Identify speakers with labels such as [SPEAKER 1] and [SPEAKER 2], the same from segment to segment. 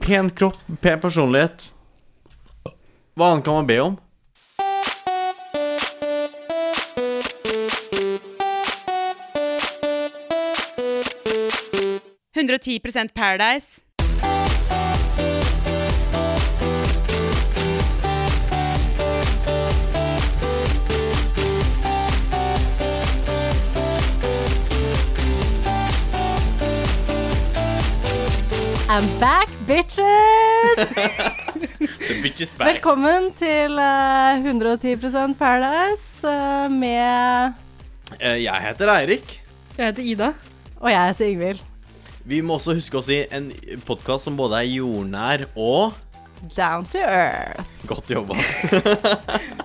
[SPEAKER 1] Pen kropp, pen personlighet. Hva annet kan man be om?
[SPEAKER 2] det. 110 Paradise.
[SPEAKER 3] I'm back, bitches!
[SPEAKER 1] The bitch is
[SPEAKER 3] Velkommen til eh, 110 Paradise eh, med
[SPEAKER 1] Eh, Jeg heter Eirik.
[SPEAKER 4] Jeg heter Ida.
[SPEAKER 3] Og jeg heter Ingvild.
[SPEAKER 1] Vi må også huske å si en podkast som både er jordnær og
[SPEAKER 3] Down to earth.
[SPEAKER 1] godt jobba.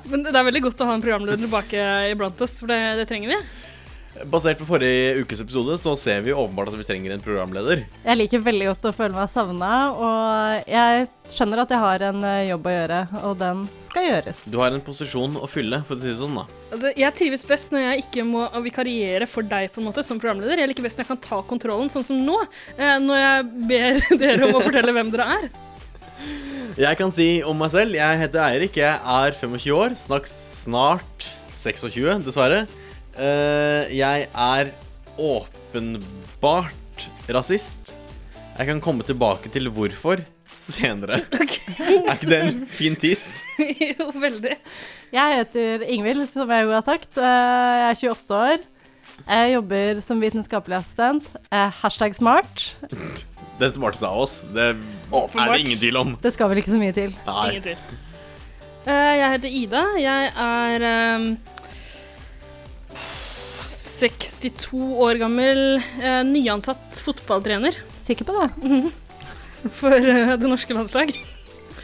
[SPEAKER 4] Men det er veldig godt å ha en programleder tilbake iblant oss, for det, det trenger vi.
[SPEAKER 1] Basert på forrige ukes episode så ser vi åpenbart at vi trenger en programleder.
[SPEAKER 3] Jeg liker veldig godt å føle meg savna, og jeg skjønner at jeg har en eh, jobb å gjøre, og den skal gjøres.
[SPEAKER 1] Du har en posisjon å fylle, for å si det sånn, da.
[SPEAKER 4] Altså, jeg trives best når jeg ikke må vikariere for deg på en måte som programleder. Jeg liker best når jeg kan ta kontrollen, sånn som nå, eh, når jeg ber dere om å fortelle hvem dere er.
[SPEAKER 1] Jeg kan si om meg selv. Jeg heter Eirik. Jeg er 25 år. Snakk snart 26, dessverre. Eh, jeg er åpenbart rasist. Jeg kan komme tilbake til hvorfor senere. Er ikke det en fin tiss?
[SPEAKER 4] jo, veldig.
[SPEAKER 3] Jeg heter Ingvild, som jeg jo har sagt. Eh, Jeg er 28 år. Jeg jobber som vitenskapelig assistent. Eh, Hashtag smart.
[SPEAKER 1] Den smarteste av oss. Det er det
[SPEAKER 4] Åpenbart.
[SPEAKER 1] ingen tvil om.
[SPEAKER 3] Det skal vel ikke så mye til.
[SPEAKER 1] Nei.
[SPEAKER 4] Ingen tvil. Eh, jeg heter Ida. Jeg er ehm, 62 år gammel, eh, nyansatt fotballtrener.
[SPEAKER 3] Sikker på det?
[SPEAKER 4] for eh, det norske landslag.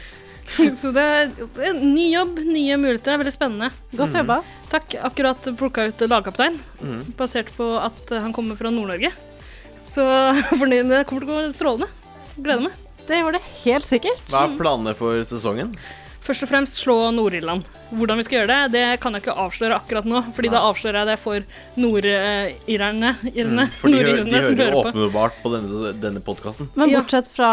[SPEAKER 4] Så det er en ny jobb, nye muligheter. Det er veldig spennende.
[SPEAKER 3] Godt jobba.
[SPEAKER 4] Takk. Akkurat plukka ut lagkaptein,
[SPEAKER 1] Mhm.
[SPEAKER 4] basert på at eh, han kommer fra Nord-Norge. Så fornøyd. Det kommer til å gå strålende. Gleder meg.
[SPEAKER 3] Det gjorde det helt sikkert.
[SPEAKER 1] Hva er planene for sesongen?
[SPEAKER 4] Først og fremst slå Nord-Irland. Hvordan vi skal gjøre det, det kan jeg ikke avsløre akkurat nå, fordi da avslører jeg det for nord-irerne. irerne,
[SPEAKER 1] Mm, For de, hø-
[SPEAKER 4] nordirerne
[SPEAKER 1] de
[SPEAKER 4] som
[SPEAKER 1] hører jo
[SPEAKER 4] hører på.
[SPEAKER 1] åpenbart på denne, denne podkasten.
[SPEAKER 3] Men
[SPEAKER 4] Ja.
[SPEAKER 3] bortsett fra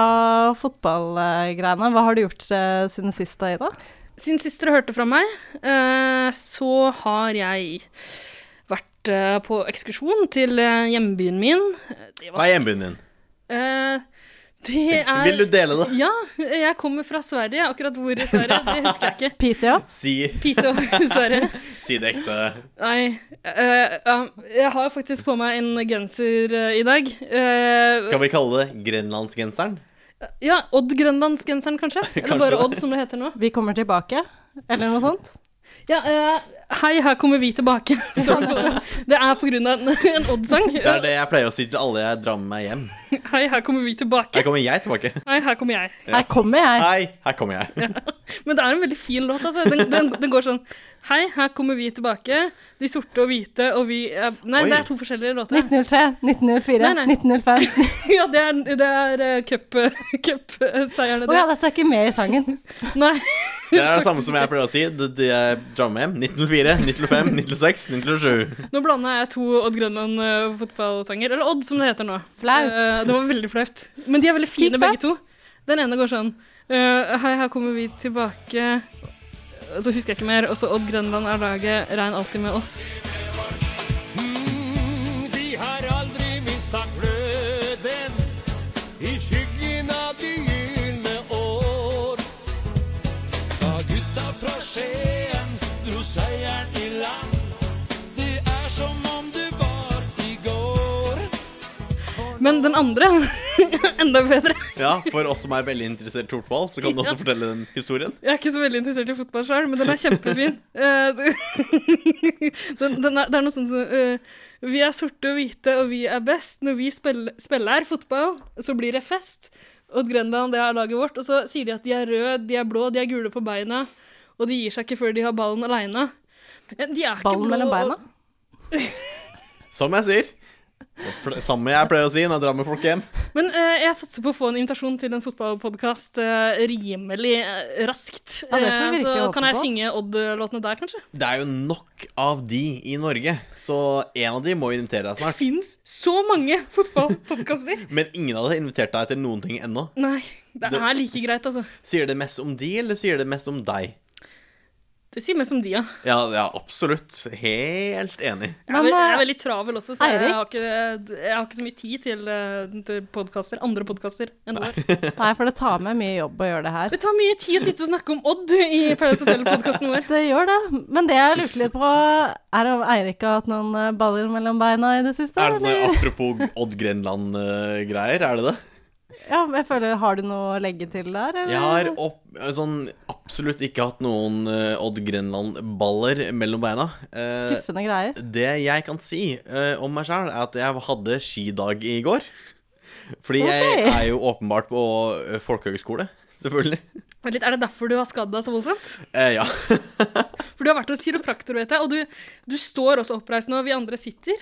[SPEAKER 3] fotballgreiene, hva har du gjort eh, siden sist da, Ida?
[SPEAKER 4] Siden sist dere hørte fra meg, eh, så har jeg vært eh, på ekskursjon til eh, hjembyen min. Det,
[SPEAKER 1] Hva
[SPEAKER 4] var,
[SPEAKER 1] er hjembyen din?
[SPEAKER 4] eh, det er
[SPEAKER 1] Vil du dele det?
[SPEAKER 4] Ja, jeg kommer fra Sverige. Akkurat hvor i Sverige, det husker jeg ikke.
[SPEAKER 3] Piteå?
[SPEAKER 1] Si,
[SPEAKER 4] Piteå, Sverige.
[SPEAKER 1] si det ekte.
[SPEAKER 4] Nei. eh, ja, jeg har faktisk på meg en genser eh, i dag. Eh,
[SPEAKER 1] Skal vi kalle det grenlandsgenseren?
[SPEAKER 4] ja, Odd-grenlandsgenseren, kanskje?
[SPEAKER 1] Kanskje
[SPEAKER 4] Eller bare
[SPEAKER 1] det.
[SPEAKER 4] Odd, som det heter nå.
[SPEAKER 3] Vi kommer tilbake, eller noe sånt?
[SPEAKER 4] Ja, eh, hei, her kommer vi tilbake. Står det, på. det er på grunn av en, en Odd-sang.
[SPEAKER 1] Det er det jeg pleier å si til alle jeg drar med meg hjem.
[SPEAKER 4] Hei, her kommer vi tilbake.
[SPEAKER 1] Her kommer jeg tilbake.
[SPEAKER 4] Hei, her kommer jeg.
[SPEAKER 3] Her kommer jeg.
[SPEAKER 1] Hei, her kommer jeg.
[SPEAKER 4] Men det er en veldig fin låt, altså. Den, den, den går sånn Hei, her kommer vi tilbake. De sorte og hvite og vi er Nei,
[SPEAKER 1] Oi.
[SPEAKER 4] det er to forskjellige låter.
[SPEAKER 3] 1903, 1904,
[SPEAKER 4] Nei, nei.
[SPEAKER 3] 1905.
[SPEAKER 4] Ja, det er, det er eh, cup- cup-seierne,
[SPEAKER 3] Å
[SPEAKER 4] cup,
[SPEAKER 3] ja, dette er ikke med i sangen.
[SPEAKER 4] det. Nei.
[SPEAKER 1] Det er det samme som jeg pleier å si. Det, det jeg drar med hjem. 1904, 1905, 1906, 1907.
[SPEAKER 4] Nå blanda jeg to Odd Grønland-fotballsanger. Eller Odd, som det heter nå.
[SPEAKER 3] Flaut.
[SPEAKER 4] Eh, det var veldig flaut. Men de er veldig
[SPEAKER 3] Sykt
[SPEAKER 4] fine, begge
[SPEAKER 3] flaut.
[SPEAKER 4] to. Den ene går sånn eh, Hei, her kommer vi tilbake. Så husker jeg ikke mer. Også Odd Grønland er laget. Regn alltid med oss.
[SPEAKER 5] De har aldri mista gløden i skyggen av de gylne år. Da gutta fra Skien dro seieren i land, det er som om det var i går.
[SPEAKER 4] Men den andre Enda bedre.
[SPEAKER 1] Ja, for oss som er veldig interessert i fotball, så kan du også fortelle den historien.
[SPEAKER 4] Jeg er ikke så veldig interessert i fotball sjøl, men den er kjempefin. Eh, den, den er, det er noe sånt som eh, Vi er sorte og hvite, og vi er best. Når vi spiller, spiller fotball, så blir det fest. Odd Grenland, det er laget vårt. Og så sier de at de er røde, de er blå, de er gule på beina. Og de gir seg ikke før de har ballen aleine. De er ikke
[SPEAKER 3] Ballen
[SPEAKER 4] blå
[SPEAKER 3] mellom beina.
[SPEAKER 4] og-
[SPEAKER 1] Som jeg sier. Pl- Samme jeg pleier å si når jeg drar med folk hjem.
[SPEAKER 4] Men eh, jeg satser på å få en invitasjon til en fotballpodkast eh, rimelig eh, raskt.
[SPEAKER 3] Ja, det får vi
[SPEAKER 4] Eh,
[SPEAKER 3] virkelig
[SPEAKER 4] så
[SPEAKER 3] håpe
[SPEAKER 4] kan jeg
[SPEAKER 3] på.
[SPEAKER 4] synge Odd-låtene der, kanskje?
[SPEAKER 1] Det er jo nok av de i Norge, så en av de må invitere deg
[SPEAKER 4] Det
[SPEAKER 1] snart.
[SPEAKER 4] fins så mange fotballpodkaster!
[SPEAKER 1] Men ingen av dem har invitert deg til noen ting ennå.
[SPEAKER 4] Nei, det
[SPEAKER 1] Det-
[SPEAKER 4] er like greit, altså.
[SPEAKER 1] Sier det mest om de, eller sier det mest om deg?
[SPEAKER 4] Det sier mest om de, ja.
[SPEAKER 1] Ja, ja absolutt. Helt enig.
[SPEAKER 4] Jeg er,
[SPEAKER 3] Men,
[SPEAKER 4] vel- jeg er
[SPEAKER 3] eh,
[SPEAKER 4] veldig travel også, så jeg
[SPEAKER 3] Eirik?
[SPEAKER 4] har, ikke, jeg har ikke så mye tid til, eh, til podcaster, andre podkaster enn vår.
[SPEAKER 3] Nei, for det tar med mye jobb å gjøre det her.
[SPEAKER 4] Det tar mye tid å sitte og snakke om Odd i Paradise Hotel-podkasten vår.
[SPEAKER 3] Det gjør det. Men det jeg lurte litt på, er om Eirik har hatt noen eh, baller mellom beina i det siste?
[SPEAKER 1] Er det
[SPEAKER 3] eller?
[SPEAKER 1] sånn apropos Odd Grenland-greier? Er det det?
[SPEAKER 3] Ja, jeg føler, Har du noe å legge til der? eller?
[SPEAKER 1] Jeg har opp, sånn, absolutt ikke hatt noen eh, Odd Grenland-baller mellom beina. Eh,
[SPEAKER 3] Skuffende greier.
[SPEAKER 1] det jeg kan si eh, om meg sjøl, er at jeg hadde skidag i går. Fordi jeg
[SPEAKER 3] Ok.
[SPEAKER 1] er jo åpenbart på eh, folkehøgskole, selvfølgelig.
[SPEAKER 4] Vent litt, Er det derfor du har skadd deg så voldsomt?
[SPEAKER 1] Eh, ja.
[SPEAKER 4] For du har vært hos kiropraktor, vet jeg, og du, du står også oppreist nå. Vi andre sitter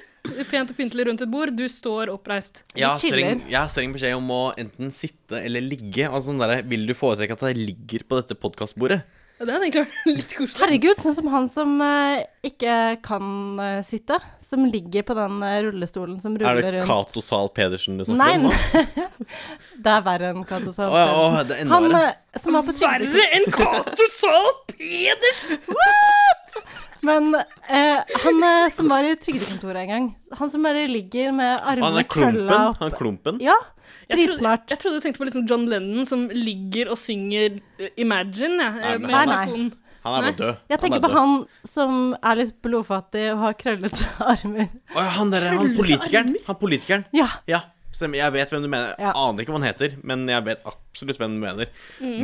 [SPEAKER 4] pent og pyntelig rundt et bord. Du står oppreist.
[SPEAKER 1] Jeg har,
[SPEAKER 3] chiller.
[SPEAKER 1] streng, jeg har streng beskjed om å enten sitte eller ligge. Altså sånn der, Vil du foretrekke at jeg ligger på dette podkastbordet?
[SPEAKER 4] Ja, det hadde egentlig vært litt koselig.
[SPEAKER 3] Herregud, sånn som han som eh, ikke kan eh, sitte. Som ligger på den eh, rullestolen som
[SPEAKER 1] Er
[SPEAKER 3] ruller
[SPEAKER 1] det
[SPEAKER 3] rundt.
[SPEAKER 1] Cato Zahl Pedersen du
[SPEAKER 3] Nei,
[SPEAKER 1] snakker om? nå?
[SPEAKER 3] nei. det er verre enn Cato Zahl.
[SPEAKER 1] Å, ja, å,
[SPEAKER 3] Pedersen.
[SPEAKER 1] det er enda
[SPEAKER 3] Han
[SPEAKER 1] verre.
[SPEAKER 3] eh, som var på trygdekur.
[SPEAKER 4] Verre enn Cato Zahl Pedersen!
[SPEAKER 3] Men eh, han eh, som var i trygdekontoret en gang. Han som bare ligger med
[SPEAKER 1] Han er
[SPEAKER 3] armene
[SPEAKER 1] klumpen.
[SPEAKER 3] krølla opp.
[SPEAKER 1] Han er klumpen.
[SPEAKER 3] Ja,
[SPEAKER 4] Jeg trodde,
[SPEAKER 3] dritsmart.
[SPEAKER 4] jeg trodde du tenkte på liksom John Lennon som ligger og synger eh, Imagine. Ja, Eh,
[SPEAKER 1] Nei,
[SPEAKER 4] med
[SPEAKER 1] men
[SPEAKER 3] han-
[SPEAKER 4] mikrofonen.
[SPEAKER 1] Han er
[SPEAKER 4] Nei.
[SPEAKER 1] bare død.
[SPEAKER 3] Jeg tenker
[SPEAKER 1] er
[SPEAKER 3] på
[SPEAKER 1] død.
[SPEAKER 3] han som er litt blodfattig og har krøllete armer.
[SPEAKER 1] Å, ja, han derre han politikeren. Han politikeren.
[SPEAKER 3] Ja.
[SPEAKER 1] Ja, stemmer. Jeg vet hvem du mener.
[SPEAKER 3] Ja.
[SPEAKER 1] Jeg aner ikke hva han heter, men jeg vet absolutt hvem du mener.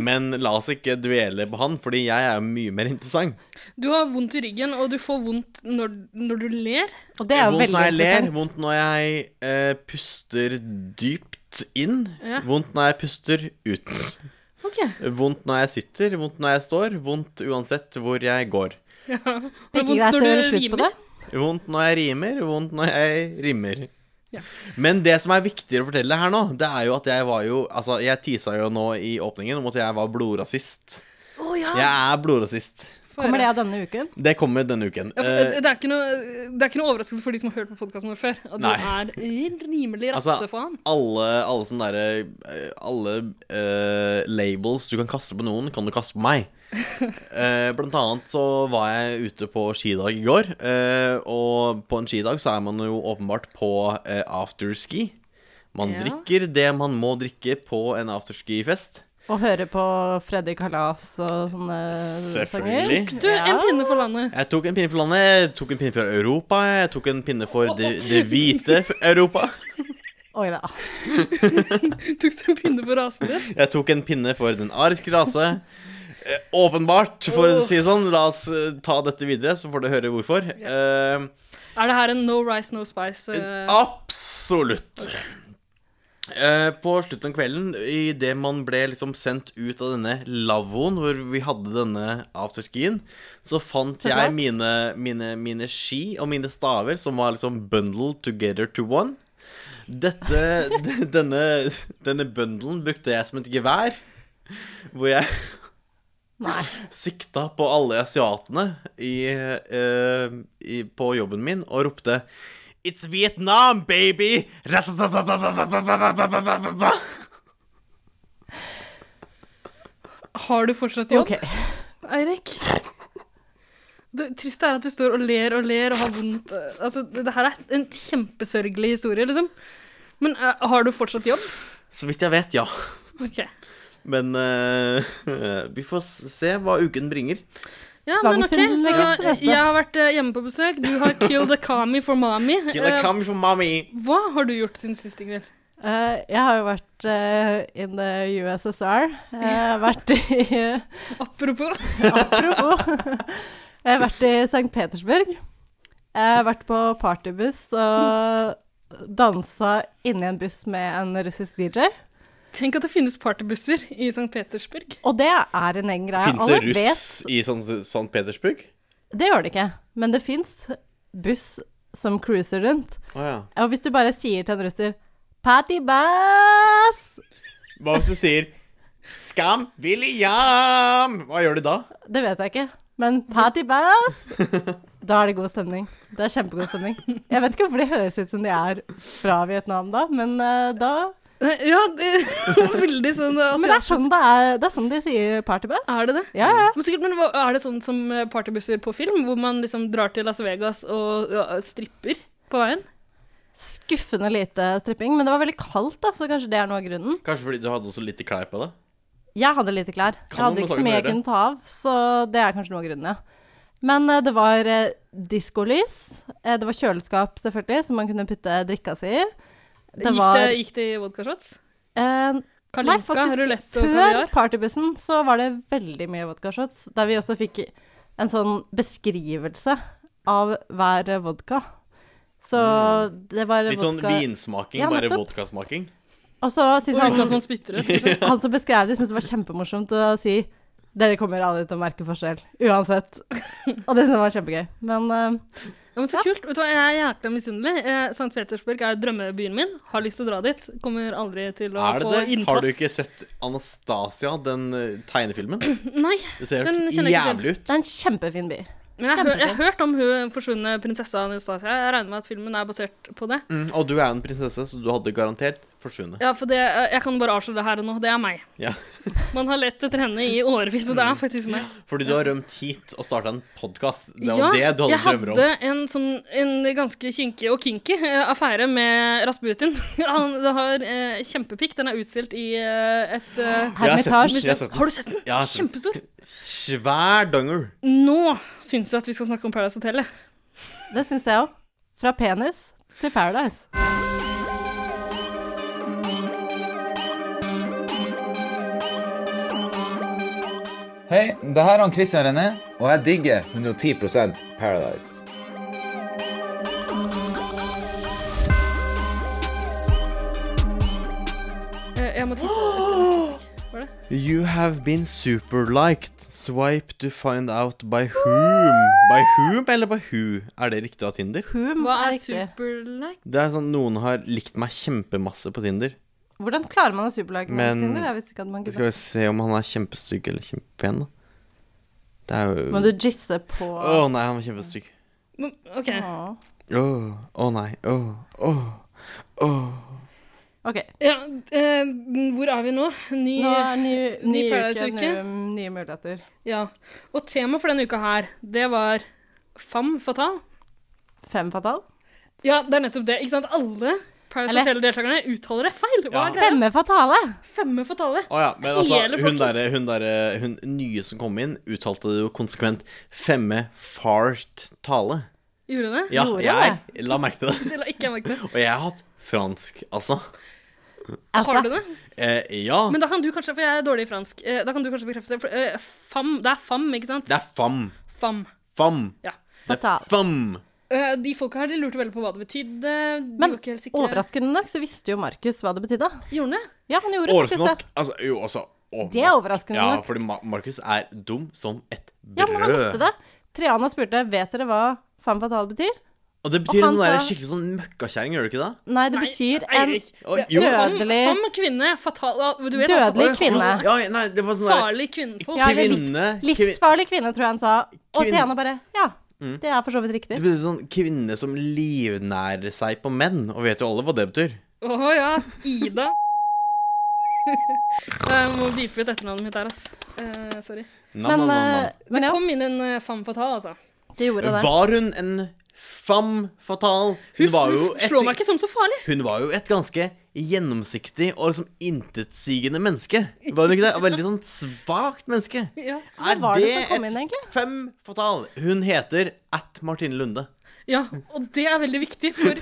[SPEAKER 1] Men la oss ikke dvele på han, fordi jeg er jo mye mer interessant.
[SPEAKER 4] Du har vondt i ryggen, og du får vondt når, når du ler.
[SPEAKER 3] Og det er jo
[SPEAKER 1] vondt
[SPEAKER 3] veldig
[SPEAKER 1] når jeg ler,
[SPEAKER 3] interessant.
[SPEAKER 1] vondt når jeg eh, puster dypt inn,
[SPEAKER 4] Ja.
[SPEAKER 1] vondt når jeg puster ut.
[SPEAKER 4] Ok.
[SPEAKER 1] Vondt når jeg sitter, vondt når jeg står, vondt uansett hvor jeg går.
[SPEAKER 4] Ja.
[SPEAKER 3] Det er ikke greit å gjøre slutt på det.
[SPEAKER 1] Vondt når jeg rimer, vondt når jeg rimer.
[SPEAKER 4] Ja.
[SPEAKER 1] Men det som er viktigere å fortelle her nå, det er jo at jeg var jo Altså, jeg tisa jo nå i åpningen om at jeg var blodrasist.
[SPEAKER 4] Å ja.
[SPEAKER 1] Jeg er blodrasist.
[SPEAKER 3] Kommer det denne uken?
[SPEAKER 1] Det kommer denne uken.
[SPEAKER 4] Ja, for, eh, det, er ikke noe, det er ikke noe overraskelse for de som har hørt på podkasten vår før, at
[SPEAKER 1] Nei.
[SPEAKER 4] du er rimelig
[SPEAKER 1] Altså,
[SPEAKER 4] rassefaen.
[SPEAKER 1] alle, alle sånne derre Alle eh, labels du kan kaste på noen, kan du kaste på meg. Eh, blant annet så var jeg ute på skidag i går, eh, og på en skidag så er man jo åpenbart på eh, afterski. Man
[SPEAKER 4] Ja.
[SPEAKER 1] drikker det man må drikke på en afterski-fest.
[SPEAKER 3] Og høre på Freddy Kalas og sånne sanger?
[SPEAKER 1] Selvfølgelig.
[SPEAKER 4] Du, en pinne for landet.
[SPEAKER 1] Jeg tok en pinne for landet, jeg tok en pinne for Europa, jeg tok en pinne for det, det hvite Europa.
[SPEAKER 3] Oi da.
[SPEAKER 4] Tok du en pinne for rasen din?
[SPEAKER 1] Jeg tok en pinne for den ariske rase. Eh, Åpenbart, for å si det sånn. La oss eh, ta dette videre, så får du høre hvorfor. Eh,
[SPEAKER 4] Er det her en no rice, no spice? eh,
[SPEAKER 1] absolutt. Eh, på slutten av kvelden, idet man ble liksom sendt ut av denne lavvoen hvor vi hadde denne afterskien, så fant
[SPEAKER 3] Så bra.
[SPEAKER 1] jeg mine, mine, mine ski og mine staver, som var liksom bundled together to one. Dette, d- denne, denne bundlen brukte jeg som et gevær, hvor jeg
[SPEAKER 3] Nei.
[SPEAKER 1] sikta på alle asiatene i, eh, i, på jobben min og ropte It's Vietnam, baby!
[SPEAKER 4] Har du fortsatt jobb,
[SPEAKER 3] Ok.
[SPEAKER 4] Eirik? Det triste er at du står og ler og ler og har vondt eh, Altså, det det her er en kjempesørgelig historie, liksom. Men eh, har du fortsatt jobb?
[SPEAKER 1] Så vidt jeg vet, ja.
[SPEAKER 4] Ok.
[SPEAKER 1] Men eh, vi får s- se hva uken bringer.
[SPEAKER 4] Ja, men ok, så
[SPEAKER 3] Tvangsinnlegges det neste.
[SPEAKER 4] jeg har vært eh, hjemme på besøk. Du har kill the kami for mami.
[SPEAKER 1] Kill a
[SPEAKER 4] Eh,
[SPEAKER 1] kami for mommy.
[SPEAKER 4] Hva har du gjort siden sist, Ingrid?
[SPEAKER 3] Eh, jeg har jo vært eh, in the USSR. Jeg har vært i
[SPEAKER 4] Apropos.
[SPEAKER 3] Apropos. jeg har vært i St. Petersburg. Jeg har vært på partybuss og dansa inni en buss med en russisk DJ.
[SPEAKER 4] Tenk at det finnes partybusser i St. Petersburg.
[SPEAKER 3] Og det er en egen greie.
[SPEAKER 1] Fins det
[SPEAKER 3] Alle
[SPEAKER 1] russ i San- St. Petersburg?
[SPEAKER 3] Det gjør det ikke, men det fins buss som cruiser rundt.
[SPEAKER 1] Å ja.
[SPEAKER 3] Og hvis du bare sier til en russer 'Patty Bass',
[SPEAKER 1] Hva hvis du sier 'Skam William'? Hva gjør de da?
[SPEAKER 3] det vet jeg ikke, men 'Patty Bass', da er det god stemning. Det er kjempegod stemning. Jeg vet ikke hvorfor de høres ut som de er fra Vietnam da, men eh, da
[SPEAKER 4] Nei, Ja, det, veldig sånn asiatisk.
[SPEAKER 3] Men det er sånn det er, det er sånn de sier Party Bass.
[SPEAKER 4] Er det det?
[SPEAKER 3] Ja, ja.
[SPEAKER 4] Men, sikkert, men hva- er det sånn som eh, partybusser på film, hvor man liksom drar til Las Vegas og ja, stripper på veien?
[SPEAKER 3] Skuffende lite stripping, men det var veldig kaldt, da, så kanskje det er noe av grunnen.
[SPEAKER 1] Kanskje fordi du hadde så lite klær på deg?
[SPEAKER 3] Jeg hadde lite klær. Jeg
[SPEAKER 1] Kan man
[SPEAKER 3] hadde ikke
[SPEAKER 1] lage
[SPEAKER 3] så mye jeg
[SPEAKER 1] flere?
[SPEAKER 3] kunne ta av, så det er kanskje noe av grunnen, ja. Men eh, det var eh, diskolys, eh, det var kjøleskap selvfølgelig, som man kunne putte drikka si i. Det
[SPEAKER 4] Gikk,
[SPEAKER 3] var
[SPEAKER 4] det, gikk det i vodkashots?
[SPEAKER 3] eh, Nei,
[SPEAKER 4] Kalinka,
[SPEAKER 3] faktisk,
[SPEAKER 4] rulett og
[SPEAKER 3] før
[SPEAKER 4] kaviar?
[SPEAKER 3] partybussen så var det veldig mye vodkashots, der vi også fikk en sånn beskrivelse av hver eh, vodka. Så det var
[SPEAKER 1] Litt sånn
[SPEAKER 3] vodka
[SPEAKER 1] vinsmaking,
[SPEAKER 3] Ja,
[SPEAKER 1] bare
[SPEAKER 3] nettopp.
[SPEAKER 1] vodkasmaking.
[SPEAKER 3] Og så
[SPEAKER 4] Og
[SPEAKER 3] syns
[SPEAKER 4] uten
[SPEAKER 3] han
[SPEAKER 4] at man spytter ut. liksom.
[SPEAKER 3] Han som beskrev det, syntes det var kjempemorsomt å si dere kommer aldri til å merke forskjell, uansett. Og det syntes jeg var kjempegøy. Men eh,
[SPEAKER 4] Ja, men så kult. Vet du hva, jeg er jækla misunnelig. Eh, St. Petersburg er drømmebyen min. Har lyst til å dra dit. Kommer aldri til å
[SPEAKER 1] Er det
[SPEAKER 4] få
[SPEAKER 1] det?
[SPEAKER 4] innpass.
[SPEAKER 1] Har du ikke sett Anastasia, den eh, tegnefilmen?
[SPEAKER 4] Nei.
[SPEAKER 1] Det ser
[SPEAKER 4] Den
[SPEAKER 1] helt
[SPEAKER 4] kjenner jeg ikke
[SPEAKER 1] jævlig ut.
[SPEAKER 3] det er en kjempefin by.
[SPEAKER 4] Men jeg, hø
[SPEAKER 3] Kjempebra.
[SPEAKER 4] jeg har hørt om hun forsvunne prinsessa Anastasia. Jeg regner med at filmen er basert på det.
[SPEAKER 1] Mm, og du er en prinsesse, så du hadde garantert forsvunnet.
[SPEAKER 4] Ja, for det, eh, Jeg kan bare avsløre det her og nå. Det er meg.
[SPEAKER 1] Ja.
[SPEAKER 4] Man har lett etter henne i årevis, og det
[SPEAKER 1] Mm.
[SPEAKER 4] er faktisk meg.
[SPEAKER 1] Fordi du har rømt hit og starta en podkast. Det var
[SPEAKER 4] Ja,
[SPEAKER 1] det du hadde
[SPEAKER 4] jeg
[SPEAKER 1] drømmer om.
[SPEAKER 4] hadde en, sånn, en ganske kinkig og kinky eh, affære med Rasputin. Han det har eh, kjempepikk. Den er utstilt i eh, et eh,
[SPEAKER 1] Jeg har sett den, jeg
[SPEAKER 3] Hermitage.
[SPEAKER 1] har sett den.
[SPEAKER 4] Har du sett den?
[SPEAKER 1] Ja, jeg har sett den.
[SPEAKER 4] Kjempestor.
[SPEAKER 1] Svær donger.
[SPEAKER 4] Nå syns jeg at vi skal snakke om Paradise Hotel. jeg.
[SPEAKER 3] Det syns jeg òg. Fra penis til Paradise.
[SPEAKER 6] Hei, det her er han Christian René, og jeg digger 110 Paradise.
[SPEAKER 4] Eh, Jeg må tisse. etter neste sekk. Var det?
[SPEAKER 1] You have been super liked. Swipe to find out by whom. By whom eller by who? Er det riktig av Tinder?
[SPEAKER 3] Hum
[SPEAKER 4] Hva
[SPEAKER 3] er
[SPEAKER 4] er
[SPEAKER 3] riktig.
[SPEAKER 4] superlike?
[SPEAKER 1] Det er sånn Noen har likt meg kjempemasse på Tinder.
[SPEAKER 3] Hvordan klarer man å superlage
[SPEAKER 1] Men-
[SPEAKER 3] Tinder? Jeg visste ikke at man kunne
[SPEAKER 1] Skal vi se om han er kjempestygg eller kjempepen, da. Det er jo
[SPEAKER 3] Må
[SPEAKER 1] Å
[SPEAKER 3] du jizze på
[SPEAKER 1] nei, han var kjempestygg.
[SPEAKER 4] Men, OK.
[SPEAKER 3] Åh.
[SPEAKER 1] Ah. Å å nei. Å å å.
[SPEAKER 3] OK.
[SPEAKER 4] Ja, eh, hvor er vi nå? Ny
[SPEAKER 3] Nå er ny, ny
[SPEAKER 4] Ny
[SPEAKER 3] uke,
[SPEAKER 4] Paradise-uke.
[SPEAKER 3] nye, nye muligheter.
[SPEAKER 4] Ja. Og temaet for denne uka her, det var femme fatale.
[SPEAKER 3] Fem fatal?
[SPEAKER 4] Ja, det er nettopp det. Ikke sant? Alle Paradise
[SPEAKER 3] Eller-
[SPEAKER 4] Hotel-deltakerne uttaler det feil. Hva
[SPEAKER 1] Ja.
[SPEAKER 4] er greia?
[SPEAKER 3] Femme fatale!
[SPEAKER 4] Femme fatale.
[SPEAKER 1] Å ja, men altså,
[SPEAKER 4] Hele
[SPEAKER 1] hun
[SPEAKER 4] folket.
[SPEAKER 1] derre hun, derre- hun nye som kom inn, uttalte det jo konsekvent femme fart tale.
[SPEAKER 4] Gjorde det?
[SPEAKER 1] Ja,
[SPEAKER 3] Gjorde
[SPEAKER 1] jeg la merke til det.
[SPEAKER 4] Det la ikke jeg merke til.
[SPEAKER 1] Og jeg har hatt fransk, altså.
[SPEAKER 3] Altså-
[SPEAKER 4] Har du det?
[SPEAKER 1] Eh, ja.
[SPEAKER 4] Men da kan du kanskje, for jeg er dårlig i fransk, eh, da kan du kanskje bekrefte det. For, eh, fam, det er fam, ikke sant?
[SPEAKER 1] Det er fam.
[SPEAKER 4] Fam.
[SPEAKER 1] Fam.
[SPEAKER 4] Ja.
[SPEAKER 1] Det
[SPEAKER 3] Fatal.
[SPEAKER 1] er fam.
[SPEAKER 4] Eh, de folka her de lurte veldig på hva det betydde. De
[SPEAKER 3] Men
[SPEAKER 4] var ikke helt sikre.
[SPEAKER 3] overraskende nok så visste jo Markus hva det betydde.
[SPEAKER 4] Gjorde det?
[SPEAKER 3] Ja, han gjorde faktisk
[SPEAKER 1] Overraskende
[SPEAKER 3] det.
[SPEAKER 1] nok. Altså, jo, altså overraskende.
[SPEAKER 3] Det er overraskende
[SPEAKER 1] Ja,
[SPEAKER 3] nok.
[SPEAKER 1] fordi Ma- Markus er dum som et brød.
[SPEAKER 3] Ja, men han visste det. Triana spurte vet dere hva femme fatale betyr.
[SPEAKER 1] Og det betyr
[SPEAKER 3] Og han
[SPEAKER 1] sånn der
[SPEAKER 3] sa-
[SPEAKER 1] skikkelig sånn møkkakjerring, gjør det ikke det?
[SPEAKER 3] Nei, det
[SPEAKER 4] Nei,
[SPEAKER 3] betyr en
[SPEAKER 4] Eirik.
[SPEAKER 1] Å,
[SPEAKER 4] Det-
[SPEAKER 1] jo.
[SPEAKER 4] Fam,
[SPEAKER 3] Dødelig-
[SPEAKER 4] fam kvinne. Fatal du vet,
[SPEAKER 3] Dødelig
[SPEAKER 4] altså,
[SPEAKER 3] kvinne.
[SPEAKER 1] Ja, nei, det var sånn der
[SPEAKER 4] Farlig kvinnfolk.
[SPEAKER 3] Ja, eller
[SPEAKER 1] sånn Kvinne-
[SPEAKER 3] livs, livsfarlig kvinne, tror jeg han sa. Og
[SPEAKER 1] Kvinne- Mm.
[SPEAKER 3] Triana bare ja, det er for så vidt riktig.
[SPEAKER 1] Det betyr sånn kvinne som livnærer seg på menn. Og vet jo alle hva det betyr.
[SPEAKER 4] Å ja. Ida. Jeg må beepe ut etternavnet mitt der, altså. Eh, sorry.
[SPEAKER 1] Nam,
[SPEAKER 3] Men,
[SPEAKER 1] nam, nam,
[SPEAKER 3] eh, men ja,
[SPEAKER 4] Kom inn en eh, femme fatale, altså.
[SPEAKER 3] det gjorde
[SPEAKER 1] nam.
[SPEAKER 3] det.
[SPEAKER 1] Var hun en femme fatale? Hun
[SPEAKER 4] Huff,
[SPEAKER 1] var jo
[SPEAKER 4] huff,
[SPEAKER 1] et,
[SPEAKER 4] slå meg ikke som så farlig.
[SPEAKER 1] hun var jo et ganske gjennomsiktig og liksom intetsigende menneske. Var hun ikke det? Og Veldig sånn svakt menneske.
[SPEAKER 4] Ja.
[SPEAKER 1] Er
[SPEAKER 3] var det som kom inn,
[SPEAKER 1] et
[SPEAKER 3] egentlig?
[SPEAKER 1] fem fatal? Hun heter at Martine Lunde.
[SPEAKER 4] ja, og det er veldig viktig for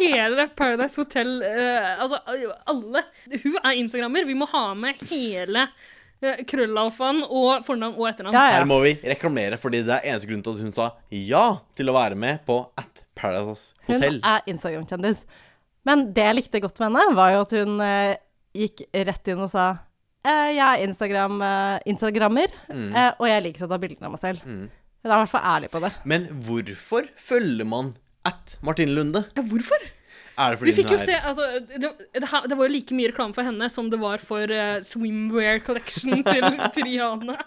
[SPEAKER 4] hele Paradise Hotel. eh, altså alle. Hun er instagrammer. Vi må ha med hele eh, krøllalfaen og fornavn og etternavn.
[SPEAKER 3] Ja,
[SPEAKER 1] Her
[SPEAKER 3] ja.
[SPEAKER 1] må vi reklamere, fordi det er eneste grunn til at hun sa ja til å være med på At Paradise
[SPEAKER 3] Hun
[SPEAKER 1] Hotel.
[SPEAKER 3] er Instagram-kjendis. Men det jeg likte godt med henne, var jo at hun eh, gikk rett inn og sa eh, jeg er Instagram, eh, Instagrammer,
[SPEAKER 1] Mm.
[SPEAKER 3] eh, og jeg liker å ta bildene av meg selv. Hun er i hvert fall ærlig på det.
[SPEAKER 1] Men hvorfor følger man at Martine Lunde.
[SPEAKER 4] Ja, hvorfor?
[SPEAKER 1] Er det fordi
[SPEAKER 4] Vi fikk jo
[SPEAKER 1] hun
[SPEAKER 4] se,
[SPEAKER 1] er
[SPEAKER 4] altså, det, det, her- det var jo like mye reklame for henne som det var for eh, swimwear collection til Triane.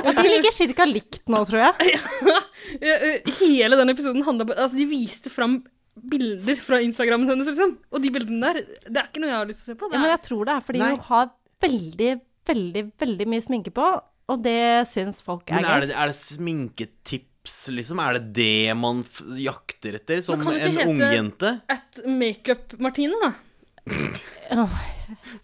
[SPEAKER 3] Ja, de ligger cirka likt nå, tror jeg.
[SPEAKER 4] Eh, eh, Hele den episoden handla Altså, de viste fram bilder fra Instagrammen hennes, liksom. Og de bildene der, det er ikke noe jeg har lyst til å se på.
[SPEAKER 3] Ja,
[SPEAKER 4] Det
[SPEAKER 3] men
[SPEAKER 4] er,
[SPEAKER 3] jeg tror det er fordi
[SPEAKER 1] Nei.
[SPEAKER 3] hun har veldig, veldig, veldig mye sminke på, og det syns folk er
[SPEAKER 1] Men er
[SPEAKER 3] gøy.
[SPEAKER 1] det, er det sminketips, liksom? Er det det man f jakter etter som
[SPEAKER 4] kan det ikke
[SPEAKER 1] en
[SPEAKER 4] hete-
[SPEAKER 1] ungjente?
[SPEAKER 4] at makeup-Martine, da.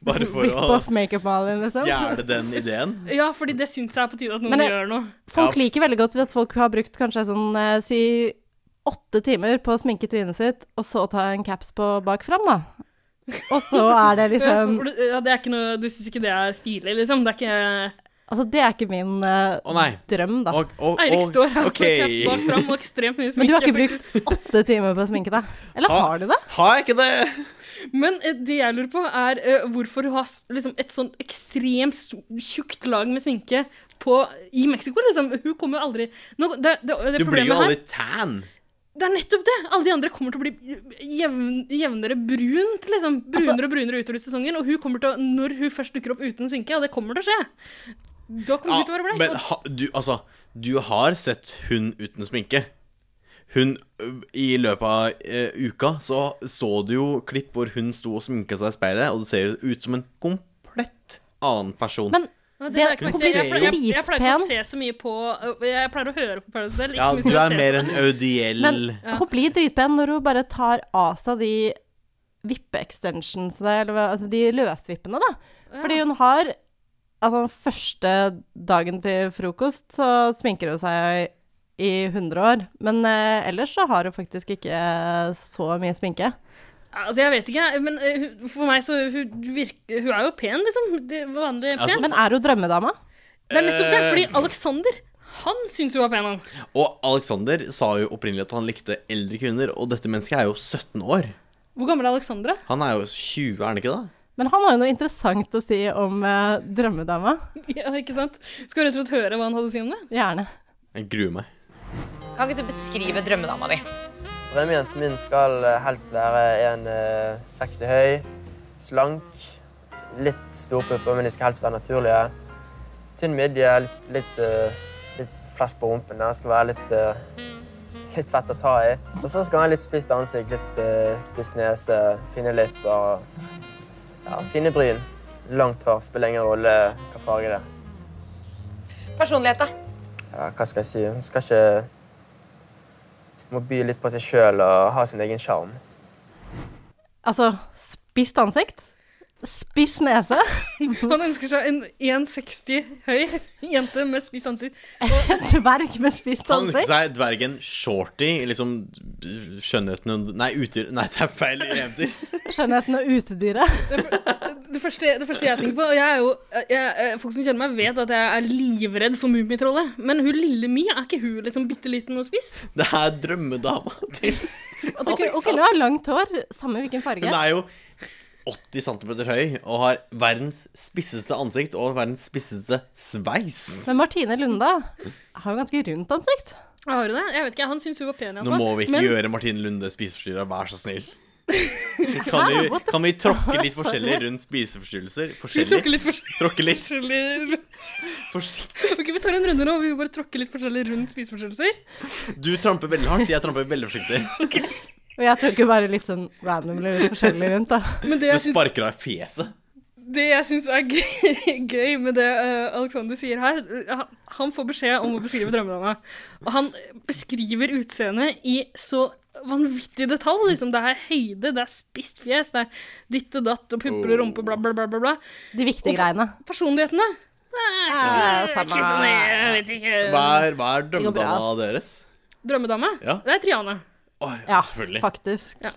[SPEAKER 1] Bare for
[SPEAKER 3] Rip
[SPEAKER 1] å
[SPEAKER 3] off makeup-malien, liksom.
[SPEAKER 1] stjele den ideen?
[SPEAKER 4] Ja, fordi det syns jeg er på tide at noen
[SPEAKER 3] Men jeg-
[SPEAKER 4] gjør noe.
[SPEAKER 3] Folk
[SPEAKER 1] Ja.
[SPEAKER 3] liker veldig godt hvis folk har brukt kanskje sånn eh, si åtte timer på å sminke trynet sitt, og så ta en caps på bak fram, da. Og så er det liksom
[SPEAKER 4] Ja, ja, det er ikke noe, du syns ikke det er stilig, liksom? Det er ikke
[SPEAKER 3] Altså, det er ikke min eh,
[SPEAKER 1] Å, nei.
[SPEAKER 3] drøm, da.
[SPEAKER 1] Og- og-
[SPEAKER 4] Eirik
[SPEAKER 1] og-
[SPEAKER 4] står her
[SPEAKER 1] ok.
[SPEAKER 4] med caps bak fram og ekstremt mye sminke.
[SPEAKER 3] Men du har ikke
[SPEAKER 4] faktisk.
[SPEAKER 3] brukt åtte timer på å sminke deg? Eller
[SPEAKER 1] Ha-
[SPEAKER 3] har du det?
[SPEAKER 1] Har jeg ikke det?
[SPEAKER 4] Men eh, det jeg lurer på, er eh, hvorfor du har s- liksom, et sånn ekstremt sto- tjukt lag med sminke på, i Mexico, liksom. Hun kommer jo aldri Nå, det, det, det
[SPEAKER 1] Du blir jo
[SPEAKER 4] problemet her
[SPEAKER 1] aldri tan.
[SPEAKER 4] Det er nettopp det! Alle de andre kommer til å bli jevn, jevnere brunt, liksom.
[SPEAKER 1] Altså-
[SPEAKER 4] Brunere og brunere utover i sesongen. Og hun kommer til å, når hun først dukker opp uten sminke, og det kommer til å skje Da kommer hun til å være
[SPEAKER 1] men
[SPEAKER 4] bleik. og-
[SPEAKER 1] ha, du, altså, du har sett hun uten sminke. Hun ø, I løpet av eh, uka så, så du jo klipp hvor hun sto og sminka seg i speilet, og det ser jo ut som en komplett annen person.
[SPEAKER 3] Men
[SPEAKER 4] Ja, det
[SPEAKER 3] det-
[SPEAKER 4] har jeg ikke
[SPEAKER 1] hun
[SPEAKER 4] lagt til. Jeg
[SPEAKER 1] ser jo-
[SPEAKER 4] pleier- jeg- jeg pleier ikke
[SPEAKER 3] dritpen.
[SPEAKER 4] å se så mye på øh, Jeg pleier å høre på Paradise Hotel. Ikke
[SPEAKER 1] ja,
[SPEAKER 4] så mye
[SPEAKER 1] du
[SPEAKER 4] som jeg
[SPEAKER 1] er
[SPEAKER 4] liksom ser
[SPEAKER 1] mer
[SPEAKER 4] på.
[SPEAKER 1] en audiell
[SPEAKER 3] Men hun blir dritpen når hun bare tar av seg de vippe-extensionsene, eller hva, altså de løsvippene, da. Fordi hun har Altså, den første dagen til frokost så sminker hun seg i 100 år. Men eh, ellers så har hun faktisk ikke eh, så mye sminke.
[SPEAKER 4] Altså, jeg vet ikke, jeg, men eh, hun- for meg så hun, virker, hun er jo pen, liksom. Det- Vanlig pen.
[SPEAKER 1] Altså,
[SPEAKER 3] Men er hun drømmedama?
[SPEAKER 4] det er nettopp det,
[SPEAKER 1] eh.
[SPEAKER 4] fordi Alexander, han syns hun var pen, han.
[SPEAKER 1] Og Alexander sa jo opprinnelig at han likte eldre kvinner, og dette mennesket er jo 17 år.
[SPEAKER 4] Hvor gammel er Alexandra?
[SPEAKER 1] Han er jo 20, er han ikke det?
[SPEAKER 3] Men han har jo noe interessant å si om eh, drømmedama.
[SPEAKER 4] Ja, ikke sant? Skal rett og slett høre hva han hadde å si om det?
[SPEAKER 3] Gjerne.
[SPEAKER 1] Jeg gruer meg.
[SPEAKER 7] Kan ikke du beskrive drømmedama di?
[SPEAKER 8] Drømmejenten min skal eh, helst være 1,60 høy, slank, litt store pupper, men de skal helst være naturlige. Tynn midje, litt, litt, eh, litt flesk på rumpen. Der. Skal være litt, eh, litt fett å ta i. Og så skal han ha litt spist ansikt, litt eh, spist nese, fine lipper og ja, fine bryn. Langt hår. Spiller ingen rolle hva farge det er.
[SPEAKER 7] Personlighet, da?
[SPEAKER 8] Ja, hva skal jeg si? Hun skal ikke Må by litt på seg sjøl og ha sin egen sjarm.
[SPEAKER 3] Altså, spisst ansikt. Spiss nese.
[SPEAKER 4] Han ønsker seg en 1,60 høy jente med spiss ansikt. Og
[SPEAKER 3] Dverg med spisst
[SPEAKER 1] Han ønsker
[SPEAKER 3] ansikt.
[SPEAKER 1] seg dvergen Shorty, liksom skjønnheten hun Nei, utyr... Nei, det er feil eventyr.
[SPEAKER 3] Skjønnheten og utedyret.
[SPEAKER 4] det første, det første jeg tenker på og jeg er jo, jeg, jeg, Folk som kjenner meg, vet at jeg er livredd for Mummitrollet. Men hun lille Mi, er ikke hun liksom bitte liten og spiss?
[SPEAKER 1] Det er drømmedama til
[SPEAKER 3] Og du kunne- og kunne ha langt hår, samme hvilken
[SPEAKER 1] Hun
[SPEAKER 3] farge.
[SPEAKER 1] er jo 80 cm høy og har verdens spisseste ansikt og verdens spisseste sveis.
[SPEAKER 3] Men Martine Lunde har jo ganske rundt ansikt.
[SPEAKER 4] Jeg Har du det? Jeg vet ikke, Han syns hun var pen. i hvert
[SPEAKER 1] Nå må
[SPEAKER 4] fall.
[SPEAKER 1] vi ikke
[SPEAKER 4] Men-
[SPEAKER 1] gjøre Martine Lunde spiseforstyrra, vær så snill. Kan vi, kan vi tråkke litt forskjellig rundt spiseforstyrrelser?
[SPEAKER 4] Vi tråkker
[SPEAKER 1] Forskjellig?
[SPEAKER 4] litt forskjellig.
[SPEAKER 1] Tråkke litt
[SPEAKER 4] forskjellig.
[SPEAKER 1] forsiktig.
[SPEAKER 4] Ok, Vi tar en runde nå, og vi bare tråkker litt forskjellig rundt spiseforstyrrelser.
[SPEAKER 1] Du tramper veldig hardt, jeg tramper veldig forsiktig.
[SPEAKER 3] Og jeg tråkker bare litt sånn randomly litt forskjellig rundt, da.
[SPEAKER 4] Men det
[SPEAKER 1] Du
[SPEAKER 4] jeg syns,
[SPEAKER 1] sparker deg i fjeset.
[SPEAKER 4] det jeg syns er gøy, gøy med det eh, Alexander sier her eh, han- Han får beskjed om å beskrive drømmedama. Og han beskriver utseendet i så vanvittig detalj. Liksom. Det er høyde, det er spisst fjes, det er ditt og datt og pupper og rumpe, bla, bla, bla. bla, bla.
[SPEAKER 3] De viktige greiene.
[SPEAKER 4] Personligheten, da? Nei, det er ikke sånn, jeg vet
[SPEAKER 1] Hva
[SPEAKER 4] ikke.
[SPEAKER 1] er, hva er
[SPEAKER 3] går bra,
[SPEAKER 1] drømmedama deres?
[SPEAKER 4] Drømmedame?
[SPEAKER 1] Ja.
[SPEAKER 4] Det er Triane.
[SPEAKER 1] Å, ja,
[SPEAKER 3] Ja,
[SPEAKER 1] selvfølgelig.
[SPEAKER 3] faktisk.
[SPEAKER 4] Ja.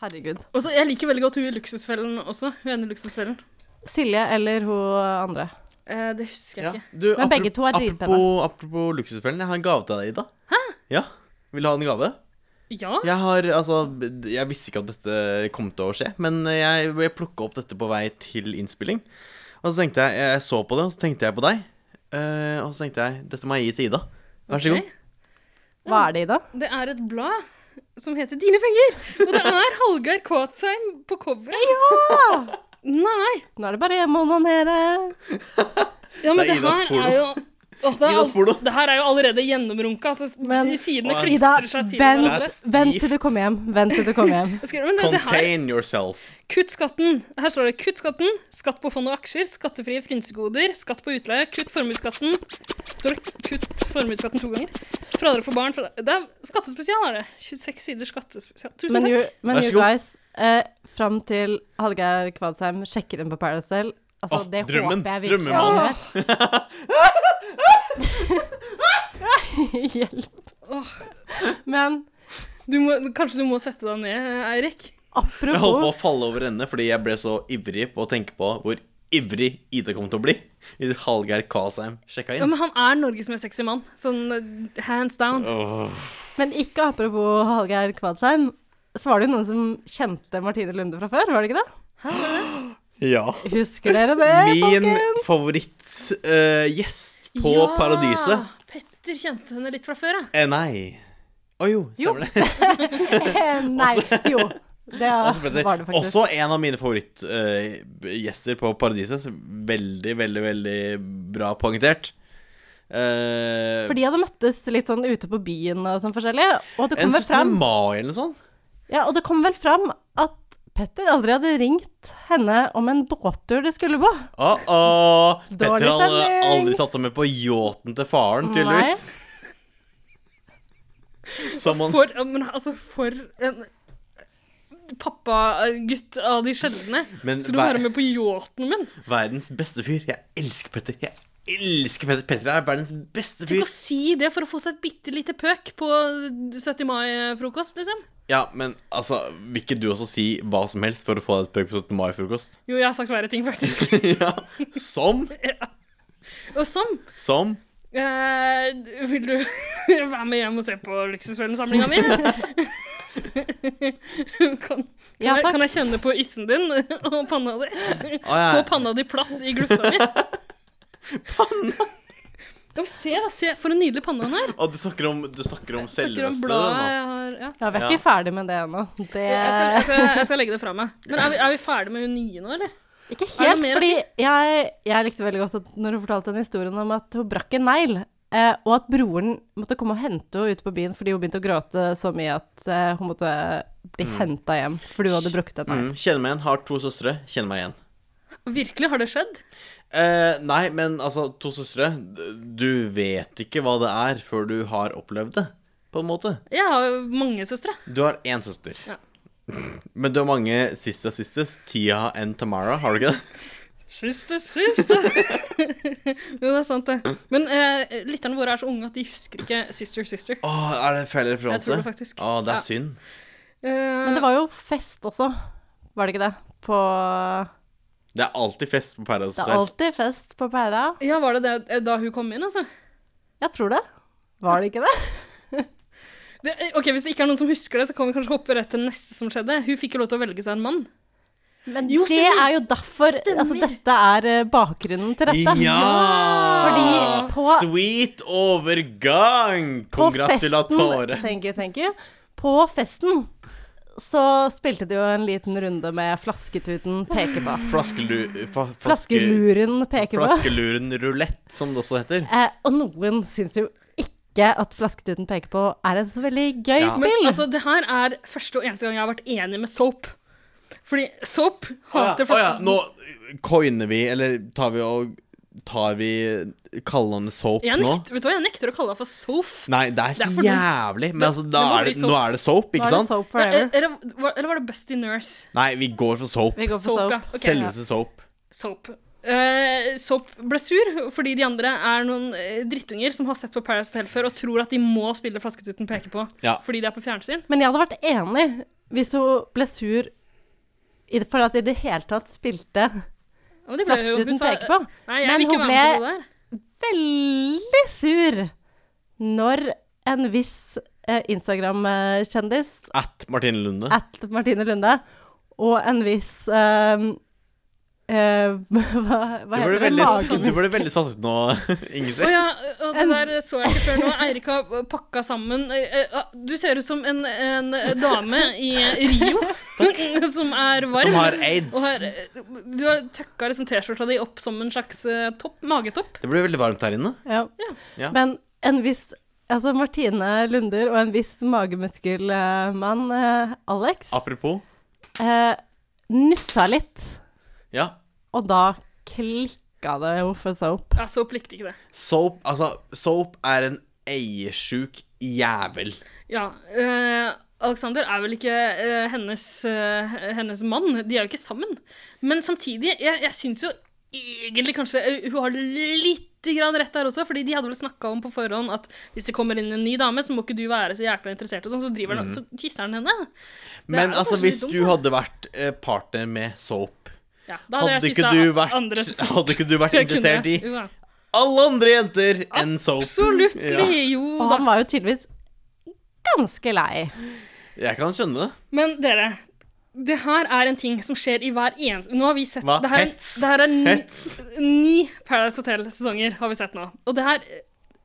[SPEAKER 3] Herregud.
[SPEAKER 4] Og så- jeg liker veldig godt hun i Luksusfellen også. Hun ene i Luksusfellen.
[SPEAKER 3] Silje eller hun andre.
[SPEAKER 4] Eh, det husker jeg
[SPEAKER 1] Ja.
[SPEAKER 4] ikke.
[SPEAKER 1] Du,
[SPEAKER 3] Men begge
[SPEAKER 1] aprop-
[SPEAKER 3] to er
[SPEAKER 1] Apropos, apropos luksusfellen, jeg har en gave til deg, Ida. Hæ? Ja, Vil du ha en gave?
[SPEAKER 4] Ja?
[SPEAKER 1] Jeg har, altså, jeg visste ikke at dette kom til å skje, men jeg ble plukket opp dette på vei til innspilling. Og så tenkte jeg, jeg så på det, og så tenkte jeg på deg. Eh, og så tenkte jeg, dette må jeg gi til Ida. Vær så
[SPEAKER 4] Ok.
[SPEAKER 1] god.
[SPEAKER 3] Hva er det, Ida?
[SPEAKER 4] Det er et blad som heter Dine penger. Og det er Hallgeir Kåtsheim på coveret. Nei!
[SPEAKER 3] Nå er det bare hjemme og onanere.
[SPEAKER 4] Ja, men
[SPEAKER 1] Det er
[SPEAKER 4] det,
[SPEAKER 1] Idas
[SPEAKER 4] her
[SPEAKER 1] porno.
[SPEAKER 4] er jo Åh, det, er
[SPEAKER 1] Idas porno.
[SPEAKER 4] all, det her er jo allerede gjennomrunka. Så s-
[SPEAKER 3] Men-
[SPEAKER 4] de sidene
[SPEAKER 1] Åh,
[SPEAKER 3] Ida,
[SPEAKER 4] klistrer seg til hverandre.
[SPEAKER 3] vent, vent til du kommer hjem. Vent til du kommer hjem.
[SPEAKER 4] Jeg skriver, Men det, det her,
[SPEAKER 1] Contain yourself.
[SPEAKER 4] kutt skatten. Her står det 'kutt skatten'. Skatt på fond og aksjer. Skattefrie frynsegoder. Skatt på utleie. Kutt formuesskatten. Står det 'kutt formuesskatten' to ganger. Fradrag for barn. Fra, det er skattespesial, er det. 26 sider skattespesial. Tusen
[SPEAKER 3] Men you,
[SPEAKER 4] takk.
[SPEAKER 3] men
[SPEAKER 1] Vær så
[SPEAKER 3] you
[SPEAKER 1] god.
[SPEAKER 3] guys, eh, fram til Hallgeir Kvadsheim sjekker inn på Paradise Hotel Altså,
[SPEAKER 1] Åh,
[SPEAKER 3] det
[SPEAKER 1] drømmen,
[SPEAKER 3] håper jeg virkelig
[SPEAKER 1] drømmemann.
[SPEAKER 3] han gjør. Hjelp. Men
[SPEAKER 4] Du må, kanskje du må sette deg ned, Eirik?
[SPEAKER 1] Jeg holdt på
[SPEAKER 3] apropos
[SPEAKER 1] å falle over ende fordi jeg ble så ivrig på å tenke på hvor ivrig Ida kom til å bli hvis Hallgeir Kvadsheim sjekka
[SPEAKER 4] Ja,
[SPEAKER 1] inn.
[SPEAKER 4] men han er Norges mest sexy mann. Sånn eh, hands down.
[SPEAKER 1] Åh,
[SPEAKER 3] Men ikke apropos Hallgeir Kvadsheim. Så var det jo noen som kjente Martine Lunde fra før, var det ikke det?
[SPEAKER 1] ja.
[SPEAKER 3] Husker dere det,
[SPEAKER 1] Min
[SPEAKER 3] Eh, folkens?
[SPEAKER 1] favorittgjest eh, på Paradiset.
[SPEAKER 4] Petter kjente henne litt fra før, ja.
[SPEAKER 1] Eh, nei. Å jo, stemmer det.
[SPEAKER 3] Eh, Nei, jo. Det
[SPEAKER 1] Altså, Petter,
[SPEAKER 3] var det faktisk.
[SPEAKER 1] Også en av mine favorittgjester eh, på Paradiset. så Veldig, veldig, veldig bra poengtert. Eh,
[SPEAKER 3] For de hadde møttes litt sånn ute på byen og sånn forskjellig. Og det
[SPEAKER 1] en
[SPEAKER 3] kom vel
[SPEAKER 1] 17.
[SPEAKER 3] fram
[SPEAKER 1] mai eller noe sånt.
[SPEAKER 3] Ja, og det kom vel fram at Petter aldri hadde ringt henne om en båttur de skulle på.
[SPEAKER 1] Åh, åh. Petter
[SPEAKER 3] Dårlig
[SPEAKER 1] har
[SPEAKER 3] stemning.
[SPEAKER 1] aldri tatt henne med på yachten til faren, tydeligvis. Som han
[SPEAKER 4] For, ja, men altså, for en pappagutt av de sjeldne.
[SPEAKER 1] Men
[SPEAKER 4] Skal du
[SPEAKER 1] hver-
[SPEAKER 4] være med på yachten min?
[SPEAKER 1] Verdens beste fyr. Jeg elsker Petter. Jeg elsker Petter. Petter er verdens beste
[SPEAKER 4] Tenk
[SPEAKER 1] fyr.
[SPEAKER 4] å si det for å få seg et bitte lite pøk på 70. mai-frokost, liksom.
[SPEAKER 1] Ja, men altså, vil ikke du også si hva som helst for å få deg et pøk på 17. mai-frokost?
[SPEAKER 4] Jo, jeg har sagt verre ting, faktisk.
[SPEAKER 1] ja. Som?
[SPEAKER 4] Og sånn.
[SPEAKER 1] Som?
[SPEAKER 4] eh, vil du være med hjem og se på Luksusfellen-samlinga mi? kan, kan,
[SPEAKER 3] Ja,
[SPEAKER 4] jeg,
[SPEAKER 3] takk.
[SPEAKER 4] kan jeg kjenne på issen din og panna di?
[SPEAKER 1] Å, ja.
[SPEAKER 4] Få panna di plass i glufsa mi. panna! Ja, men se, da. Se, for en nydelig panne han er.
[SPEAKER 1] Å, du snakker om, du snakker om
[SPEAKER 4] Snakker om
[SPEAKER 1] selveste
[SPEAKER 4] bladet
[SPEAKER 1] nå.
[SPEAKER 4] jeg har ja.
[SPEAKER 3] Ja, vi er
[SPEAKER 1] Ja.
[SPEAKER 3] ikke ferdig med det ennå.
[SPEAKER 4] jeg, skal, jeg,
[SPEAKER 3] Det
[SPEAKER 4] skal, jeg skal legge det fra meg. Men er vi, er vi ferdig med hun nye nå, eller?
[SPEAKER 3] Ikke
[SPEAKER 4] Er det
[SPEAKER 3] helt,
[SPEAKER 4] noe mer å
[SPEAKER 3] fordi jeg, jeg likte veldig godt at når hun fortalte den historien om at hun brakk en negl, eh, og at broren måtte komme og hente henne ute på byen fordi hun begynte å gråte så mye at eh, hun måtte bli hentet henta hjem fordi hun hadde brukket en negl.
[SPEAKER 1] Mm, kjenner meg igjen. Har to søstre. Kjenner meg igjen.
[SPEAKER 4] Virkelig, har det skjedd?
[SPEAKER 1] Eh, nei, men altså, to søstre Du vet ikke hva det er før du har opplevd det, på en måte.
[SPEAKER 4] Jeg har jo mange søstre.
[SPEAKER 1] Du har én søster.
[SPEAKER 4] Ja.
[SPEAKER 1] Men du har mange sisters sisters. Tia and Tamara, har du ikke det?
[SPEAKER 4] Søster, søster. jo, det er sant, det. Men eh, lytterne våre er så unge at de husker ikke Sister, Sister.
[SPEAKER 1] Åh, er det feil referanse?
[SPEAKER 4] Jeg tror det faktisk.
[SPEAKER 1] Åh, det er
[SPEAKER 4] Ja.
[SPEAKER 1] synd.
[SPEAKER 4] Eh,
[SPEAKER 3] Men det var jo fest også, var det ikke det? På
[SPEAKER 1] Det er alltid fest på Paradise
[SPEAKER 3] Det er
[SPEAKER 1] Hotel.
[SPEAKER 3] alltid fest på Pæra.
[SPEAKER 4] Eh, ja, var det det, da hun kom inn, altså?
[SPEAKER 3] Jeg tror det. Var det ikke det?
[SPEAKER 4] Det, eh, ok, Hvis det ikke er noen som husker det, så kan vi kanskje hoppe rett til neste som skjedde. Hun fikk jo lov til å velge seg en mann.
[SPEAKER 3] Men
[SPEAKER 4] Jo,
[SPEAKER 3] det
[SPEAKER 4] stemmer.
[SPEAKER 3] er jo derfor
[SPEAKER 4] Stemmer.
[SPEAKER 3] Altså, dette er eh, bakgrunnen til dette. Fordi på-
[SPEAKER 1] Sweet overgang!
[SPEAKER 3] På festen
[SPEAKER 1] Congratulatore.
[SPEAKER 3] Thank you, thank you. På festen så spilte de jo en liten runde med flasketuten peker på.
[SPEAKER 1] Flaskelu... Fa, flaske,
[SPEAKER 3] Flaskeluren peker på.
[SPEAKER 1] flaskeluren rulett, som det også heter.
[SPEAKER 3] Eh, og noen syns jo ikke at flasketuten peker på er et så veldig gøy
[SPEAKER 1] Ja.
[SPEAKER 3] spill.
[SPEAKER 4] Men altså, det her er første og eneste gang jeg har vært enig med Soap. Fordi Soap
[SPEAKER 1] Åja,
[SPEAKER 4] hater flasker.
[SPEAKER 1] Nå coiner vi, eller tar vi og Tar vi kallende soap
[SPEAKER 4] Jeg
[SPEAKER 1] nå?
[SPEAKER 4] nekter, vet du hva, jeg nekter å kalle deg for Soap.
[SPEAKER 1] Nei, det er,
[SPEAKER 4] Det er for dumt.
[SPEAKER 1] jævlig. Men altså, da
[SPEAKER 4] det må
[SPEAKER 1] er
[SPEAKER 4] bli
[SPEAKER 1] det,
[SPEAKER 4] soap.
[SPEAKER 1] nå er det soap,
[SPEAKER 3] Nå
[SPEAKER 1] ikke
[SPEAKER 3] er det
[SPEAKER 1] sant?
[SPEAKER 3] soap
[SPEAKER 4] Ja,
[SPEAKER 3] forever.
[SPEAKER 4] eller, var- eh, eller var det Busty Nurse?
[SPEAKER 1] Nei, vi går for soap.
[SPEAKER 3] Vi går for
[SPEAKER 4] Soap, ja.
[SPEAKER 3] soap.
[SPEAKER 4] Ok.
[SPEAKER 1] Selveste soap.
[SPEAKER 4] Soap. Eh, Soap ble sur fordi de andre er noen eh, drittunger som har sett på Paradise Hotel før og tror at de må spille Flasketuten peker på
[SPEAKER 1] Ja.
[SPEAKER 4] fordi de er på fjernsyn.
[SPEAKER 3] Men jeg hadde vært enig hvis hun ble sur i- for at de i det hele tatt spilte
[SPEAKER 4] Og de ble jo- hun
[SPEAKER 3] Flasketuten
[SPEAKER 4] sa-
[SPEAKER 3] peker på.
[SPEAKER 4] Nei, jeg
[SPEAKER 3] Men
[SPEAKER 4] vil ikke
[SPEAKER 3] hun
[SPEAKER 4] være med på
[SPEAKER 3] ble-
[SPEAKER 4] det der.
[SPEAKER 3] veldig sur når en viss eh, Instagram-kjendis
[SPEAKER 1] At Martine Lunde.
[SPEAKER 3] at Martine Lunde og en viss eh, eh, hva, hva
[SPEAKER 1] Du ble
[SPEAKER 3] heter det?
[SPEAKER 1] veldig,
[SPEAKER 3] Magen.
[SPEAKER 1] du ble veldig satt ut nå,
[SPEAKER 4] Å
[SPEAKER 1] Ingsi.
[SPEAKER 4] ja, og det der så jeg ikke før nå. Eirik har pakka sammen eh, eh, Du ser ut som en, en eh, dame i eh, Rio som er varm.
[SPEAKER 1] Som har aids.
[SPEAKER 4] Og har, eh, du har tøkka liksom T-skjorta di opp som en slags eh, topp, magetopp.
[SPEAKER 1] Det ble veldig varmt her inne.
[SPEAKER 3] Ja.
[SPEAKER 1] Ja.
[SPEAKER 3] Men en viss Altså Martine Lunder og en viss magemuskelmann, eh, Alex,
[SPEAKER 1] Apropos.
[SPEAKER 3] eh, nussa litt.
[SPEAKER 1] Ja.
[SPEAKER 3] Og da klikka det jo for soap.
[SPEAKER 4] Ja, så pliktig ikke det.
[SPEAKER 1] Soap, altså, soap er en eiesjuk jævel.
[SPEAKER 4] Ja. eh, Alexander er vel ikke eh, hennes, eh, hennes mann. De er jo ikke sammen. Men samtidig, jeg, jeg syns jo egentlig kanskje eh, hun har lite grann rett der også, fordi de hadde vel snakka om på forhånd at hvis det kommer inn en ny dame, så må ikke du være så jækla interessert, og sånn, så driver
[SPEAKER 1] Mhm.
[SPEAKER 4] han, så kysser han henne.
[SPEAKER 1] Men
[SPEAKER 4] er jo
[SPEAKER 1] altså,
[SPEAKER 4] kanskje
[SPEAKER 1] hvis
[SPEAKER 4] litt dumt,
[SPEAKER 1] du hadde vært eh, partner med Soap,
[SPEAKER 4] Ja, da hadde,
[SPEAKER 1] hadde
[SPEAKER 4] jeg
[SPEAKER 1] ikke
[SPEAKER 4] kyssa
[SPEAKER 1] du vært,
[SPEAKER 4] andre så fort
[SPEAKER 1] hadde ikke du vært
[SPEAKER 4] jeg kunne.
[SPEAKER 1] interessert i
[SPEAKER 4] Jo da.
[SPEAKER 1] alle andre jenter enn Soap?
[SPEAKER 4] Absolutt! Jo
[SPEAKER 3] Og
[SPEAKER 4] da.
[SPEAKER 3] han var jo tydeligvis ganske lei.
[SPEAKER 1] Jeg kan skjønne det.
[SPEAKER 4] Men dere, det her er en ting som skjer i hver eneste Nå har vi sett
[SPEAKER 1] Hva?
[SPEAKER 4] Det her er,
[SPEAKER 1] Hets?
[SPEAKER 4] det her er ni,
[SPEAKER 1] Hets?
[SPEAKER 4] ni Paradise Hotel-sesonger har vi sett nå. Og det her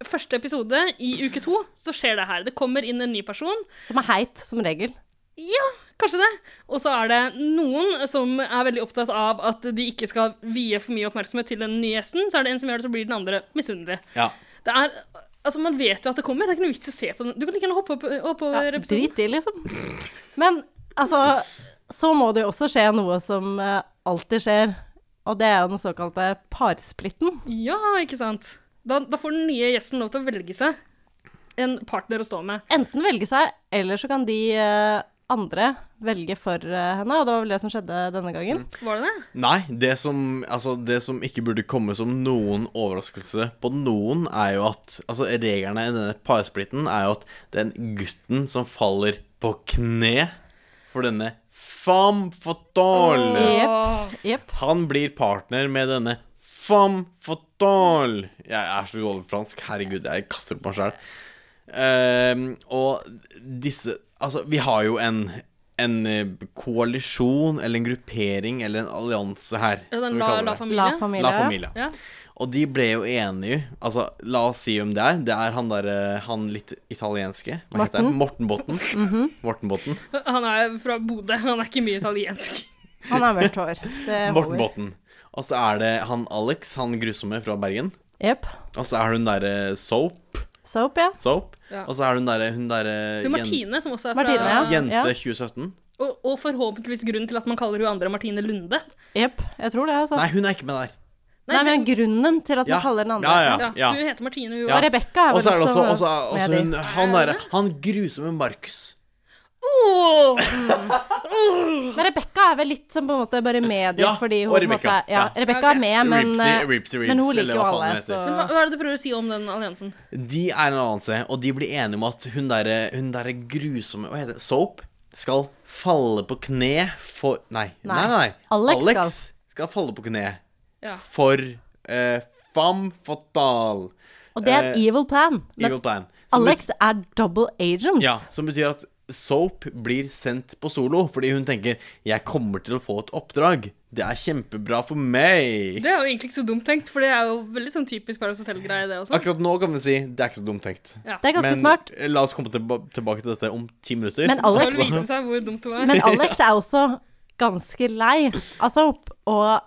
[SPEAKER 4] Første episode i uke to, så skjer det her. Det kommer inn en ny person.
[SPEAKER 3] Som er heit, som regel.
[SPEAKER 4] Ja, kanskje det. Og så er det noen som er veldig opptatt av at de ikke skal vie for mye oppmerksomhet til den nye gjesten. Så er det en som gjør det, så blir den andre misunnelig.
[SPEAKER 1] Ja.
[SPEAKER 4] Det er, altså Man vet jo at det kommer. Det er ikke noe vits i å se på den. Du kan like gjerne hoppe opp, hoppe over
[SPEAKER 3] Ja,
[SPEAKER 4] episoden.
[SPEAKER 3] drit i, liksom. Men altså Så må det jo også skje noe som eh, alltid skjer, og det er jo den såkalte parsplitten.
[SPEAKER 4] Ja, ikke sant? Da, da får den nye gjesten lov til å velge seg en partner å stå med.
[SPEAKER 3] enten velge seg, eller så kan de eh, andre velge for eh, henne. Og det var vel det som skjedde denne gangen.
[SPEAKER 1] Mm.
[SPEAKER 4] Var det det?
[SPEAKER 1] Nei, det som, altså, det som ikke burde komme som noen overraskelse på noen, er jo at Altså, reglene i denne parsplitten er jo at den gutten som faller på kne for denne femme fatale
[SPEAKER 4] Åh.
[SPEAKER 3] Jepp.
[SPEAKER 1] Han blir partner med denne femme fatale. Jeg er så dårlig på fransk. Herregud, jeg kaster opp meg sjæl. og disse Altså, vi har jo en, en eh, koalisjon eller en gruppering eller en allianse her.
[SPEAKER 4] Ja,
[SPEAKER 1] som vi
[SPEAKER 4] den la,
[SPEAKER 1] kaller
[SPEAKER 4] la
[SPEAKER 1] det.
[SPEAKER 4] familie.
[SPEAKER 3] La familie.
[SPEAKER 1] La familie.
[SPEAKER 4] Ja.
[SPEAKER 1] Og de ble jo enige. Altså, la oss si hvem det er. Det er han derre Han litt italienske. Hva heter han? Morten Botten.
[SPEAKER 4] Mhm.
[SPEAKER 1] Morten Botten.
[SPEAKER 4] Han er fra Bodø, han er ikke mye italiensk.
[SPEAKER 3] Han har mørkt hår. Det
[SPEAKER 1] Morten
[SPEAKER 3] holder.
[SPEAKER 1] Botten. Og så er det han Alex, han grusomme fra Bergen.
[SPEAKER 3] Jepp.
[SPEAKER 1] Og så er hun derre Soap.
[SPEAKER 3] Soap, ja.
[SPEAKER 1] Soap.
[SPEAKER 4] Ja.
[SPEAKER 1] Og så er hun derre hun derre
[SPEAKER 4] Hun
[SPEAKER 1] jen-
[SPEAKER 4] Martine, som også er fra
[SPEAKER 3] Martine, ja.
[SPEAKER 1] jente 2017.
[SPEAKER 4] og, og forhåpentligvis grunnen til at man kaller hun andre Martine Lunde.
[SPEAKER 3] Jepp. Jeg tror det. Altså.
[SPEAKER 1] Nei,
[SPEAKER 3] Nei,
[SPEAKER 1] hun er ikke med der.
[SPEAKER 3] men grunnen til at
[SPEAKER 1] Ja.
[SPEAKER 3] man kaller den andre
[SPEAKER 1] Ja, ja.
[SPEAKER 4] ja,
[SPEAKER 1] ja.
[SPEAKER 4] Du heter Martine, hun
[SPEAKER 1] Ja.
[SPEAKER 3] Og
[SPEAKER 4] var
[SPEAKER 3] Rebekka er
[SPEAKER 1] Og
[SPEAKER 3] vel
[SPEAKER 1] så er det også, også,
[SPEAKER 3] med
[SPEAKER 1] også
[SPEAKER 3] de.
[SPEAKER 1] hun, han derre Han grusomme Markus.
[SPEAKER 4] Åh!
[SPEAKER 3] Men Rebekka er vel litt som på en måte bare med de
[SPEAKER 1] Ja,
[SPEAKER 3] fordi
[SPEAKER 1] og
[SPEAKER 3] hun på en måte
[SPEAKER 1] Rebekka.
[SPEAKER 3] Ja,
[SPEAKER 1] Ja.
[SPEAKER 3] Rebekka
[SPEAKER 4] Ok.
[SPEAKER 3] er med, men,
[SPEAKER 1] Ripsy,
[SPEAKER 3] eh,
[SPEAKER 1] Ripsy, Rips,
[SPEAKER 3] men hun
[SPEAKER 1] eller
[SPEAKER 3] liker jo
[SPEAKER 1] hva faen
[SPEAKER 3] alle,
[SPEAKER 1] hun heter.
[SPEAKER 3] så
[SPEAKER 4] Men hva, hva er det du prøver å si om den alliansen?
[SPEAKER 1] De er en allianse, og de blir enige om at hun derre hun derre grusomme Hva heter det? Soap skal falle på kne for Nei. Nei, nei. nei.
[SPEAKER 3] Alex
[SPEAKER 1] skal. falle på kne
[SPEAKER 4] Ja.
[SPEAKER 1] for eh, femme fatale.
[SPEAKER 3] Og det er en
[SPEAKER 1] Eh,
[SPEAKER 3] evil plan. Men
[SPEAKER 1] Evil plan. Som
[SPEAKER 3] Alex er double agent.
[SPEAKER 1] Ja, som betyr at Soap blir sendt på solo fordi hun tenker 'jeg kommer til å få et oppdrag'. Det er kjempebra for meg.
[SPEAKER 4] Det er jo egentlig ikke så dumt tenkt, for det er jo veldig sånn typisk Paradise Hotel-greie, det også.
[SPEAKER 1] Akkurat nå kan vi si 'det er ikke så dumt tenkt'.
[SPEAKER 4] Ja.
[SPEAKER 3] Det er ganske
[SPEAKER 1] Men eh,
[SPEAKER 3] smart.
[SPEAKER 1] la oss komme tilba tilbake til dette om ti minutter.
[SPEAKER 3] Men
[SPEAKER 4] Så
[SPEAKER 3] Alex
[SPEAKER 4] vil det vise seg hvor dumt det var.
[SPEAKER 3] Men Alex er også ganske lei av soap, og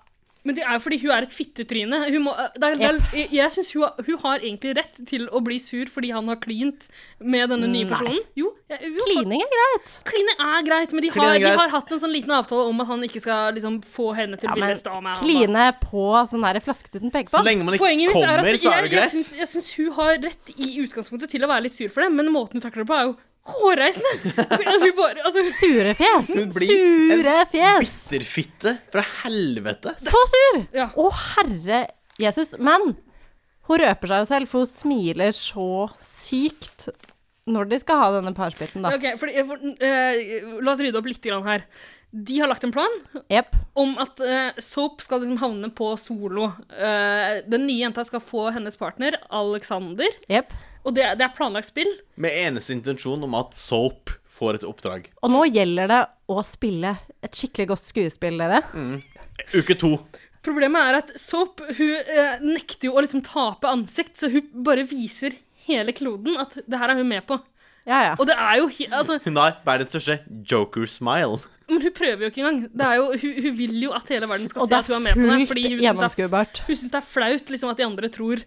[SPEAKER 4] Men det er jo fordi hun er et fittetryne. Hun må, eh, det er, det er, jeg- jeg syns hun, har- hun har egentlig rett til å bli sur fordi han har klint med denne nye personen. Jo, jeg, jo
[SPEAKER 3] klining er greit.
[SPEAKER 4] for- Kline er greit, men de
[SPEAKER 1] Kline
[SPEAKER 4] har,
[SPEAKER 1] er
[SPEAKER 4] de
[SPEAKER 1] greit.
[SPEAKER 4] har hatt en sånn liten avtale om at han ikke skal liksom, få henne til å
[SPEAKER 3] Ja,
[SPEAKER 4] ville
[SPEAKER 3] men
[SPEAKER 4] stå med han. da.
[SPEAKER 3] kline på sånn der flasket uten
[SPEAKER 1] så
[SPEAKER 3] pekepinn.
[SPEAKER 1] lenge man ikke
[SPEAKER 4] Poenget mitt
[SPEAKER 1] kommer, så
[SPEAKER 4] er at
[SPEAKER 1] er
[SPEAKER 4] jeg,
[SPEAKER 1] det
[SPEAKER 4] jeg,
[SPEAKER 1] greit.
[SPEAKER 4] syns, jeg syns hun har rett i utgangspunktet til å være litt sur for det, men måten hun takler det på, er jo hårreisende! Hun bare, altså,
[SPEAKER 3] Sure fjes.
[SPEAKER 1] Hun blir en
[SPEAKER 3] Sure fjes.
[SPEAKER 1] Bitterfitte fra helvete.
[SPEAKER 3] Så sur!
[SPEAKER 4] Ja.
[SPEAKER 3] Å, herre Jesus. Men hun røper seg jo selv, for hun smiler så sykt når de skal ha denne parsplitten, da.
[SPEAKER 4] ok, fordi, eh, la oss rydde opp litt grann her. De har lagt en plan,
[SPEAKER 3] Jepp.
[SPEAKER 4] om at eh, Soap skal liksom havne på solo. Eh, den nye jenta skal få hennes partner, Alexander.
[SPEAKER 3] Jepp.
[SPEAKER 4] Og det, det er planlagt spill.
[SPEAKER 1] Med eneste intensjon om at Soap får et oppdrag.
[SPEAKER 3] Og nå gjelder det å spille et skikkelig godt skuespill, dere.
[SPEAKER 1] Uke to.
[SPEAKER 4] Problemet er at Soap hun eh, nekter jo å liksom tape ansikt, så hun bare viser hele kloden at det her er hun med på.
[SPEAKER 3] Ja, ja.
[SPEAKER 4] Og det er jo he- altså,
[SPEAKER 1] Hun har verdens største joker-smile.
[SPEAKER 4] Men hun prøver jo ikke engang. Det er jo, hun, hun vil jo at hele verden skal
[SPEAKER 3] Og
[SPEAKER 4] se
[SPEAKER 3] det
[SPEAKER 4] at hun er med på det.
[SPEAKER 3] er fullt
[SPEAKER 4] Fordi hun syns det er,
[SPEAKER 3] gjennomskuebart.
[SPEAKER 4] hun synes det er flaut liksom, at de andre tror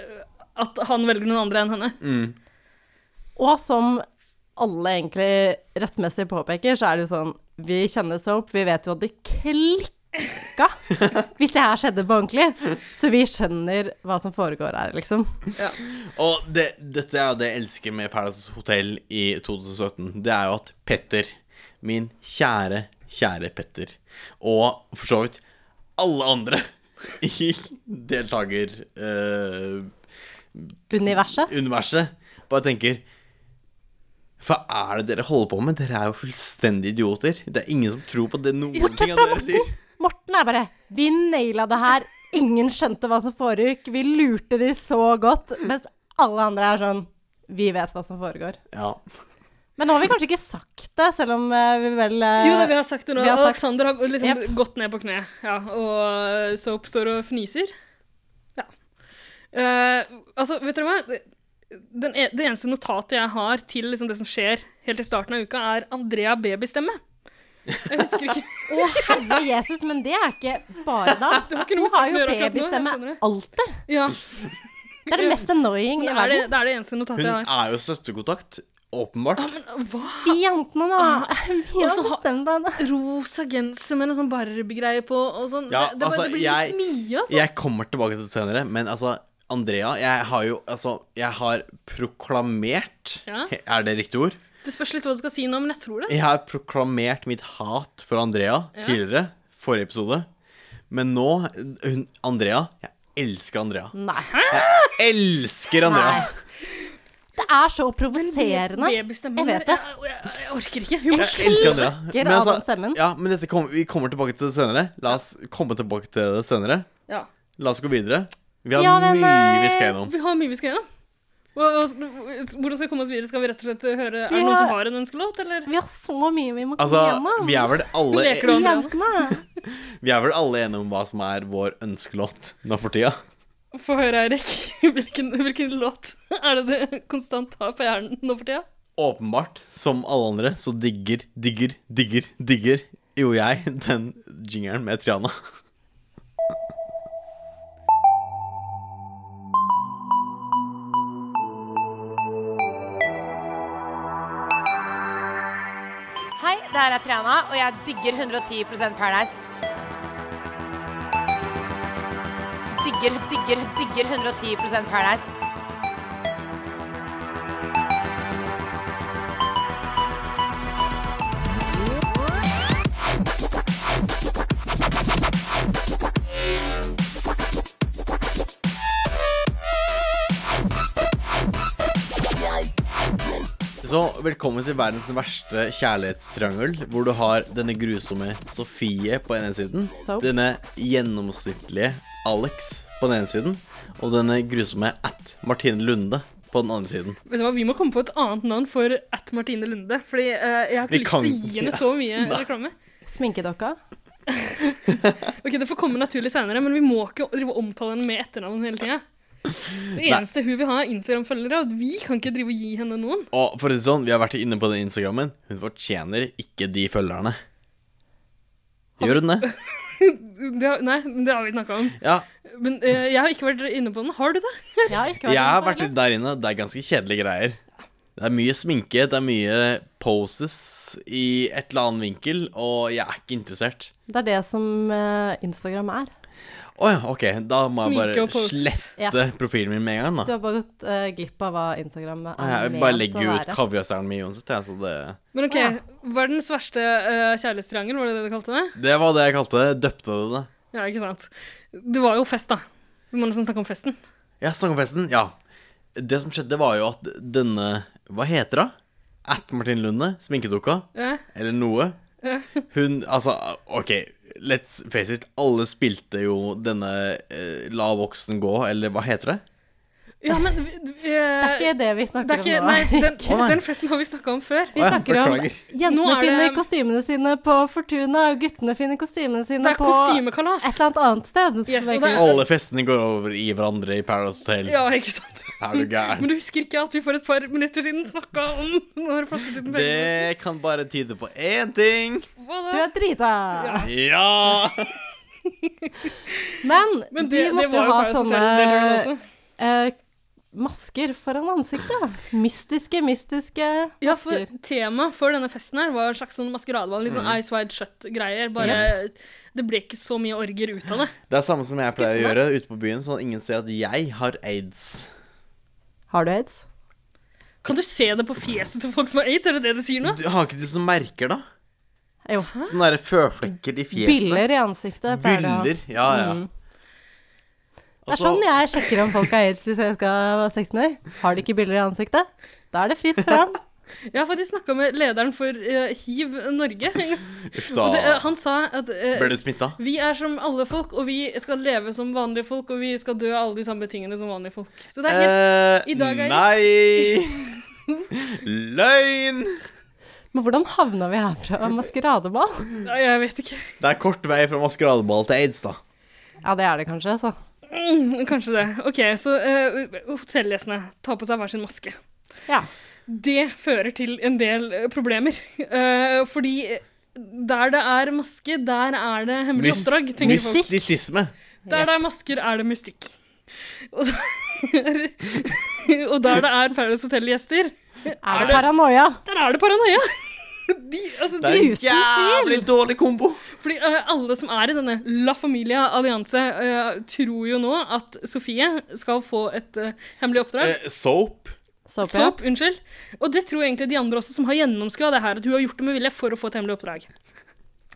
[SPEAKER 4] eh, at han velger noen andre enn henne.
[SPEAKER 3] Og som alle egentlig rettmessig påpeker, så er det jo sånn Vi kjenner Soap, vi vet jo at det klikka hvis det her skjedde på ordentlig. Så vi skjønner hva som foregår her, liksom.
[SPEAKER 1] Og det, dette er jo det jeg elsker med Paradise Hotel i 2017. Det er jo at Petter, min kjære, kjære Petter, og for så vidt alle andre i deltakeruniverset,
[SPEAKER 3] Universet.
[SPEAKER 1] bare tenker Hva er det dere holder på med? Dere er jo fullstendig idioter. Det er ingen som tror på det noen ting
[SPEAKER 3] Bortsett
[SPEAKER 1] av
[SPEAKER 3] fra
[SPEAKER 1] det dere sier.
[SPEAKER 3] Morten. Morten er bare Vi naila det her. Ingen skjønte hva som foregikk. Vi lurte de så godt. Mens alle andre er sånn Vi vet hva som foregår.
[SPEAKER 1] Ja.
[SPEAKER 3] Men nå har vi kanskje ikke sagt det, selv om eh, vi vel eh,
[SPEAKER 4] Jo da, vi har sagt det nå.
[SPEAKER 3] vi har sagt-
[SPEAKER 4] Alexander har liksom
[SPEAKER 3] Jep.
[SPEAKER 4] gått ned på kne, ja, og Soap står og fniser. Ja. Eh, altså, vet dere hva? Den, e- det eneste notatet jeg har til liksom, det som skjer helt i starten av uka, er Andrea Babystemme. Jeg husker ikke.
[SPEAKER 3] Å, herre Jesus, men det er ikke bare da.
[SPEAKER 4] har ikke noe
[SPEAKER 3] Hun har
[SPEAKER 4] med
[SPEAKER 3] jo
[SPEAKER 4] saken å gjøre akkurat nå, jeg
[SPEAKER 3] babystemme
[SPEAKER 4] skjønner det.
[SPEAKER 3] alltid.
[SPEAKER 4] Ja,
[SPEAKER 3] Det er det mest annoying
[SPEAKER 4] det
[SPEAKER 3] i
[SPEAKER 4] er det,
[SPEAKER 3] verden.
[SPEAKER 4] det er det eneste notatet
[SPEAKER 1] Hun
[SPEAKER 4] jeg har.
[SPEAKER 1] er jo søsterkontakt, åpenbart.
[SPEAKER 4] Hva?
[SPEAKER 3] Vi jentene, da. Vi
[SPEAKER 4] Ah. Og
[SPEAKER 3] har
[SPEAKER 4] så har-
[SPEAKER 3] bestemt det.
[SPEAKER 4] Rosa genser med en sånn Barbie-greie på og sånn.
[SPEAKER 1] Ja,
[SPEAKER 4] det, det, bare-
[SPEAKER 1] altså,
[SPEAKER 4] det blir
[SPEAKER 1] jeg-
[SPEAKER 4] litt mye, altså.
[SPEAKER 1] Jeg kommer tilbake til det senere, men altså Andrea, jeg har jo altså Jeg har proklamert
[SPEAKER 4] Ja.
[SPEAKER 1] Er det riktig ord?
[SPEAKER 4] Det spørs litt hva du skal si nå, men jeg tror det.
[SPEAKER 1] Jeg har proklamert mitt hat for Andrea
[SPEAKER 4] Ja.
[SPEAKER 1] tidligere, forrige episode. Men nå hun, Andrea Jeg elsker Andrea.
[SPEAKER 3] Nei.
[SPEAKER 1] Elsker Andrea!
[SPEAKER 3] Nei. Det er så provoserende.
[SPEAKER 4] Babystemmen.
[SPEAKER 3] Jeg vet det.
[SPEAKER 4] Jeg, jeg, jeg orker ikke. Hun må
[SPEAKER 1] Jeg elsker Andrea. altså,
[SPEAKER 3] Klikker av den stemmen.
[SPEAKER 1] ja, men dette kommer- vi kommer tilbake til det senere. La oss komme tilbake til det senere.
[SPEAKER 4] Ja.
[SPEAKER 1] La oss gå videre. Vi har
[SPEAKER 3] Ja, men,
[SPEAKER 1] mye vi skal
[SPEAKER 3] eh,
[SPEAKER 1] gjennom.
[SPEAKER 4] Vi har mye vi skal gjennom. Og- og- Hvordan skal vi komme oss videre? Skal vi rett og slett høre Er det
[SPEAKER 3] Ja.
[SPEAKER 4] noen som har en ønskelåt, eller?
[SPEAKER 3] Vi har så mye vi må komme
[SPEAKER 1] Altså,
[SPEAKER 3] gjennom.
[SPEAKER 1] vi er vel alle
[SPEAKER 4] Leker du Andrea nå?
[SPEAKER 3] Jentene.
[SPEAKER 1] Vi er vel alle enige om hva som er vår ønskelåt nå for tida?
[SPEAKER 4] Få høre, Eirik. Hvilken, hvilken låt er det du konstant har på hjernen nå for tida?
[SPEAKER 1] Åpenbart, som alle andre, så digger, digger, digger, digger jo jeg den jingeren med Triana.
[SPEAKER 7] Hei, det her er Triana, og jeg digger 110 Paradise. Digger, digger, digger 110 Paradise.
[SPEAKER 1] Så velkommen til verdens verste kjærlighetstriangel, hvor du har denne grusomme Sofie på den ene siden,
[SPEAKER 3] Soap.
[SPEAKER 1] denne gjennomsnittlige Alex på den ene siden, og denne grusomme at Martine Lunde på den andre siden.
[SPEAKER 4] Vet du hva, Vi må komme på et annet navn for at Martine Lunde. Fordi eh, jeg har
[SPEAKER 1] Vi
[SPEAKER 4] ikke lyst
[SPEAKER 1] kan-
[SPEAKER 4] til å gi henne så mye reklame.
[SPEAKER 3] Sminkedokka.
[SPEAKER 4] Ok, Det får komme naturlig senere, men vi må ikke drive og omtale henne med etternavn hele tida. Det eneste hun vil ha, er Instagram-følgere, og vi kan ikke drive og gi henne noen.
[SPEAKER 1] Og for å si det sånn, vi har vært inne på den Instagrammen. Hun fortjener ikke de følgerne. Gjør hun det?
[SPEAKER 4] Det har, nei, men det har vi snakka om.
[SPEAKER 1] Ja,
[SPEAKER 4] Men eh, jeg har ikke vært inne på den. Har du det?
[SPEAKER 3] Jeg har ikke
[SPEAKER 1] Jeg har
[SPEAKER 3] inne på
[SPEAKER 1] vært
[SPEAKER 3] det.
[SPEAKER 1] litt der inne. Det er ganske kjedelige greier. Det er mye sminke, det er mye poses i et eller annet vinkel, og jeg er ikke interessert.
[SPEAKER 3] Det er det som eh, Instagram er.
[SPEAKER 1] Å ja, ok. Da må
[SPEAKER 4] Sminke
[SPEAKER 1] jeg
[SPEAKER 4] og
[SPEAKER 1] bare
[SPEAKER 4] poses.
[SPEAKER 1] slette profilen min med en gang,
[SPEAKER 3] Du
[SPEAKER 1] da.
[SPEAKER 3] har bare gått eh, glipp av hva Instagram er
[SPEAKER 1] Jeg
[SPEAKER 3] ment
[SPEAKER 1] bare
[SPEAKER 3] å
[SPEAKER 1] legger ut
[SPEAKER 3] være.
[SPEAKER 1] kaviarstjernen min uansett, jeg, så det
[SPEAKER 4] Men ok,
[SPEAKER 3] Ja.
[SPEAKER 4] verdens verste uh, kjærlighetstriangel, var det det du kalte det?
[SPEAKER 1] Det var det jeg kalte det. Døpte det det.
[SPEAKER 4] Ja, ikke sant. Det var jo fest, da. Vi må nesten snakke om festen.
[SPEAKER 1] Ja, Stangefesten. Ja. Det som skjedde, var jo at denne Hva heter hun? At Martin Lunde, sminkedukka,
[SPEAKER 4] Ja.
[SPEAKER 1] eller noe. Hun, altså, ok, let's face it, alle spilte jo denne eh, La voksen gå, eller hva heter det?
[SPEAKER 4] Ja, men vi- vi- eh,
[SPEAKER 3] Det er ikke det vi
[SPEAKER 4] det er
[SPEAKER 3] snakker
[SPEAKER 4] ikke
[SPEAKER 3] om nå.
[SPEAKER 4] Nei, den,
[SPEAKER 1] Å, nei.
[SPEAKER 4] den festen har vi snakka om før.
[SPEAKER 3] Vi
[SPEAKER 1] Å ja,
[SPEAKER 3] snakker om
[SPEAKER 1] beklager.
[SPEAKER 4] Nå
[SPEAKER 3] jentene
[SPEAKER 4] er
[SPEAKER 3] finner
[SPEAKER 4] det-
[SPEAKER 3] kostymene sine på Fortuna, og guttene finner kostymene
[SPEAKER 4] Det
[SPEAKER 3] sine
[SPEAKER 4] er
[SPEAKER 3] på et
[SPEAKER 4] kostymekalas.
[SPEAKER 3] eller annet annet sted.
[SPEAKER 4] Yes,
[SPEAKER 3] Det er
[SPEAKER 4] og det
[SPEAKER 3] ikke-
[SPEAKER 4] er-
[SPEAKER 1] Alle festene går over i hverandre i Paradise Hotel.
[SPEAKER 4] Ja, ikke sant?
[SPEAKER 1] Er du
[SPEAKER 4] Men
[SPEAKER 1] gæren?
[SPEAKER 4] du husker ikke at vi for et par minutter siden snakka om når flasketuten begynte?
[SPEAKER 1] Det kan bare tyde på én ting.
[SPEAKER 4] Hva
[SPEAKER 3] Du
[SPEAKER 4] da?
[SPEAKER 3] er drita!
[SPEAKER 1] Ja!
[SPEAKER 3] Men,
[SPEAKER 4] Men
[SPEAKER 3] de
[SPEAKER 4] det, det
[SPEAKER 3] måtte
[SPEAKER 4] var
[SPEAKER 3] jo
[SPEAKER 4] jo
[SPEAKER 3] ha
[SPEAKER 4] Paradise
[SPEAKER 3] sånne
[SPEAKER 4] Hotel-deltakerne også.
[SPEAKER 3] eh, masker foran ansiktet. Mystiske, mystiske
[SPEAKER 4] Ja, for
[SPEAKER 3] masker.
[SPEAKER 4] temaet for denne festen her var en slags sånn maskeradeball. Litt sånn Ice Wide Shut-greier. Bare Det ble ikke så mye orger ut av det.
[SPEAKER 1] Det er samme som jeg pleier å gjøre ute på byen, sånn at ingen ser at jeg har aids.
[SPEAKER 3] Har du aids?
[SPEAKER 4] Kan du se det på fjeset til folk som har aids? Er det det du sier nå?
[SPEAKER 1] Du har ikke du sånne merker, da?
[SPEAKER 3] Jo.
[SPEAKER 1] Sånne der føflekker i fjeset.
[SPEAKER 3] Biller i ansiktet pleier det å ha.
[SPEAKER 1] Byller. Ja, ja.
[SPEAKER 3] Mm. Det
[SPEAKER 1] Og
[SPEAKER 3] er
[SPEAKER 1] så-
[SPEAKER 3] sånn jeg sjekker om folk har aids hvis jeg skal ha sex med dem. Har de ikke biller i ansiktet? Da er det fritt fram.
[SPEAKER 4] Jeg har faktisk snakka med lederen for eh, Hiv Norge.
[SPEAKER 1] Uff
[SPEAKER 4] Og det, eh,
[SPEAKER 1] da.
[SPEAKER 4] han sa at eh,
[SPEAKER 1] Ble du smitta?
[SPEAKER 4] vi er som alle folk, og vi skal leve som vanlige folk, og vi skal dø av alle de samme tingene som vanlige folk. Så det er helt i dag er-
[SPEAKER 1] Eh, nei Løgn!
[SPEAKER 3] Men hvordan havna vi her fra maskeradeball?
[SPEAKER 1] Eh.
[SPEAKER 4] Nei, Jeg vet ikke.
[SPEAKER 1] Det er kort vei fra maskeradeball til aids, da.
[SPEAKER 3] Ja, det er det kanskje, altså.
[SPEAKER 4] Mm, Kanskje det. OK, så eh, hotellgjestene tar på seg hver sin maske.
[SPEAKER 3] Ja.
[SPEAKER 4] Det fører til en del eh, problemer. Eh, fordi eh, der det er maske, der er det hemmelig
[SPEAKER 1] Myst-
[SPEAKER 4] Mm, oppdrag, tenker folk.
[SPEAKER 1] Mystisisme.
[SPEAKER 4] Der det er masker, er det mystikk. Og, der- og der det er Paradise Hotel-gjester,
[SPEAKER 3] Er det paranoia?
[SPEAKER 4] der er det paranoia! De, altså,
[SPEAKER 1] Det er
[SPEAKER 4] de,
[SPEAKER 1] en jævlig dårlig kombo.
[SPEAKER 4] fordi eh, alle som er i denne La Familia Allianse, eh, tror jo nå at Sofie skal få et eh, hemmelig oppdrag.
[SPEAKER 1] Eh, soap.
[SPEAKER 3] Såpe, ja.
[SPEAKER 4] Soap, unnskyld. Og det tror egentlig de andre også, som har gjennomskua det her, at hun har gjort det med vilje for å få et hemmelig oppdrag.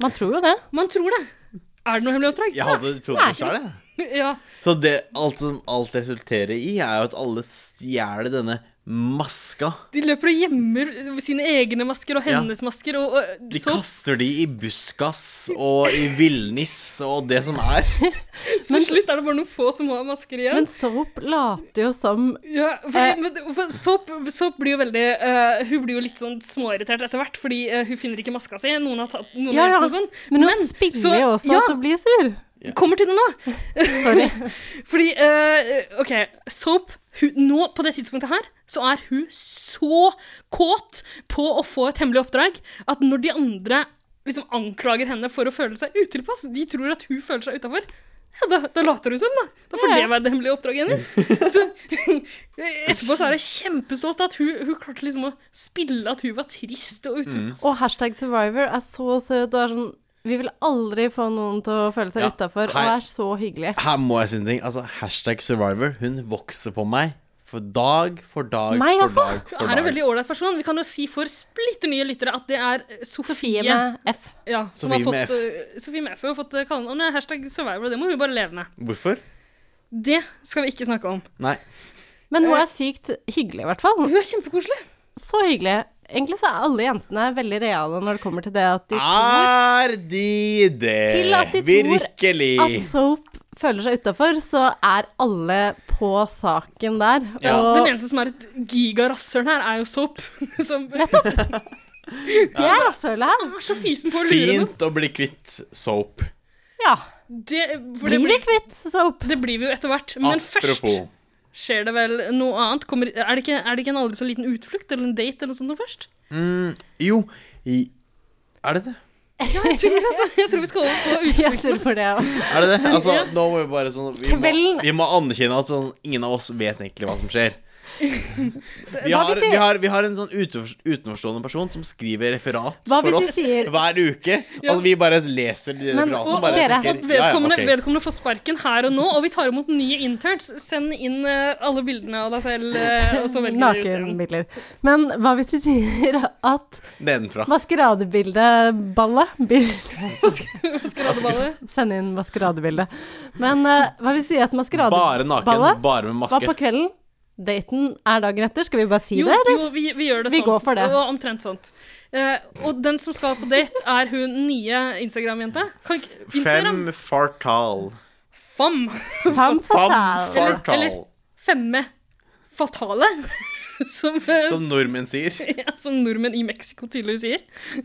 [SPEAKER 3] Man tror jo det.
[SPEAKER 4] Man tror det. Er det noe hemmelig oppdrag?
[SPEAKER 1] Jeg hadde trodd det sjøl, jeg.
[SPEAKER 4] Ja.
[SPEAKER 1] Så det, alt som alt resulterer i, er jo at alle stjeler denne maska.
[SPEAKER 4] De løper og gjemmer sine egne masker og
[SPEAKER 1] Ja.
[SPEAKER 4] hennes masker. Og, og
[SPEAKER 1] De
[SPEAKER 4] så,
[SPEAKER 1] kaster de i buskas og i villnis og det som er.
[SPEAKER 4] så til slutt er det bare noen få som har masker igjen.
[SPEAKER 3] Men soap later jo som
[SPEAKER 4] ja, fordi,
[SPEAKER 3] Eh.
[SPEAKER 4] men, for Soap, Soap blir jo veldig eh, Hun blir jo litt sånn småirritert etter hvert, fordi eh, hun finner ikke maska si. Noen har tatt noen
[SPEAKER 3] Ja,
[SPEAKER 4] har
[SPEAKER 3] ja.
[SPEAKER 4] gjort noe sånn.
[SPEAKER 3] Men hun
[SPEAKER 4] Men,
[SPEAKER 3] spiller
[SPEAKER 4] så-
[SPEAKER 3] jo også
[SPEAKER 4] ja.
[SPEAKER 3] at hun blir sur.
[SPEAKER 4] Kommer til det nå!
[SPEAKER 3] Sorry.
[SPEAKER 4] Fordi, eh, OK, Soap hun, Nå, på det tidspunktet her, så er hun så kåt på å få et hemmelig oppdrag at når de andre liksom anklager henne for å føle seg utilpass, de tror at hun føler seg utafor. Ja, da, da later hun som, da. Da får
[SPEAKER 3] Ja.
[SPEAKER 4] det være det hemmelige oppdraget hennes. Altså, etterpå så er jeg kjempestolt av at hun, hun klarte liksom å spille at hun var trist og utilpass.
[SPEAKER 3] Og hashtag survivor er så søt og er sånn Vi vil aldri få noen til å føle seg
[SPEAKER 1] Ja,
[SPEAKER 3] utenfor utafor,
[SPEAKER 1] hei.
[SPEAKER 3] og er så hyggelig.
[SPEAKER 1] Her må jeg si en ting. Altså, hashtag survivor, hun vokser på meg. For dag for dag
[SPEAKER 3] Meg
[SPEAKER 1] for
[SPEAKER 3] også?
[SPEAKER 1] dag
[SPEAKER 4] Hun
[SPEAKER 1] for
[SPEAKER 4] er en
[SPEAKER 1] dag.
[SPEAKER 4] veldig ålreit person. Vi kan jo si for splitter nye lyttere at det er eh,
[SPEAKER 3] Sofie med F.
[SPEAKER 4] Ja, som
[SPEAKER 1] Sofie
[SPEAKER 4] har
[SPEAKER 1] med
[SPEAKER 4] fått, eh, Sofie Meffe har fått eh, kallenavnet hashtag survivor, og det må hun bare leve med.
[SPEAKER 1] Hvorfor?
[SPEAKER 4] Det skal vi ikke snakke om.
[SPEAKER 1] Nei.
[SPEAKER 3] Men hun er sykt hyggelig, i hvert fall.
[SPEAKER 4] Hun er kjempekoselig.
[SPEAKER 3] Så hyggelig. Egentlig så er alle jentene veldig reale når det kommer til det at de tror
[SPEAKER 1] Er de det?
[SPEAKER 3] Til at de tror
[SPEAKER 1] Virkelig.
[SPEAKER 3] at soap føler seg utafor, så er alle på saken der.
[SPEAKER 1] Ja.
[SPEAKER 4] Den
[SPEAKER 3] Og
[SPEAKER 4] eneste som er et gigarasshøl her, er jo Soap. Som
[SPEAKER 3] det er rasshølet her.
[SPEAKER 4] er så fysen på å lure noen.
[SPEAKER 1] Fint å bli kvitt soap.
[SPEAKER 3] Ja.
[SPEAKER 4] Det, for
[SPEAKER 3] Blir
[SPEAKER 4] det,
[SPEAKER 3] vi
[SPEAKER 4] blir,
[SPEAKER 3] kvitt soap?
[SPEAKER 4] det blir vi jo etter hvert. Men
[SPEAKER 1] Apropos.
[SPEAKER 4] først skjer det vel noe annet. Kommer, er, det ikke, er det ikke en aldri så liten utflukt eller en date eller noe sånt noe først?
[SPEAKER 1] Jo, i Er det det?
[SPEAKER 4] Jeg tror, altså, jeg tror vi skal over på utflukt.
[SPEAKER 3] Jeg tror for det òg.
[SPEAKER 1] Er det det? Altså, nå må vi bare sånn Vi må,
[SPEAKER 3] Kvelden-
[SPEAKER 1] vi må anerkjenne at sånn, ingen av oss vet egentlig hva som skjer. Vi
[SPEAKER 3] Hva
[SPEAKER 1] har,
[SPEAKER 3] hvis vi-
[SPEAKER 1] vi har, vi har en sånn utenfor- utenforstående person som skriver referat
[SPEAKER 3] Hva
[SPEAKER 1] for
[SPEAKER 3] hvis
[SPEAKER 1] oss
[SPEAKER 3] vi sier-
[SPEAKER 1] hver uke. Altså, vi bare leser de
[SPEAKER 3] Men-
[SPEAKER 1] referatene.
[SPEAKER 3] og- og
[SPEAKER 1] bare
[SPEAKER 3] dere-
[SPEAKER 1] tenker,
[SPEAKER 4] At vedkommende,
[SPEAKER 1] ja, ja, ok.
[SPEAKER 4] vedkommende får sparken her og nå, og vi tar imot nye interns. Send inn eh, alle bildene av deg selv, eh, og så velger du ut en.
[SPEAKER 3] Nakenbilder. Men hva hvis de sier at
[SPEAKER 1] Nedenfra.
[SPEAKER 3] maskeradebildeballet bil-
[SPEAKER 4] Maskeradeball.
[SPEAKER 3] Send inn maskeradebilde. Men eh, hva vil si at
[SPEAKER 1] Bare naken,
[SPEAKER 3] maskeradeballet
[SPEAKER 1] bare med
[SPEAKER 3] var på
[SPEAKER 1] maske.
[SPEAKER 3] kvelden? Daten er dagen etter, skal vi bare si
[SPEAKER 4] Jo,
[SPEAKER 3] det, eller?
[SPEAKER 4] jo vi, vi gjør det
[SPEAKER 3] Vi
[SPEAKER 4] sånn.
[SPEAKER 3] går for det.
[SPEAKER 4] Og omtrent sånt. Eh, og den som skal på date, er hun nye Instagram-jenta. Kan ikke- Instagram?
[SPEAKER 1] Fem fartal.
[SPEAKER 4] Fam.
[SPEAKER 3] Fem
[SPEAKER 1] Fem
[SPEAKER 3] fatal.
[SPEAKER 1] fartal.
[SPEAKER 4] Femme. fatale, som, eh,
[SPEAKER 1] Som nordmenn sier.
[SPEAKER 4] ja, som nordmenn i Mexico tydeligvis sier.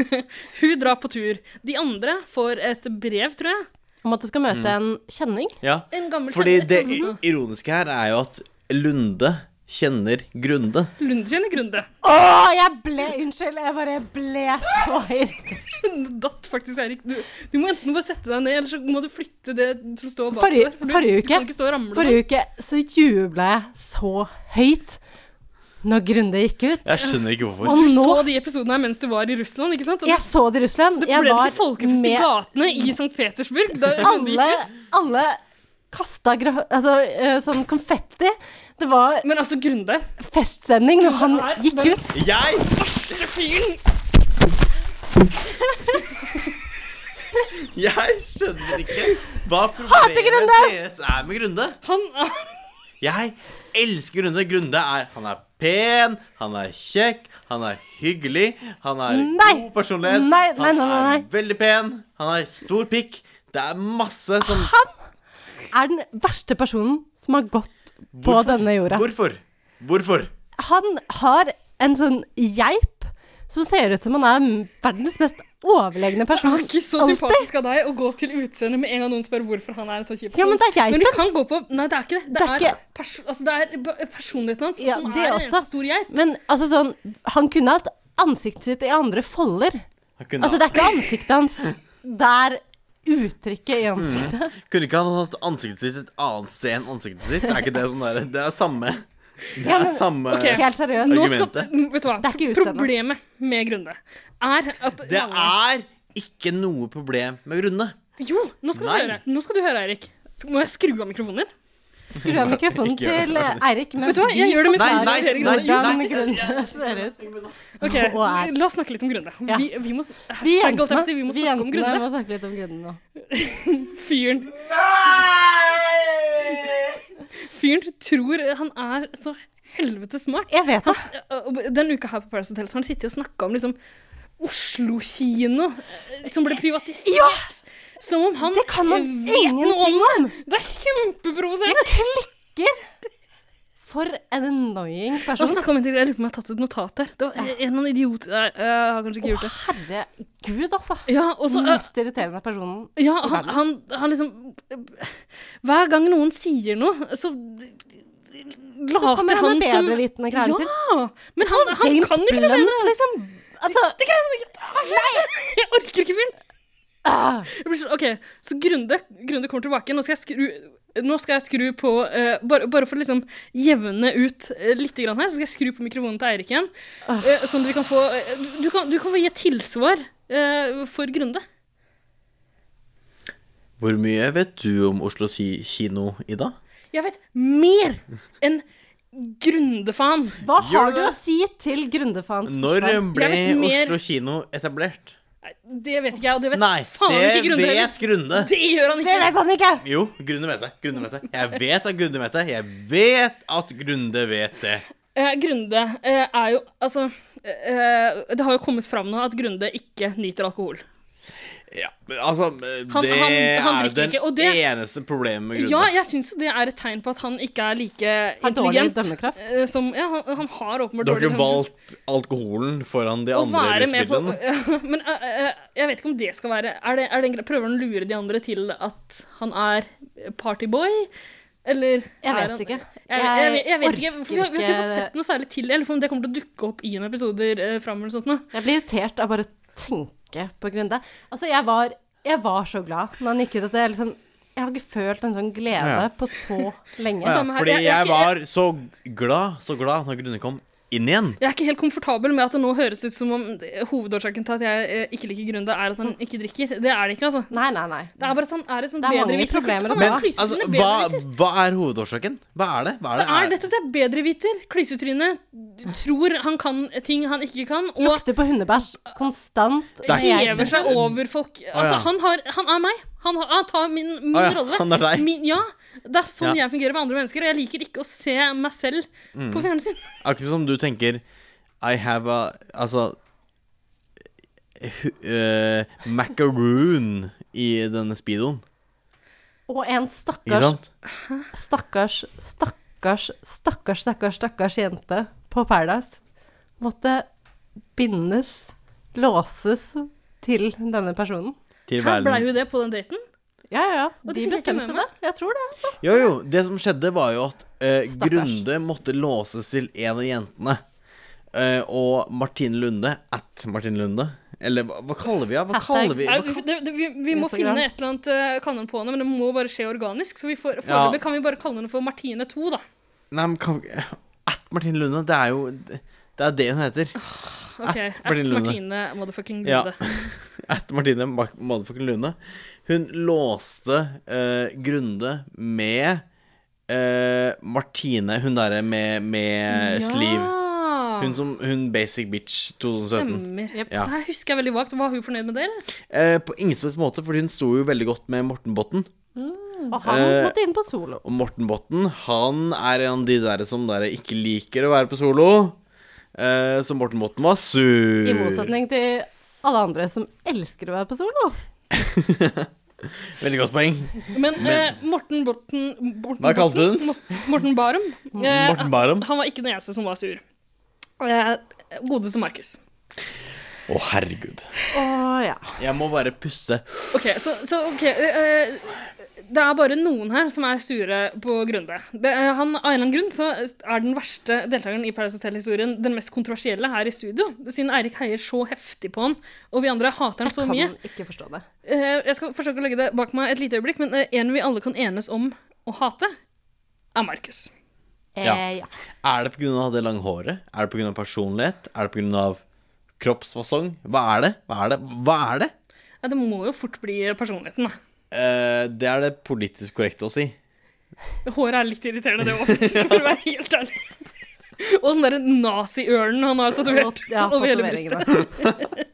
[SPEAKER 4] Hun drar på tur. De andre får et brev, tror jeg.
[SPEAKER 3] Om at du skal møte en kjenning.
[SPEAKER 1] Ja.
[SPEAKER 4] En gammel
[SPEAKER 1] Fordi
[SPEAKER 4] kjenner,
[SPEAKER 1] det
[SPEAKER 4] et eller annet sånt
[SPEAKER 1] ironiske her er jo at Lunde kjenner Grunde.
[SPEAKER 4] noe. Lund kjenner Grunde.
[SPEAKER 3] Å, jeg ble Unnskyld, jeg bare ble så irritert.
[SPEAKER 4] Det datt faktisk, Erik. Du, du må enten bare sette deg ned, eller så må du flytte det som står bak
[SPEAKER 3] Forrige-
[SPEAKER 4] deg. for du-
[SPEAKER 3] forrige uke-
[SPEAKER 4] Du kan ikke stå og ramle
[SPEAKER 3] Forrige uke så jubla jeg så høyt når Grunde gikk ut.
[SPEAKER 1] Jeg skjønner ikke hvorfor.
[SPEAKER 3] Og
[SPEAKER 4] sånn. Du
[SPEAKER 3] nå
[SPEAKER 4] så de episodene her mens du var i Russland, ikke sant? Og
[SPEAKER 3] Jeg så det i Russland.
[SPEAKER 4] det
[SPEAKER 3] Jeg
[SPEAKER 4] ble det
[SPEAKER 3] var
[SPEAKER 4] ikke folkefest i
[SPEAKER 3] med
[SPEAKER 4] gatene i St. Petersburg? Da,
[SPEAKER 3] alle, alle kasta gra- altså, eh, sånn konfetti. Det var
[SPEAKER 4] Men altså, Grunde
[SPEAKER 3] feststemning når han
[SPEAKER 4] Det er
[SPEAKER 3] gikk
[SPEAKER 4] bare-
[SPEAKER 3] ut.
[SPEAKER 1] Jeg
[SPEAKER 4] Varsle fyren!
[SPEAKER 1] Jeg skjønner ikke hva problemet deres er med Grunde.
[SPEAKER 4] Han er
[SPEAKER 1] Jeg elsker Grunde. Grunde er Han er pen, han er kjekk, han er hyggelig, han er
[SPEAKER 3] Nei!
[SPEAKER 1] god personlighet.
[SPEAKER 3] Nei, nei, nei, nei,
[SPEAKER 1] Han er veldig pen, han har stor pikk. Det er masse som
[SPEAKER 3] Er den verste personen som har gått på denne jorda.
[SPEAKER 1] Hvorfor? Hvorfor?
[SPEAKER 3] Han har en sånn geip som ser ut som han er m- verdens mest overlegne person.
[SPEAKER 4] Det er ikke så sympatisk av deg å gå til utseendet med en gang noen spør hvorfor han er en så kjip
[SPEAKER 3] Ja, men det er
[SPEAKER 4] Men du
[SPEAKER 3] geipen.
[SPEAKER 4] kan gå på Nei, det er ikke det. Det,
[SPEAKER 3] Det er
[SPEAKER 4] er,
[SPEAKER 3] ikke-
[SPEAKER 4] perso altså, det er ba- personligheten hans
[SPEAKER 3] Ja,
[SPEAKER 4] som
[SPEAKER 3] det
[SPEAKER 4] er
[SPEAKER 3] også.
[SPEAKER 4] en stor geip.
[SPEAKER 3] Men altså sånn Han kunne hatt ansiktet sitt i andre folder.
[SPEAKER 1] Han kunne,
[SPEAKER 3] Altså, det er ikke ansiktet hans. Det er uttrykket i ansiktet.
[SPEAKER 1] kunne ikke han hatt ansiktet sitt et annet sted enn ansiktet sitt? Er ikke det sånn der, Det er samme Det er
[SPEAKER 3] men-
[SPEAKER 1] samme
[SPEAKER 4] Ok.
[SPEAKER 3] Helt seriøst.
[SPEAKER 4] Nå skal,
[SPEAKER 1] Argumentet.
[SPEAKER 4] Mm, vet du hva?
[SPEAKER 3] Det er ikke utseendet.
[SPEAKER 4] Problemet med Grunde er at
[SPEAKER 1] Det er ikke noe problem med Grunde.
[SPEAKER 4] Jo, nå skal,
[SPEAKER 1] Nei.
[SPEAKER 4] du høre. nå skal du høre, Eirik. Sk- Må jeg skru av mikrofonen din?
[SPEAKER 3] Skru av mikrofonen
[SPEAKER 1] Ikke gjør
[SPEAKER 3] til eh, Eirik mens
[SPEAKER 4] Vet du hva, jeg gjør det med
[SPEAKER 1] Nei,
[SPEAKER 4] Sara
[SPEAKER 1] nei,
[SPEAKER 4] Sverre
[SPEAKER 1] nei,
[SPEAKER 4] Grunde.
[SPEAKER 1] nei.
[SPEAKER 3] hvordan grunnen ser ut.
[SPEAKER 4] Ok,
[SPEAKER 3] Og er-
[SPEAKER 4] La oss snakke litt om Grunde.
[SPEAKER 3] Ja.
[SPEAKER 4] Vi, vi må, s-
[SPEAKER 3] Vi
[SPEAKER 4] hashtag, holdt
[SPEAKER 3] jentene,
[SPEAKER 4] jeg på å si, vi må
[SPEAKER 3] vi
[SPEAKER 4] snakke om
[SPEAKER 3] jentene
[SPEAKER 4] Grunde.
[SPEAKER 3] må snakke litt om grunnen nå.
[SPEAKER 4] Fyren Fyren tror han er så helvete smart.
[SPEAKER 3] Jeg vet det.
[SPEAKER 4] Hans, den uka her på Paradise Hotel så har han sittet og snakka om liksom Oslo kino eh, som ble privatisert.
[SPEAKER 3] Ja!
[SPEAKER 4] Som om han
[SPEAKER 3] Det kan man
[SPEAKER 4] vet noe om
[SPEAKER 3] ingenting
[SPEAKER 4] det!
[SPEAKER 3] om!
[SPEAKER 4] Det er kjempeprovoserende.
[SPEAKER 3] Jeg klikker! For en annoying
[SPEAKER 4] Og
[SPEAKER 3] person.
[SPEAKER 4] snakk om integrer. Jeg lurer på om jeg har tatt et notat her. Det var en eller annen idiot Nei, øh, jeg har kanskje ikke gjort det.
[SPEAKER 3] Herregud, altså.
[SPEAKER 4] Ja, og så
[SPEAKER 3] Den
[SPEAKER 4] eh,
[SPEAKER 3] mest irriterende personen.
[SPEAKER 4] Ja, han, han, han liksom Hver gang noen sier noe, så
[SPEAKER 3] Så
[SPEAKER 4] later
[SPEAKER 3] kommer han
[SPEAKER 4] han
[SPEAKER 3] med
[SPEAKER 4] som
[SPEAKER 3] bedrevitende klærne sitt.
[SPEAKER 4] Ja! Men han, han
[SPEAKER 3] James
[SPEAKER 4] kan ikke det
[SPEAKER 3] Blunt,
[SPEAKER 4] bedre.
[SPEAKER 3] liksom. Altså,
[SPEAKER 4] Det kan han ikke. Jeg orker ikke fyren.
[SPEAKER 3] ah,
[SPEAKER 4] Jeg blir så- OK, så Grunde, Grunde kommer tilbake. Nå skal jeg skru nå skal jeg skru på eh, bare, bare for å liksom jevne ut uh, litt grann her, så skal jeg skru på mikrofonen til Eirik igjen.
[SPEAKER 3] Ah.
[SPEAKER 4] eh, sånn at vi kan få eh, du- du, kan, du kan få gi et tilsvar eh, for Grunde.
[SPEAKER 1] Hvor mye vet du om Oslo si kino, Ida?
[SPEAKER 4] Jeg vet mer enn Grunde-faen.
[SPEAKER 3] hva har
[SPEAKER 1] Gjør
[SPEAKER 3] du
[SPEAKER 1] det.
[SPEAKER 3] å si til Grundefans
[SPEAKER 1] Når eh,
[SPEAKER 3] forsvar?
[SPEAKER 1] ble
[SPEAKER 4] Jeg vet mer-
[SPEAKER 1] Oslo kino etablert?
[SPEAKER 4] Nei, Det vet ikke jeg, og det vet
[SPEAKER 1] Nei,
[SPEAKER 4] faen ikke
[SPEAKER 1] det
[SPEAKER 4] Grunde. heller.
[SPEAKER 1] vet Grunde.
[SPEAKER 4] Det gjør han
[SPEAKER 3] Det
[SPEAKER 4] ikke.
[SPEAKER 3] vet han ikke!
[SPEAKER 1] Jo, Grunde vet det. Grunde vet det. Jeg vet at Grunde vet det. Jeg vet at Grunde vet det.
[SPEAKER 4] Eh, Grunde eh, er jo Altså, eh, det har jo kommet fram nå at Grunde ikke nyter alkohol.
[SPEAKER 1] Ja, men altså
[SPEAKER 4] Han-
[SPEAKER 1] Det
[SPEAKER 4] han- han
[SPEAKER 1] er jo
[SPEAKER 4] drikker
[SPEAKER 1] den
[SPEAKER 4] ikke, og det-
[SPEAKER 1] eneste problemet med
[SPEAKER 4] Ja,
[SPEAKER 1] Grunde.
[SPEAKER 4] jeg syns jo det er et tegn på at han ikke er like
[SPEAKER 3] Har dårlig
[SPEAKER 4] intelligent
[SPEAKER 3] dømmekraft.
[SPEAKER 4] eh, som Ja, han, han har åpenbart
[SPEAKER 1] Du har
[SPEAKER 4] dårlig
[SPEAKER 1] ikke
[SPEAKER 4] dømmekraft.
[SPEAKER 1] valgt alkoholen foran de
[SPEAKER 4] Å
[SPEAKER 1] andre
[SPEAKER 4] være med på
[SPEAKER 1] rusmidlene?
[SPEAKER 4] Men eh, eh, jeg vet ikke om det skal være er det, er det en, gre- Prøver han å lure de andre til at han er partyboy? Eller
[SPEAKER 3] Jeg
[SPEAKER 4] er
[SPEAKER 3] vet
[SPEAKER 4] han-
[SPEAKER 3] ikke.
[SPEAKER 4] Jeg, jeg, jeg, jeg vet ikke,
[SPEAKER 3] orker
[SPEAKER 4] for vi, har, vi har ikke fått
[SPEAKER 3] ikke-
[SPEAKER 4] sett noe særlig til det. Jeg lurer på om det kommer til å dukke opp i en episoder eh, framover. eller sånt noe.
[SPEAKER 3] Jeg blir irritert av bare å tenke på Grunde. Altså, jeg var, jeg var så glad når han gikk ut at jeg liksom Jeg har ikke følt en sånn glede
[SPEAKER 1] Ja.
[SPEAKER 3] på så lenge.
[SPEAKER 1] Ja,
[SPEAKER 4] samme her.
[SPEAKER 1] fordi
[SPEAKER 4] Jeg- jeg er
[SPEAKER 1] jeg
[SPEAKER 4] ikke-
[SPEAKER 1] var så glad, så glad når Grunde kom inn igjen.
[SPEAKER 4] Jeg er ikke helt komfortabel med at det nå høres ut som om eh, hovedårsaken til at jeg eh, ikke liker Grunde, er at han ikke drikker. Det er det ikke, altså.
[SPEAKER 3] Nei, nei, nei.
[SPEAKER 4] Det er bare at han er et
[SPEAKER 3] Mm. Det
[SPEAKER 4] sånt
[SPEAKER 3] er mange
[SPEAKER 4] bedreviter.
[SPEAKER 3] problemer å
[SPEAKER 4] Han
[SPEAKER 3] ta.
[SPEAKER 4] er
[SPEAKER 1] Men
[SPEAKER 4] klysete,
[SPEAKER 1] altså,
[SPEAKER 4] han er
[SPEAKER 1] hva,
[SPEAKER 4] bedreviter.
[SPEAKER 1] hva er hovedårsaken? Hva er det? Hva
[SPEAKER 4] Det er
[SPEAKER 1] er det?
[SPEAKER 4] nettopp det. Bedreviter. Klysetryne. Tror han kan ting han ikke kan. Og
[SPEAKER 3] Lukter på hundebæsj konstant.
[SPEAKER 1] Det er ikke-
[SPEAKER 4] hever seg over folk. Altså,
[SPEAKER 1] ja.
[SPEAKER 4] han, har, han er meg. Han, har, han tar min, min
[SPEAKER 1] Å ja,
[SPEAKER 4] rolle.
[SPEAKER 1] han er deg.
[SPEAKER 4] Min, ja. Det er sånn
[SPEAKER 1] Ja. Mm.
[SPEAKER 4] jeg fungerer med andre mennesker, og jeg liker ikke å se meg selv på fjernsyn.
[SPEAKER 1] Akkurat som du tenker I have a Altså hu- eh, Macaroon i denne speedoen.
[SPEAKER 3] Og en
[SPEAKER 1] Ikke
[SPEAKER 3] stakkars,
[SPEAKER 1] sant?
[SPEAKER 3] stakkars, stakkars stakkars, stakkars, stakkars, stakkars jente på Paradise måtte bindes, låses til denne personen.
[SPEAKER 1] Til
[SPEAKER 4] Her blei
[SPEAKER 1] verden.
[SPEAKER 4] jo det på den daten.
[SPEAKER 3] Ja, ja.
[SPEAKER 4] Og det
[SPEAKER 3] De
[SPEAKER 4] fikk
[SPEAKER 3] bestemte
[SPEAKER 4] jeg ikke med
[SPEAKER 3] det.
[SPEAKER 4] meg.
[SPEAKER 3] Jeg tror det, altså.
[SPEAKER 1] Jo, jo. Det som skjedde, var jo at eh,
[SPEAKER 3] Stakkars.
[SPEAKER 1] Grunde måtte låses til en av jentene. Eh, og Martine Lunde At Martine Lunde. Eller hva, hva kaller vi henne? Hva
[SPEAKER 3] Hashtag.
[SPEAKER 1] kaller vi
[SPEAKER 4] Nei,
[SPEAKER 1] hva,
[SPEAKER 4] vi- det, det, vi, vi må
[SPEAKER 3] Instagram.
[SPEAKER 4] finne et eller annet uh, kallenavn på henne, men det må bare skje organisk. Så vi
[SPEAKER 1] Ja.
[SPEAKER 4] får, foreløpig kan vi bare kalle henne for Martine 2, da.
[SPEAKER 1] Nei, men kan vi At Martine Lunde, det er jo Det er det hun heter.
[SPEAKER 4] Ok, At
[SPEAKER 1] Martine
[SPEAKER 4] Martine,
[SPEAKER 1] Lunde.
[SPEAKER 4] motherfucking
[SPEAKER 1] Ja.
[SPEAKER 4] Lunde.
[SPEAKER 1] At Martine Mac- motherfucking Lunde. Hun låste eh, Grunde med eh, Martine, hun derre med, med sliv. Hun som Hun basic bitch 2017.
[SPEAKER 4] Stemmer.
[SPEAKER 1] Ja.
[SPEAKER 4] Det her husker jeg veldig vagt. Var hun fornøyd med det, eller?
[SPEAKER 1] Eh, på ingen som helst måte, fordi hun sto jo veldig godt med Morten Botten.
[SPEAKER 3] Og han
[SPEAKER 1] Eh,
[SPEAKER 3] måtte inn på solo.
[SPEAKER 1] Og Morten Botten, han er en av de der som der ikke liker å være på solo. Eh, så Morten Botten var sur.
[SPEAKER 3] I motsetning til alle andre som elsker å være på solo.
[SPEAKER 1] Veldig godt poeng.
[SPEAKER 4] Men, eh, Morten Borten Borten-
[SPEAKER 1] Hva kalte du den?
[SPEAKER 4] Morten- Morten Barum. Eh,
[SPEAKER 1] Morten Barum.
[SPEAKER 4] Han var ikke den eneste som var sur. Eh, Godeste Markus.
[SPEAKER 1] Å, herregud.
[SPEAKER 3] Å ja.
[SPEAKER 1] Jeg må bare puste.
[SPEAKER 4] Ok, så, så ok eh, Det er bare noen her som er sure på Grunde. Det, eh, han, av en eller annen grunn så er den verste deltakeren i Paradise Hotel-historien den mest kontroversielle her i studio, siden Eirik heier så heftig på han, og vi andre hater han så
[SPEAKER 3] Kan
[SPEAKER 4] mye.
[SPEAKER 3] ikke forstå det.
[SPEAKER 4] Eh, jeg skal forsøke å legge det bak meg et lite øyeblikk, men eh, en vi alle kan enes om å hate, er Markus.
[SPEAKER 3] Eh, ja.
[SPEAKER 1] Ja. Er det pga. det lange håret? Er det pga. personlighet? Er det pga. kroppsfasong? Hva er det? Hva er det? Hva er det?
[SPEAKER 4] Ja, det må jo fort bli personligheten, da.
[SPEAKER 1] Eh, det er det politisk korrekte å si.
[SPEAKER 4] Håret er litt irriterende, det òg, faktisk, for å være helt ærlig. Og den derre nazi-ørnen han har tatovert
[SPEAKER 3] Ja,
[SPEAKER 4] over hele brystet.
[SPEAKER 3] tatoveringene.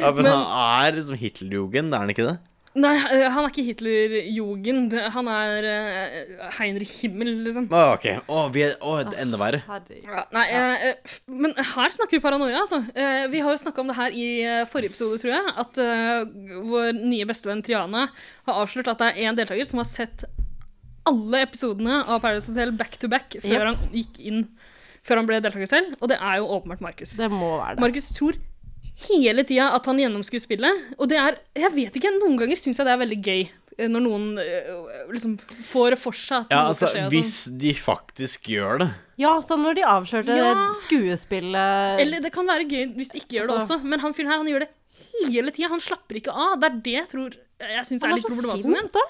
[SPEAKER 1] Ja, men, han er liksom Hitlerjugend, er han ikke det?
[SPEAKER 4] Nei, eh, han er ikke Hitlerjugend. Han er eh, Heinrich Himmel, liksom.
[SPEAKER 1] Å, ok. Å, vi er, å, det er enda verre.
[SPEAKER 3] Herregud.
[SPEAKER 4] Ja, nei, eh, eh, f- men her snakker vi paranoia, altså. Eh, vi har jo snakka om det her i eh, forrige episode, tror jeg. At eh, vår nye bestevenn Triana har avslørt at det er én deltaker som har sett alle episodene av Paradise Hotel back to back før
[SPEAKER 3] Yep.
[SPEAKER 4] han gikk inn Før han ble deltaker selv, og det er jo åpenbart Markus.
[SPEAKER 3] Det må være det.
[SPEAKER 4] Markus tror hele tida at han gjennomskuer spillet. Og det er Jeg vet ikke, noen ganger syns jeg det er veldig gøy. eh, Når noen eh, liksom får for seg at
[SPEAKER 1] Ja,
[SPEAKER 4] noe
[SPEAKER 1] altså,
[SPEAKER 4] skal skje. Og sånn.
[SPEAKER 1] hvis de faktisk gjør det.
[SPEAKER 3] Ja, som når de avslørte
[SPEAKER 4] Ja.
[SPEAKER 3] skuespillet
[SPEAKER 4] Eller det kan være gøy hvis de ikke gjør det
[SPEAKER 3] Altså-
[SPEAKER 4] også, men han fyren her han gjør det hele tida. Han slapper ikke av. Det er det jeg tror jeg syns er litt problematisk. med han.
[SPEAKER 3] da.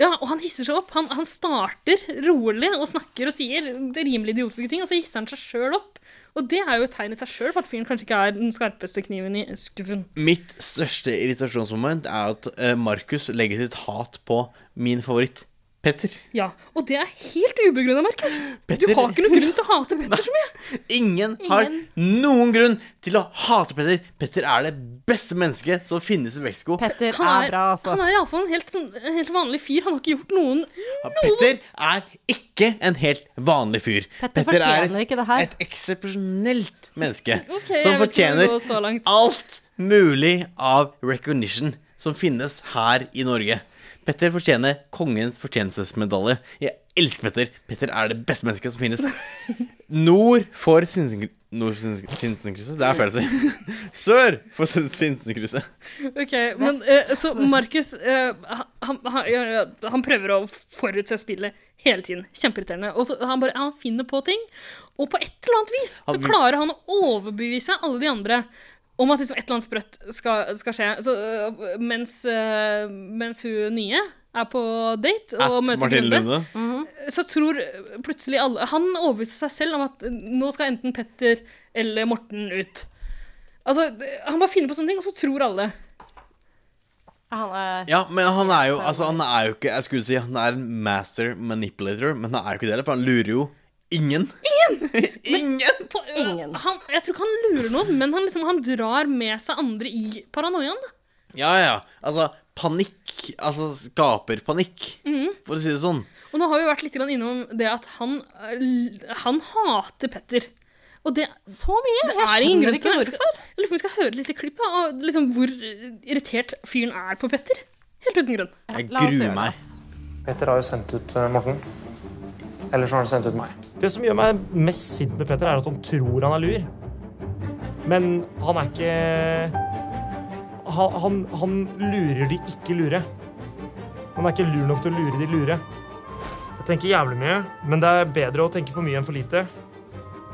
[SPEAKER 4] Ja, og han hisser seg opp. Han, han starter rolig og snakker og sier det rimelig idiotiske ting, og så hisser han seg sjøl opp. Og det er jo et tegn i seg sjøl på at fyren kanskje ikke er den skarpeste kniven i skuffen.
[SPEAKER 1] Mitt største irritasjonsmoment er at eh, Markus legger sitt hat på min favoritt Petter.
[SPEAKER 4] Ja, og det er helt ubegrunna, Markus. Du
[SPEAKER 1] Petter-
[SPEAKER 4] har ikke noen grunn til å hate Petter så mye.
[SPEAKER 1] Ingen, har noen grunn til å hate Petter. Petter er det beste mennesket som finnes i Mexico.
[SPEAKER 3] Petter
[SPEAKER 4] Han
[SPEAKER 3] er
[SPEAKER 4] er,
[SPEAKER 3] bra, altså.
[SPEAKER 4] han er iallfall en helt, sånn- en helt vanlig fyr. Han har ikke gjort noen
[SPEAKER 1] Ja, Petter er ikke en helt vanlig fyr.
[SPEAKER 3] Petter
[SPEAKER 1] er
[SPEAKER 3] fortjener
[SPEAKER 1] et-
[SPEAKER 3] ikke det her.
[SPEAKER 1] Et eksepsjonelt menneske
[SPEAKER 4] Ok,
[SPEAKER 1] som
[SPEAKER 4] jeg vet ikke om det
[SPEAKER 1] fortjener
[SPEAKER 4] går så langt.
[SPEAKER 1] alt mulig av recognition som finnes her i Norge. Petter fortjener kongens fortjenestesmedalje. Jeg elsker Petter. Petter er det beste mennesket som finnes. Nord for Sinsenkrysset. Nord for Sinsen- Sinsenkrysset? Det er feil å si. Sør for Sin- Sinsenkrysset.
[SPEAKER 4] Ok, men eh, Så Markus eh, han, han, ja, ja, han prøver å forutse spillet hele tiden. Kjempeirriterende. Og så han bare han finner på ting, og på et eller annet vis så
[SPEAKER 1] Han-
[SPEAKER 4] klarer han å overbevise alle de andre om at liksom et eller annet sprøtt skal, skal skje. Så, eh, mens, eh, mens hun nye er på date og
[SPEAKER 1] At
[SPEAKER 4] møter
[SPEAKER 1] Martin
[SPEAKER 4] Grunde.
[SPEAKER 1] Lunde.
[SPEAKER 4] så tror plutselig alle Han overbeviser seg selv om at nå skal enten Petter eller Morten ut. Altså, Han bare finner på sånne ting, og så tror alle.
[SPEAKER 3] Han er
[SPEAKER 1] Ja, men han er jo Altså, han er jo ikke Jeg skulle si han er en master manipulator, men han er jo ikke det heller, for han lurer jo ingen. Ingen! ingen!
[SPEAKER 4] På,
[SPEAKER 3] Ingen.
[SPEAKER 4] Han, jeg tror ikke han lurer noen, men han, liksom, han drar med seg andre i paranoiaen. da.
[SPEAKER 1] Ja, ja. Altså, panikk Altså, skaper panikk,
[SPEAKER 3] Mhm.
[SPEAKER 1] for å si det sånn.
[SPEAKER 4] Og nå har vi vært litt grann innom det at han, eh, l- han hater Petter. Og det
[SPEAKER 3] så mye!
[SPEAKER 4] Det
[SPEAKER 3] Jeg
[SPEAKER 4] er ingen
[SPEAKER 3] skjønner
[SPEAKER 4] grunn
[SPEAKER 3] ikke
[SPEAKER 4] til
[SPEAKER 3] hvorfor.
[SPEAKER 4] det. Jeg skal- Jeg lurer på om vi skal høre et lite klipp ja, av liksom hvor irritert fyren er på Petter. Helt uten grunn.
[SPEAKER 1] Jeg
[SPEAKER 3] La oss
[SPEAKER 1] gruer
[SPEAKER 3] gjøre det,
[SPEAKER 1] meg.
[SPEAKER 3] ass.
[SPEAKER 8] Petter har jo sendt ut eh, Morten. Eller så har han sendt ut meg.
[SPEAKER 9] Det som gjør meg mest sint med Petter, er at han tror han er lur. Men han er ikke Han, han, han lurer de ikke lure. Han er ikke lur nok til å lure de lure. Jeg tenker jævlig mye, men det er bedre å tenke for mye enn for lite.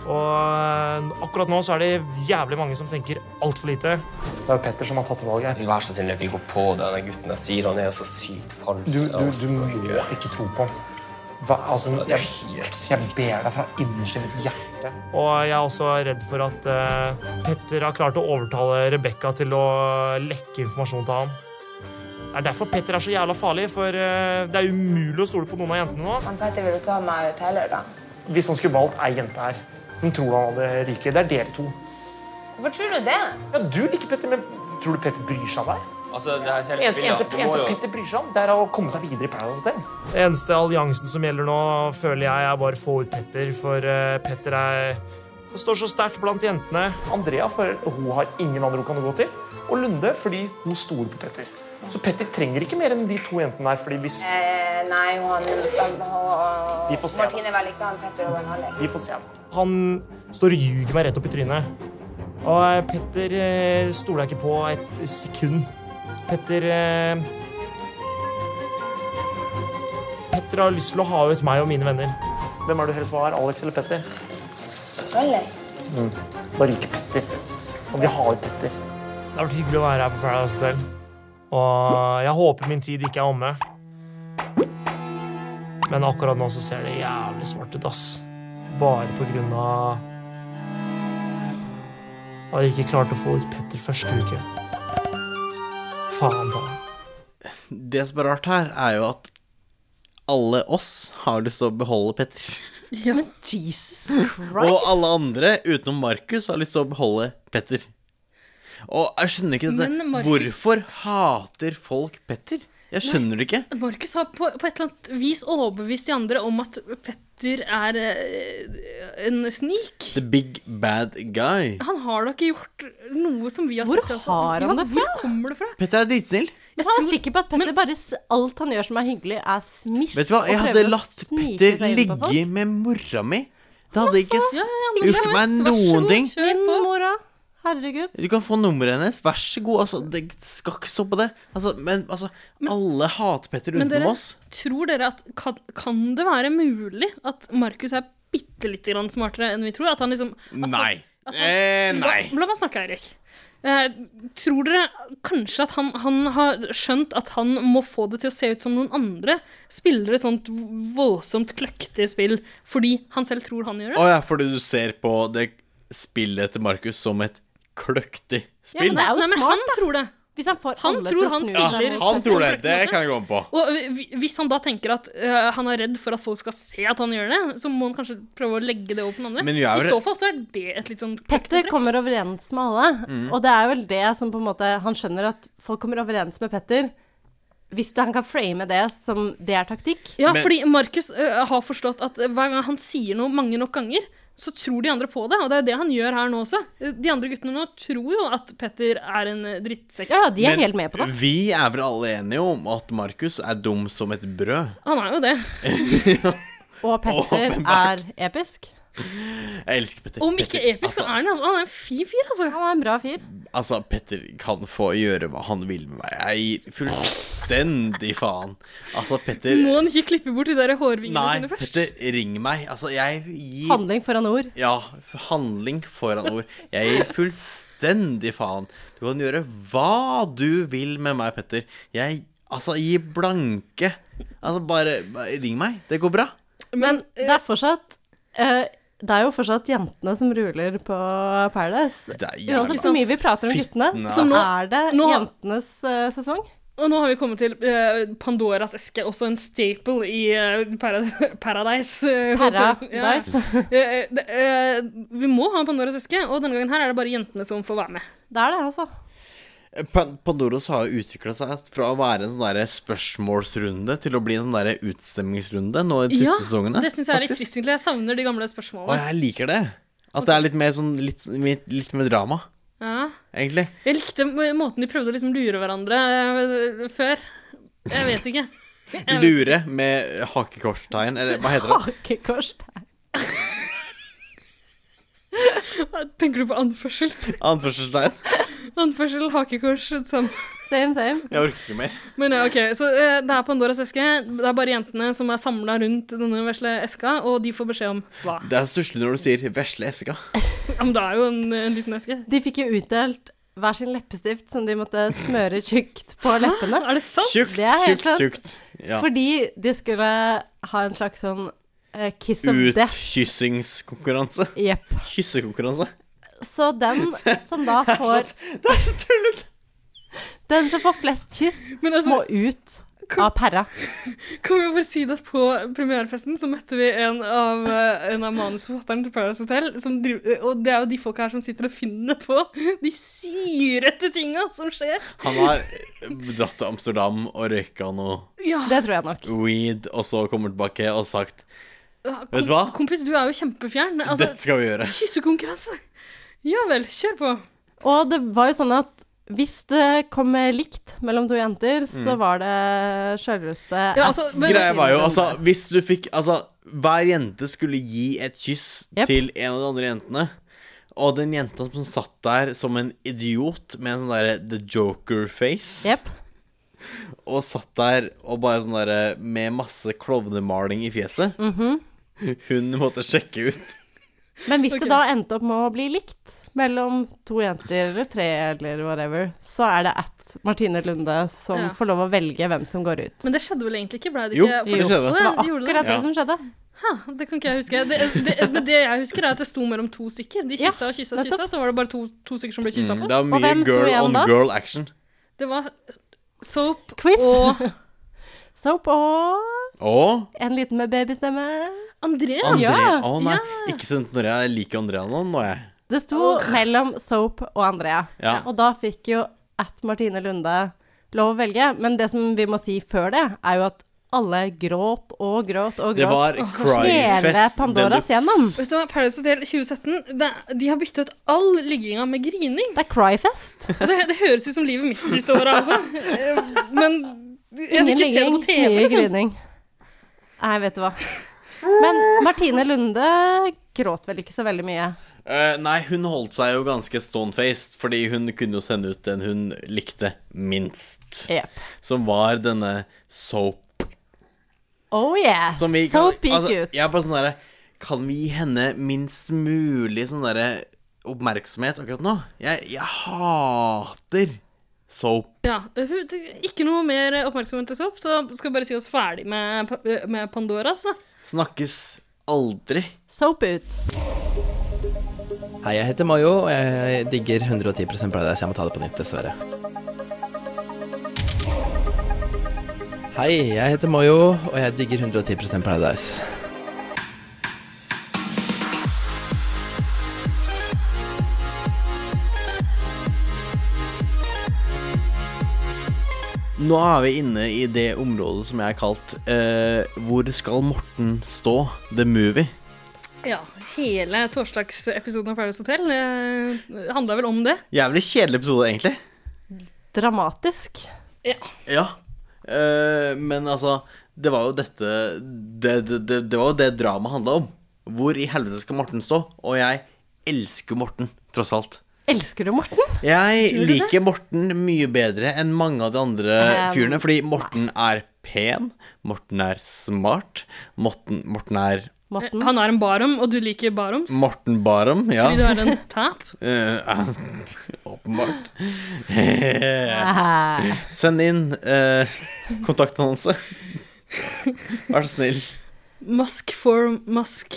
[SPEAKER 9] Og eh, akkurat nå så er det jævlig mange som tenker altfor lite.
[SPEAKER 8] Det er Petter som har tatt valget her.
[SPEAKER 10] Vær så snill, ikke gå på det. Den gutten jeg sier han er så sykt falsk.
[SPEAKER 8] Du, du, du må ikke tro på ham. Hva, altså, jeg, jeg ber deg fra innerst i mitt hjerte.
[SPEAKER 9] Og jeg er også redd for at eh, Petter har klart å overtale Rebekka til å lekke informasjon til han. Det er derfor Petter er så jævla farlig, for eh, det er umulig å stole på noen av jentene nå.
[SPEAKER 11] Men Petter vil du ikke ha meg ut heller, da?
[SPEAKER 9] Hvis han skulle valgt ei jente her, hun tror han hadde ryket. Det er dere to.
[SPEAKER 11] Hvorfor tror du det?
[SPEAKER 9] Ja, du liker Petter, men tror du Petter bryr seg om deg?
[SPEAKER 10] Altså, det her hele
[SPEAKER 9] Eneste,
[SPEAKER 10] spillet,
[SPEAKER 9] eneste,
[SPEAKER 10] du må
[SPEAKER 9] eneste
[SPEAKER 10] jo-
[SPEAKER 9] Petter bryr seg om, det er å komme seg videre i Paradise Hotel. Eneste alliansen som gjelder nå, føler jeg er bare få ut Petter, for eh, Petter er han står så sterkt blant jentene. Andrea for hun har ingen andre hun kan gå til. Og Lunde fordi hun stoler på Petter. Så Petter trenger ikke mer enn de to jentene her. fordi hvis
[SPEAKER 11] Eh, nei, hun han, han, han,
[SPEAKER 9] De får se, da.
[SPEAKER 11] Martine vil ikke ha en Petter og en Alex.
[SPEAKER 9] De får se. Han står og ljuger meg rett opp i trynet. Og eh, Petter eh, stoler jeg ikke på et sekund. Petter eh, Petter har lyst til å ha ut meg og mine venner. Hvem er du helst var, Alex eller Petter?
[SPEAKER 11] Alex.
[SPEAKER 9] Da ryker Petter. Og vi har Petter. Det har vært hyggelig å være her på Paradise Hotel. Og jeg håper min tid ikke er omme. Men akkurat nå så ser det jævlig svart ut, ass. Bare på grunn av at jeg ikke klarte å få ut Petter første uke. Faen ta.
[SPEAKER 1] Det som er rart her, er jo at alle oss har lyst til å beholde Petter.
[SPEAKER 4] Ja.
[SPEAKER 3] Jesus
[SPEAKER 1] Og
[SPEAKER 3] Christ.
[SPEAKER 1] alle andre, utenom Markus, har lyst til å beholde Petter. Og jeg skjønner ikke dette.
[SPEAKER 4] Men Markus-
[SPEAKER 1] Hvorfor hater folk Petter? Jeg skjønner det ikke.
[SPEAKER 4] Markus har på, på et eller annet vis overbevist de andre om at Petter er eh, en snik.
[SPEAKER 1] The big bad guy.
[SPEAKER 4] Han har da ikke gjort noe som vi har
[SPEAKER 3] Hvor
[SPEAKER 4] sett. altså.
[SPEAKER 3] har han
[SPEAKER 4] Ja,
[SPEAKER 3] det fra?
[SPEAKER 4] Hvor kommer det fra?
[SPEAKER 1] Petter er dritsnill.
[SPEAKER 3] Men
[SPEAKER 4] Jeg
[SPEAKER 3] han er
[SPEAKER 4] tror-
[SPEAKER 3] sikker på at Petter bare s- alt han gjør som er hyggelig, er smisk.
[SPEAKER 1] Vet du hva,
[SPEAKER 3] og
[SPEAKER 1] jeg
[SPEAKER 3] prøver
[SPEAKER 1] hadde
[SPEAKER 3] å
[SPEAKER 1] latt
[SPEAKER 3] snike
[SPEAKER 1] Petter
[SPEAKER 3] seg inn på folk.
[SPEAKER 1] ligge med mora mi. Det hadde ikke s-
[SPEAKER 4] Ja, ja, men
[SPEAKER 1] gjort meg
[SPEAKER 4] Lars, vær så
[SPEAKER 1] noen
[SPEAKER 4] god,
[SPEAKER 1] ting.
[SPEAKER 4] kjør
[SPEAKER 3] Min
[SPEAKER 4] på.
[SPEAKER 3] mora. Herregud.
[SPEAKER 1] Du kan få nummeret hennes, vær så god. Altså, det skal ikke stå på det. Altså, men altså, alle hater Petter
[SPEAKER 4] Men
[SPEAKER 1] utenom
[SPEAKER 4] dere,
[SPEAKER 1] oss.
[SPEAKER 4] tror dere at kan, kan det være mulig at Markus er bitte lite grann smartere enn vi tror? At han liksom at
[SPEAKER 1] Nei.
[SPEAKER 4] Han, at han,
[SPEAKER 1] Eh, nei.
[SPEAKER 4] La, la meg snakke, Eirik. Eh, tror dere kanskje at han, han har skjønt at han må få det til å se ut som noen andre? Spiller et sånt voldsomt kløktig spill fordi han selv tror han gjør
[SPEAKER 1] Å
[SPEAKER 4] det?
[SPEAKER 1] ja, fordi du ser på det spillet til Markus som et kløktig
[SPEAKER 3] men
[SPEAKER 1] spill.
[SPEAKER 3] det er jo
[SPEAKER 4] Nei, men
[SPEAKER 3] smart,
[SPEAKER 4] han tror det.
[SPEAKER 3] Hvis han får
[SPEAKER 4] Han
[SPEAKER 3] alle
[SPEAKER 4] tror
[SPEAKER 3] til å
[SPEAKER 4] han
[SPEAKER 3] snu
[SPEAKER 4] spiller-
[SPEAKER 3] seg mot
[SPEAKER 4] han
[SPEAKER 3] Petter.
[SPEAKER 4] tror det. Det kan
[SPEAKER 1] jeg gå med på.
[SPEAKER 4] Og hvi- hvis han da tenker at eh, han er redd for at folk skal se at han gjør det, så må han kanskje prøve å legge det opp på den andre.
[SPEAKER 1] Men vi er
[SPEAKER 4] I
[SPEAKER 1] jo-
[SPEAKER 4] så fall så er det et litt sånn
[SPEAKER 3] Petter
[SPEAKER 4] kløktig trekk.
[SPEAKER 3] kommer overens med alle,
[SPEAKER 1] Mm.
[SPEAKER 3] og det er vel det som på en måte Han skjønner at folk kommer overens med Petter hvis det, han kan frame det som det er taktikk.
[SPEAKER 4] Ja,
[SPEAKER 1] Men-
[SPEAKER 4] fordi Markus ø, har forstått at ø, hver gang han sier noe mange nok ganger, så tror de andre på det, og det er jo det han gjør her nå også. De andre guttene nå tror jo at Petter er en ø, drittsekk.
[SPEAKER 3] Ja, ja, de er
[SPEAKER 1] Men
[SPEAKER 3] helt med på det.
[SPEAKER 1] Vi er vel alle enige om at Markus er dum som et brød.
[SPEAKER 4] Han er jo det.
[SPEAKER 3] Og Petter
[SPEAKER 1] Åpenbart.
[SPEAKER 3] er episk.
[SPEAKER 1] Jeg elsker Petter.
[SPEAKER 4] Om ikke
[SPEAKER 1] Petter,
[SPEAKER 4] episk,
[SPEAKER 1] altså,
[SPEAKER 4] så er han han er en fin fyr, altså.
[SPEAKER 3] Han er en bra fyr.
[SPEAKER 1] altså, Petter kan få gjøre hva han vil med meg. Jeg gir fullstendig faen. Altså, Petter
[SPEAKER 4] Må han ikke klippe bort de der hårvingene
[SPEAKER 1] Nei,
[SPEAKER 4] sine først?
[SPEAKER 1] Petter, ring meg. Altså, jeg gir
[SPEAKER 3] Handling foran ord.
[SPEAKER 1] Ja, handling foran ord. Jeg gir fullstendig faen. Du kan gjøre hva du vil med meg, Petter. Jeg Altså, gi blanke. Altså, bare, bare ring meg. Det går bra.
[SPEAKER 3] Men det er fortsatt eh, Det er jo fortsatt jentene som ruler på Paradise.
[SPEAKER 1] Det er jævlig
[SPEAKER 3] Uansett hvor mye vi prater om guttene,
[SPEAKER 1] Fittene,
[SPEAKER 3] så
[SPEAKER 1] altså.
[SPEAKER 3] nå er det
[SPEAKER 4] Nå- nå-
[SPEAKER 3] jentenes eh, sesong.
[SPEAKER 4] Og nå har vi kommet til ø, Pandoras eske, også en staple i ø, para Paradise. ø, Hotel. Ja.
[SPEAKER 3] Paradise.
[SPEAKER 4] Eh, det, eh, vi må ha en Pandoras eske, og denne gangen her er det bare jentene som får være med.
[SPEAKER 3] Det er det, altså.
[SPEAKER 1] Pan- Pandoros har jo utvikla seg fra å være en sånn derre spørsmålsrunde til å bli en sånn derre utstemmingsrunde nå i de siste sesongene.
[SPEAKER 4] Det syns jeg er litt
[SPEAKER 1] faktisk.
[SPEAKER 4] trist, egentlig. Jeg savner de gamle
[SPEAKER 1] Og
[SPEAKER 4] spørsmålene.
[SPEAKER 1] jeg liker det. At det er litt mer sånn litt, litt, litt mer drama,
[SPEAKER 4] Ja.
[SPEAKER 1] egentlig.
[SPEAKER 4] Jeg likte må- måten de prøvde å liksom lure hverandre eh, før. Jeg vet ikke.
[SPEAKER 1] Lure med hakekorstegn, eller hva heter det?
[SPEAKER 3] Hakekorstegn.
[SPEAKER 4] Tenker du på anførselstegn?
[SPEAKER 1] Anførselstegn.
[SPEAKER 4] Anførsel, hakekors, sammen.
[SPEAKER 3] Same, same.
[SPEAKER 1] Jeg orker ikke mer.
[SPEAKER 4] Men ja, ok, så eh, Det er Pandoras eske. Det er bare jentene som er samla rundt denne vesle eska, og de får beskjed om hva.
[SPEAKER 1] Det er stusslig når du sier 'vesle eska'.
[SPEAKER 4] Ja, men det er jo en, en liten eske.
[SPEAKER 3] De fikk jo utdelt hver sin leppestift som de måtte smøre tjukt på leppene.
[SPEAKER 4] Er det sant?
[SPEAKER 1] Tjukt,
[SPEAKER 3] Det er helt
[SPEAKER 1] tjukt,
[SPEAKER 3] sant.
[SPEAKER 1] tjukt. Ja.
[SPEAKER 3] Fordi de skulle ha en slags sånn eh, kiss of death.
[SPEAKER 1] Utkyssingskonkurranse.
[SPEAKER 3] Jepp.
[SPEAKER 1] Kyssekonkurranse.
[SPEAKER 3] Så den som da får
[SPEAKER 1] Det er så tullete!
[SPEAKER 3] Den som får flest kyss, må ut av perra.
[SPEAKER 4] altså, Kan vi bare si det at På premierefesten så møtte vi en av, eh, en av manusforfatterne til Paradise Hotel. Som driver, og det er jo de folka her som sitter og finner på de syrete tinga som skjer.
[SPEAKER 1] Han har dratt til Amsterdam og røyka noe
[SPEAKER 4] Ja.
[SPEAKER 3] Det tror jeg nok.
[SPEAKER 1] weed, og så kommer tilbake og sagt
[SPEAKER 4] Kom,
[SPEAKER 1] Vet du hva?
[SPEAKER 4] Kompis, du er jo kjempefjern. Altså,
[SPEAKER 1] Dette skal vi gjøre.
[SPEAKER 4] Kyssekonkurranse! Ja vel, kjør på.
[SPEAKER 3] Og det var jo sånn at hvis det kom likt mellom to jenter, så
[SPEAKER 1] Mm.
[SPEAKER 3] var det sjølveste
[SPEAKER 4] Ja, altså, men-
[SPEAKER 1] Greia var jo, altså, hvis du fikk Altså, hver jente skulle gi et kyss
[SPEAKER 3] Jep.
[SPEAKER 1] til en av de andre jentene. Og den jenta som satt der som en idiot med en sånn derre The Joker-face.
[SPEAKER 3] Jep.
[SPEAKER 1] Og satt der og bare sånn derre med masse klovnemaling i fjeset.
[SPEAKER 3] Mhm.
[SPEAKER 1] Hun måtte sjekke ut.
[SPEAKER 3] Men hvis
[SPEAKER 4] Ok.
[SPEAKER 3] det da endte opp med å bli likt mellom to jenter eller tre eller whatever, så er det at Martine Lunde som
[SPEAKER 4] Ja.
[SPEAKER 3] får lov å velge hvem som går ut.
[SPEAKER 4] Men det skjedde vel egentlig ikke? Ble det
[SPEAKER 1] Jo,
[SPEAKER 4] ikke?
[SPEAKER 1] det skjedde.
[SPEAKER 4] Å, ja,
[SPEAKER 3] Det var
[SPEAKER 4] gjorde
[SPEAKER 3] akkurat det
[SPEAKER 1] Ja.
[SPEAKER 3] som skjedde.
[SPEAKER 4] Ha, det kan ikke jeg huske. Det, det, men det jeg husker, er at det sto mellom to stykker. De
[SPEAKER 3] Ja,
[SPEAKER 4] kyssa og kyssa og
[SPEAKER 3] nettopp.
[SPEAKER 4] kyssa, så var det bare to, to stykker som ble kyssa
[SPEAKER 1] Mm,
[SPEAKER 4] på.
[SPEAKER 1] det var
[SPEAKER 3] Og hvem
[SPEAKER 1] mye
[SPEAKER 3] sto
[SPEAKER 1] girl
[SPEAKER 3] igjen
[SPEAKER 1] on
[SPEAKER 3] da?
[SPEAKER 1] girl action.
[SPEAKER 4] Det var soap
[SPEAKER 3] Quiz.
[SPEAKER 4] og
[SPEAKER 3] Soap og
[SPEAKER 1] Og
[SPEAKER 3] en liten med babystemme.
[SPEAKER 4] Andrea.
[SPEAKER 1] Andrea Å
[SPEAKER 3] Ja.
[SPEAKER 1] nei, ikke sent når jeg liker Andrea nå, nå er jeg.
[SPEAKER 3] Det sto mellom Soap og Andrea.
[SPEAKER 1] Ja.
[SPEAKER 3] Og da fikk jo at Martine Lunde lov å velge. Men det som vi må si før det, er jo at alle gråt og gråt og gråt.
[SPEAKER 1] Det var
[SPEAKER 3] Hele
[SPEAKER 1] Cryfest
[SPEAKER 3] Pandoras
[SPEAKER 1] deluxe.
[SPEAKER 3] gjennom.
[SPEAKER 4] Vet du hva, Paradise Hotel 2017, det, de har byttet ut all ligginga med grining.
[SPEAKER 3] Det er Cryfest.
[SPEAKER 4] Og Det, det høres ut som livet mitt siste året, altså. Eh, Men jeg vil
[SPEAKER 3] Ingen
[SPEAKER 4] ikke se det
[SPEAKER 3] ligging,
[SPEAKER 4] på TV,
[SPEAKER 3] mye
[SPEAKER 4] liksom.
[SPEAKER 3] grining. Nei, vet du hva. Men Martine Lunde gråt vel ikke så veldig mye.
[SPEAKER 1] Eh, nei, hun holdt seg jo ganske stone-faced, fordi hun kunne jo sende ut den hun likte minst.
[SPEAKER 3] Jep.
[SPEAKER 1] Som var denne soap.
[SPEAKER 3] Oh yeah.
[SPEAKER 1] Som vi kan-
[SPEAKER 3] Soap gikk
[SPEAKER 1] altså,
[SPEAKER 3] ut.
[SPEAKER 1] Jeg er bare sånn derre Kan vi gi henne minst mulig sånn derre oppmerksomhet akkurat nå? Jeg, jeg hater soap.
[SPEAKER 4] Ja, hun, ikke noe mer oppmerksomhet til soap, så skal vi bare si oss ferdig med, Pa- eh, med Pandoras. Da.
[SPEAKER 1] Snakkes aldri.
[SPEAKER 3] Soap ut.
[SPEAKER 12] Hei, jeg heter Mayo, og jeg digger 110 Paradise. Jeg må ta det på nytt, dessverre. Hei, jeg heter Mayo, og jeg digger 110 Paradise.
[SPEAKER 1] Nå er vi inne i det området som jeg har kalt eh, Hvor skal Morten stå? The movie.
[SPEAKER 4] Ja, hele torsdagsepisoden av Paradise Hotel eh, handla vel om det.
[SPEAKER 1] Jævlig kjedelig episode, egentlig.
[SPEAKER 3] Dramatisk.
[SPEAKER 1] Ja. Eh, men altså, det var jo dette Det, det, det, det var jo det dramaet handla om. Hvor i helvete skal Morten stå? Og jeg elsker Morten, tross alt.
[SPEAKER 3] Elsker du Morten?
[SPEAKER 4] Eh,
[SPEAKER 1] Jeg
[SPEAKER 3] Gjør du det?
[SPEAKER 1] liker Morten mye bedre enn mange av de andre
[SPEAKER 3] Eh,
[SPEAKER 1] fyrene, fordi Morten er pen, Morten er smart, Morten, Morten er
[SPEAKER 3] Mm.
[SPEAKER 4] Eh, Han er en barom, og du liker baroms.
[SPEAKER 1] Morten Barum, ja.
[SPEAKER 4] Fordi du er en tap.
[SPEAKER 1] Eh, åpenbart. Send inn eh, kontaktannonse. Vær så snill.
[SPEAKER 4] Musk for musk.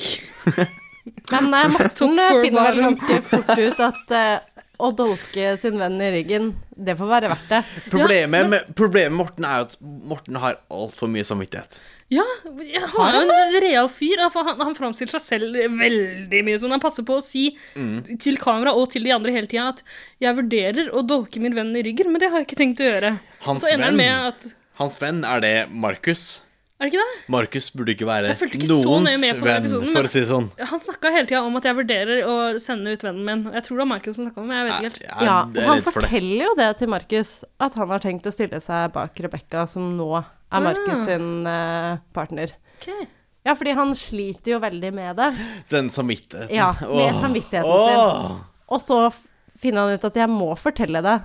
[SPEAKER 3] Men eh, Morten
[SPEAKER 4] Top four
[SPEAKER 3] finner vel
[SPEAKER 4] bottom.
[SPEAKER 3] ganske fort ut at eh, å dolke sin venn i ryggen, det får være verdt det.
[SPEAKER 1] Problemet, med, problemet med Morten er jo at Morten har altfor mye samvittighet.
[SPEAKER 4] Ja, jeg har jo en real fyr. da, for Han, han framstiller seg selv veldig mye som han passer på å si
[SPEAKER 1] Mm.
[SPEAKER 4] til kamera og til de andre hele tida at 'jeg vurderer å dolke min venn i ryggen', men det har jeg ikke tenkt å gjøre.
[SPEAKER 1] Hans
[SPEAKER 4] og så ender han
[SPEAKER 1] venn.
[SPEAKER 4] med at
[SPEAKER 1] Hans venn, er det Markus?
[SPEAKER 4] Er det ikke det?
[SPEAKER 1] Markus burde ikke være
[SPEAKER 4] Jeg fulgte ikke så
[SPEAKER 1] noens
[SPEAKER 4] nøye med på den
[SPEAKER 1] venn,
[SPEAKER 4] episoden,
[SPEAKER 1] for
[SPEAKER 4] men-
[SPEAKER 1] å si det sånn.
[SPEAKER 4] Han snakka hele tida om at jeg vurderer å sende ut vennen min. Jeg tror det var Michael som snakka om det. Jeg vet ikke helt.
[SPEAKER 1] Jeg
[SPEAKER 3] Ja,
[SPEAKER 1] er
[SPEAKER 3] og han
[SPEAKER 1] redd for det.
[SPEAKER 3] forteller jo det til Markus, at han har tenkt å stille seg bak Rebekka, som nå av Markus sin eh, partner. Ja, fordi han sliter jo veldig med det.
[SPEAKER 1] Den samvittigheten.
[SPEAKER 3] Ja, med
[SPEAKER 1] Åh.
[SPEAKER 3] samvittigheten
[SPEAKER 1] Åh.
[SPEAKER 3] sin. Og så f- finner han ut at jeg må fortelle det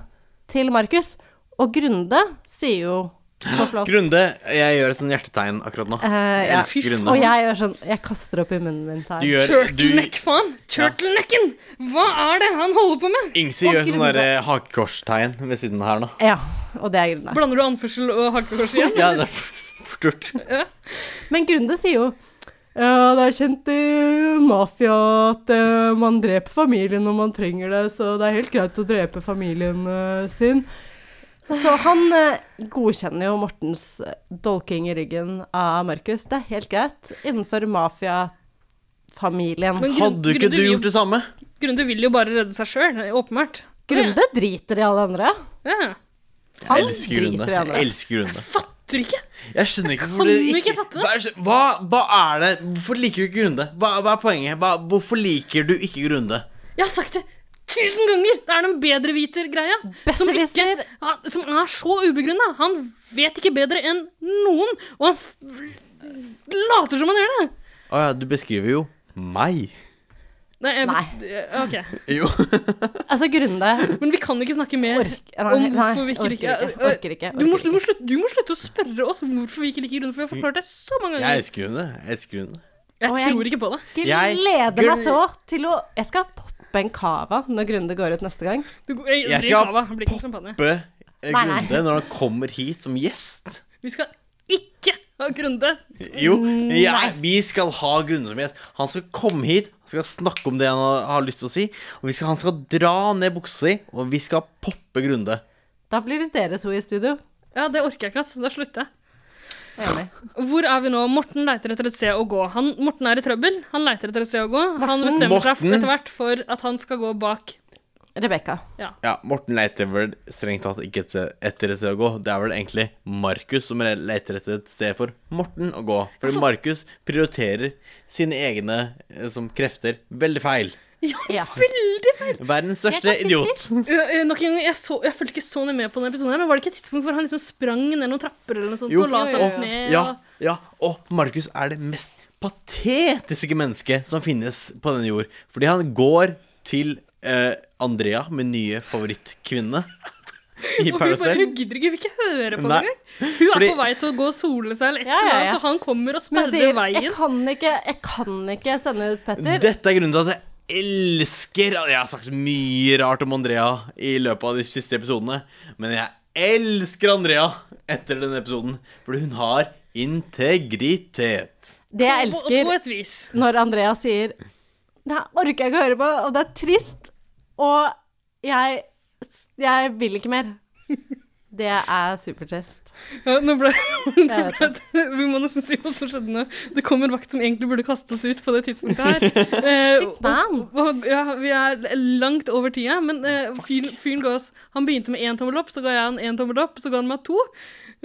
[SPEAKER 3] til Markus. Og Grunde sier jo så flott
[SPEAKER 1] Grunde, jeg gjør et sånn hjertetegn akkurat nå.
[SPEAKER 3] eh,
[SPEAKER 1] jeg
[SPEAKER 3] ja.
[SPEAKER 1] elsker Grunde.
[SPEAKER 3] Og jeg gjør sånn Jeg kaster opp i munnen min her.
[SPEAKER 1] Du gjør- du-
[SPEAKER 4] Turtleneck, faen! Turtlenecken! Hva er det han holder på med?
[SPEAKER 1] Ingsi
[SPEAKER 4] Og
[SPEAKER 1] gjør sånn
[SPEAKER 4] Grunde.
[SPEAKER 1] derre hakekorstegn ved siden her nå.
[SPEAKER 3] Ja, og det er Grunde.
[SPEAKER 4] Blander du anførsel og hakekors igjen?
[SPEAKER 1] Ja, det er stort.
[SPEAKER 3] Men Grunde sier jo ja, det er kjent i mafia at eh, man dreper familien når man trenger det, så det er helt greit å drepe familien eh, sin. Så han eh, godkjenner jo Mortens eh, dolking i ryggen av Markus. Det er helt greit innenfor mafiafamilien.
[SPEAKER 4] Men Grun- Hadde ikke Grunde du vil jo- gjort det
[SPEAKER 1] samme?
[SPEAKER 4] Grunde vil jo bare redde seg sjøl, åpenbart.
[SPEAKER 3] Grunde driter i alle andre.
[SPEAKER 4] Ja.
[SPEAKER 1] Jeg elsker Grunde. Jeg elsker Grunde.
[SPEAKER 4] Fatter ikke!
[SPEAKER 1] Jeg skjønner ikke
[SPEAKER 4] Kan
[SPEAKER 1] hvorfor dere
[SPEAKER 4] du
[SPEAKER 1] ikke
[SPEAKER 4] ikke fatte
[SPEAKER 1] hva, er- hva, hva er det Hvorfor liker du ikke Grunde? Hva, hva er poenget? Hva, hvorfor liker du ikke Grunde?
[SPEAKER 4] Jeg har sagt det tusen ganger! Det er den bedreviter-greia. Som, ikke- ja, som er så ubegrunna. Han vet ikke bedre enn noen, og han f later som han gjør det.
[SPEAKER 1] Å ja, du beskriver jo meg.
[SPEAKER 4] Nei. Jeg
[SPEAKER 3] Nei.
[SPEAKER 4] bes- eh, ok.
[SPEAKER 1] Jo.
[SPEAKER 3] Altså, Grunde
[SPEAKER 4] Men vi kan ikke snakke mer
[SPEAKER 3] nei,
[SPEAKER 4] om
[SPEAKER 3] nei,
[SPEAKER 4] hvorfor vi ikke
[SPEAKER 3] orker
[SPEAKER 4] liker
[SPEAKER 3] ikke,
[SPEAKER 4] eh, eh,
[SPEAKER 3] orker ikke,
[SPEAKER 4] Du, må,
[SPEAKER 3] orker
[SPEAKER 4] du, må slutte, du må slutte å spørre oss om hvorfor vi ikke liker Grunde, for vi har forklart det så mange
[SPEAKER 1] Jeg
[SPEAKER 4] ganger.
[SPEAKER 1] elsker Grunde. Jeg elsker Grunde.
[SPEAKER 4] Jeg
[SPEAKER 3] Og jeg
[SPEAKER 4] tror ikke på det.
[SPEAKER 1] Jeg-
[SPEAKER 3] gleder
[SPEAKER 1] Grunde-
[SPEAKER 3] meg så til å Jeg skal poppe en cava når Grunde går ut neste gang.
[SPEAKER 4] Du, jeg,
[SPEAKER 1] Jeg
[SPEAKER 4] drikker
[SPEAKER 1] skal
[SPEAKER 4] kava, det blir ikke champagne.
[SPEAKER 1] Bø eh,
[SPEAKER 4] Nei, nei.
[SPEAKER 1] Grunde når han kommer hit som gjest.
[SPEAKER 4] Vi skal ikke ha Grunde.
[SPEAKER 1] Jo, jeg,
[SPEAKER 4] Nei.
[SPEAKER 1] vi skal ha Grunde som gjest. Han skal komme hit, han skal snakke om det han har- har lyst til å si. Og vi skal, han skal dra ned buksa si, og vi skal poppe Grunde.
[SPEAKER 3] Da blir det dere to i studio.
[SPEAKER 4] Ja, det orker jeg ikke, ass. Da slutter jeg. Hvor er vi nå? Morten leiter etter et sted å gå. Han, Morten er i trøbbel. Han leiter etter et sted å gå. Han bestemmer seg
[SPEAKER 1] Morten.
[SPEAKER 4] etter hvert for at han skal gå bak
[SPEAKER 3] Rebekka.
[SPEAKER 4] Ja.
[SPEAKER 1] Ja, Morten leter vel strengt tatt ikke et sted- etter et sted å gå. Det er vel egentlig Markus som leter etter et sted for Morten å gå. For Markus prioriterer sine egne eh, som krefter veldig feil.
[SPEAKER 4] Ja, veldig feil!
[SPEAKER 1] Verdens største idiot.
[SPEAKER 4] Ø, ø, nok en gang, jeg, så, jeg følte ikke så nøye med på den episoden, her, men var det ikke et tidspunkt hvor han liksom sprang ned noen trapper eller noe sånt
[SPEAKER 1] Jo.
[SPEAKER 4] og la seg opp ned?
[SPEAKER 1] Ja,
[SPEAKER 4] og-
[SPEAKER 1] ja. Og Markus er det mest patetiske mennesket som finnes på denne jord. Fordi han går til eh, Andrea, min nye favorittkvinne i
[SPEAKER 4] Og hun
[SPEAKER 1] Paradise
[SPEAKER 4] bare hun
[SPEAKER 1] Hotel.
[SPEAKER 4] gidder ikke, vil ikke høre på det
[SPEAKER 1] Nei.
[SPEAKER 4] engang. Hun er
[SPEAKER 1] Fordi-
[SPEAKER 4] på vei til å gå og sole seg eller et
[SPEAKER 3] Ja, ja,
[SPEAKER 4] eller
[SPEAKER 3] ja.
[SPEAKER 4] annet, og han kommer og
[SPEAKER 3] Men
[SPEAKER 4] sperrer
[SPEAKER 3] hun sier,
[SPEAKER 4] veien.
[SPEAKER 3] jeg kan, ikke, jeg kan ikke sende ut Petter.
[SPEAKER 1] Dette er grunnen til at jeg elsker Jeg har sagt mye rart om Andrea i løpet av de siste episodene, men jeg elsker Andrea etter denne episoden, fordi hun har integritet.
[SPEAKER 3] det jeg
[SPEAKER 4] På-
[SPEAKER 3] elsker
[SPEAKER 4] På et vis.
[SPEAKER 3] når Andrea sier Det her orker jeg ikke å høre på, og det er trist, og jeg, jeg vil ikke mer. Det er supertrist.
[SPEAKER 4] Ja, nå ble, nå
[SPEAKER 3] Jeg
[SPEAKER 4] ble det, vi må nesten si hva som skjedde nå. Det kom en vakt som egentlig burde kaste oss ut på det tidspunktet her. Eh,
[SPEAKER 3] Shit, man.
[SPEAKER 4] Og, og, ja, vi er langt over tida, men eh, fyren, fyren ga oss Han begynte med én tommel opp, så ga jeg han én tommel opp, så ga han meg to.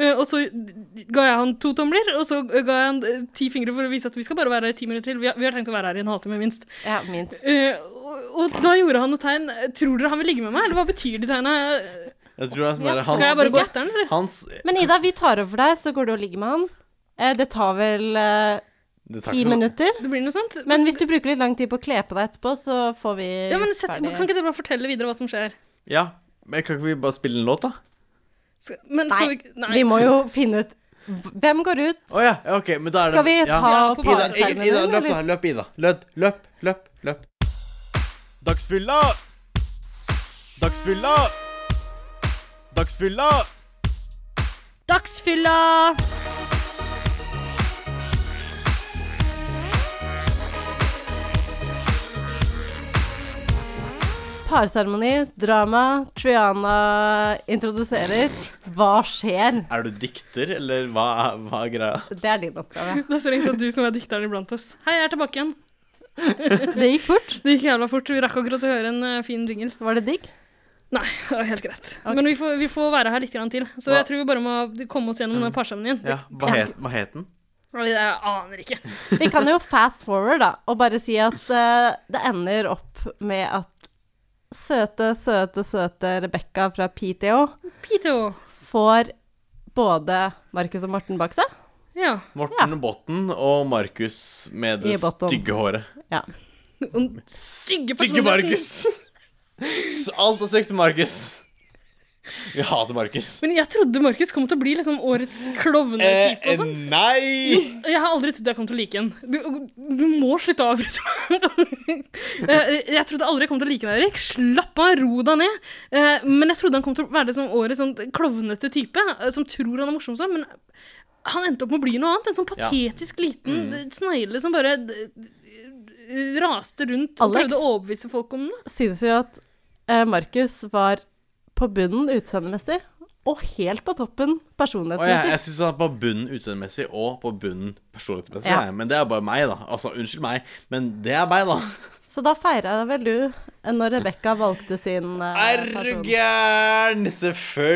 [SPEAKER 4] eh, og så ga jeg han to tomler, og så ga jeg han eh, ti fingre for å vise at vi skal bare være her i ti minutter til. Vi har, vi har tenkt å være her i en halvtime, minst.
[SPEAKER 3] Ja, minst.
[SPEAKER 4] Eh, og, og da gjorde han noe tegn. Tror dere han vil ligge med meg, eller hva betyr de tegna?
[SPEAKER 1] Jeg tror det er sånn der,
[SPEAKER 4] Skal jeg bare gå etter den, eller?
[SPEAKER 1] Hans
[SPEAKER 3] Men Ida, vi tar over for deg, så går du og ligger med han. Eh, Det tar vel eh,
[SPEAKER 1] Det tar
[SPEAKER 3] ti
[SPEAKER 1] ikke så-
[SPEAKER 3] minutter.
[SPEAKER 4] Det blir noe sånt.
[SPEAKER 3] Men hvis du bruker litt lang tid på å kle på deg etterpå, så får vi
[SPEAKER 4] Ja, men sett, kan ikke dere bare fortelle videre hva som skjer?
[SPEAKER 1] Ja, men kan ikke vi bare spille en låt, da?
[SPEAKER 4] Skal, men
[SPEAKER 3] Nei,
[SPEAKER 4] skal vi, nei.
[SPEAKER 3] vi må jo finne ut hvem går ut.
[SPEAKER 1] Å ja, ja, ok, men da er
[SPEAKER 3] Skal vi
[SPEAKER 1] det
[SPEAKER 3] ta
[SPEAKER 1] ja.
[SPEAKER 3] på
[SPEAKER 1] Ida,
[SPEAKER 3] paretermen,
[SPEAKER 1] Ida, Ida, løp, da.
[SPEAKER 3] eller?
[SPEAKER 1] Løp, Ida. Løp, løp, løp. løp. Dagsfylla! Dagsfylla! Dagsfylla!
[SPEAKER 2] Dagsfylla!
[SPEAKER 3] Parseremoni, drama, Triana introduserer. Hva skjer?
[SPEAKER 1] Er du dikter, eller hva, er- hva er greia?
[SPEAKER 3] Det er din oppgave.
[SPEAKER 4] Det er så ringt at du som er dikteren iblant oss. Hei, jeg er tilbake igjen.
[SPEAKER 3] Det gikk fort.
[SPEAKER 4] Det gikk jævla fort. Vi rakk akkurat å høre en eh, fin jingle.
[SPEAKER 3] Var det digg?
[SPEAKER 4] Nei, det var helt greit. Men vi får, vi får være her litt grann til. Så
[SPEAKER 1] Hva- Mm.
[SPEAKER 4] jeg tror vi bare må komme oss gjennom den parseremonien.
[SPEAKER 1] Ja, hva het, hva het den?
[SPEAKER 4] Jeg aner ikke.
[SPEAKER 3] Vi kan jo fast forward, da, og bare si at eh, det ender opp med at søte, søte, søte Rebekka fra PTO
[SPEAKER 4] Pito.
[SPEAKER 3] får både Markus og Morten bak seg.
[SPEAKER 4] Ja.
[SPEAKER 1] Morten Botten og Markus med det
[SPEAKER 3] I bottom.
[SPEAKER 1] stygge håret.
[SPEAKER 3] Ja.
[SPEAKER 4] Stygge
[SPEAKER 1] Stygge Markus! S- Alt er stygt med Markus. Vi hater Markus.
[SPEAKER 4] Men jeg trodde Markus kom til å bli liksom årets
[SPEAKER 1] Eh,
[SPEAKER 4] klovnetype og sånn.
[SPEAKER 1] nei!
[SPEAKER 4] Jeg har aldri trodd jeg kom til å like en. Du, du må slutte å avbryte meg. Eh, jeg trodde aldri jeg kom til å like deg, Erik. Slapp av, ro deg ned. Eh, Men jeg trodde han kom til å være det som årets sånn klovnete type, eh, som tror han er morsom sånn, men han endte opp med å bli noe annet. En sånn
[SPEAKER 3] Ja.
[SPEAKER 4] patetisk liten
[SPEAKER 3] Mm.
[SPEAKER 4] snegle som bare eh, raste rundt og
[SPEAKER 3] Alex?
[SPEAKER 4] prøvde å overbevise folk om det.
[SPEAKER 3] Synes jo at eh, Markus var på bunnen utseendemessig, og helt på toppen
[SPEAKER 1] Og jeg, jeg
[SPEAKER 3] personlighetsmessig.
[SPEAKER 1] syns han er på bunnen utseendemessig og på bunnen personlighetsmessig.
[SPEAKER 3] Ja.
[SPEAKER 1] jeg. Men det er bare meg, da. Altså, unnskyld meg, men det er meg, da.
[SPEAKER 3] Så da feira vel du eh, når Rebekka valgte sin eh,
[SPEAKER 1] Er du
[SPEAKER 3] person.
[SPEAKER 1] gæren?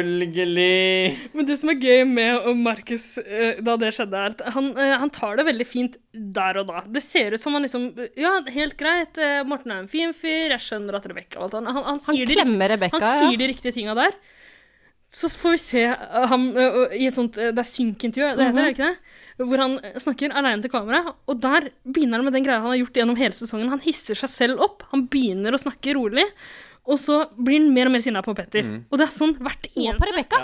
[SPEAKER 1] Selvfølgelig.
[SPEAKER 4] Men det som er gøy med om Markus eh, da det skjedde, er at han, eh, han tar det veldig fint der og da. Det ser ut som han liksom Ja, helt greit. eh, Morten er en fin fyr. Jeg skjønner at Rebekka og alt annet. Han, han, sier de
[SPEAKER 3] klemmer
[SPEAKER 4] rikt-
[SPEAKER 3] Rebekka,
[SPEAKER 4] Han
[SPEAKER 3] ja.
[SPEAKER 4] sier de riktige tinga der. Så får vi se eh, ham eh, i et sånt eh, Det er synkintervju, det heter, er det ikke det? Hvor han eh, snakker aleine til kamera. Og der begynner han med den greia han har gjort gjennom hele sesongen. Han hisser seg selv opp. Han begynner å snakke rolig. Og så blir han mer og mer sinna på Petter.
[SPEAKER 3] Mhm.
[SPEAKER 4] Og det er sånn hvert
[SPEAKER 3] Og på
[SPEAKER 4] eneste
[SPEAKER 3] Rebekka.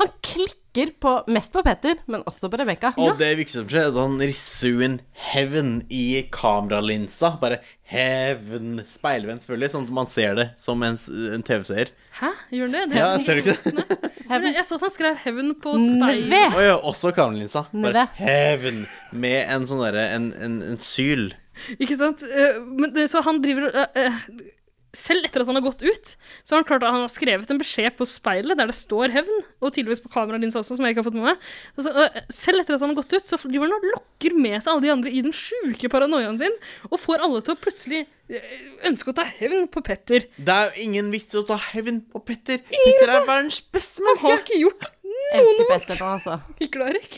[SPEAKER 3] Han klikker på, mest på Petter, men også på Rebekka.
[SPEAKER 1] Og det viktigste som skjer, er at han risser jo inn heaven i kameralinsa. Bare heaven Speilvendt, selvfølgelig, sånn at man ser det som en, s- en TV-seer.
[SPEAKER 4] Hæ, gjør den det? det
[SPEAKER 1] Ja, ser du ikke det?
[SPEAKER 4] Nei. Jeg så at han skrev 'Heaven' på
[SPEAKER 1] Og
[SPEAKER 4] speilet.
[SPEAKER 1] ja, også kameralinsa. Bare
[SPEAKER 4] Nede.
[SPEAKER 1] heaven med en sånn derre en, en, en syl.
[SPEAKER 4] Ikke sant? Eh, Men, det- så han driver og eh, eh, Selv etter at han har gått ut, så har han klart at han har skrevet en beskjed på speilet der det står 'Hevn', og tydeligvis på kameralinsa også, som jeg ikke har fått med meg. Og Så, eh, selv etter at han har gått ut, så driver han og lokker med seg alle de andre i den sjuke paranoiaen sin, og får alle til å plutselig eh, ønske å ta hevn på Petter.
[SPEAKER 1] Det er jo ingen vits å ta hevn på Petter. Petter er verdens beste menneske.
[SPEAKER 4] Han har ikke gjort
[SPEAKER 3] Elsker Petter nå, altså.
[SPEAKER 4] Hikker du, Erik?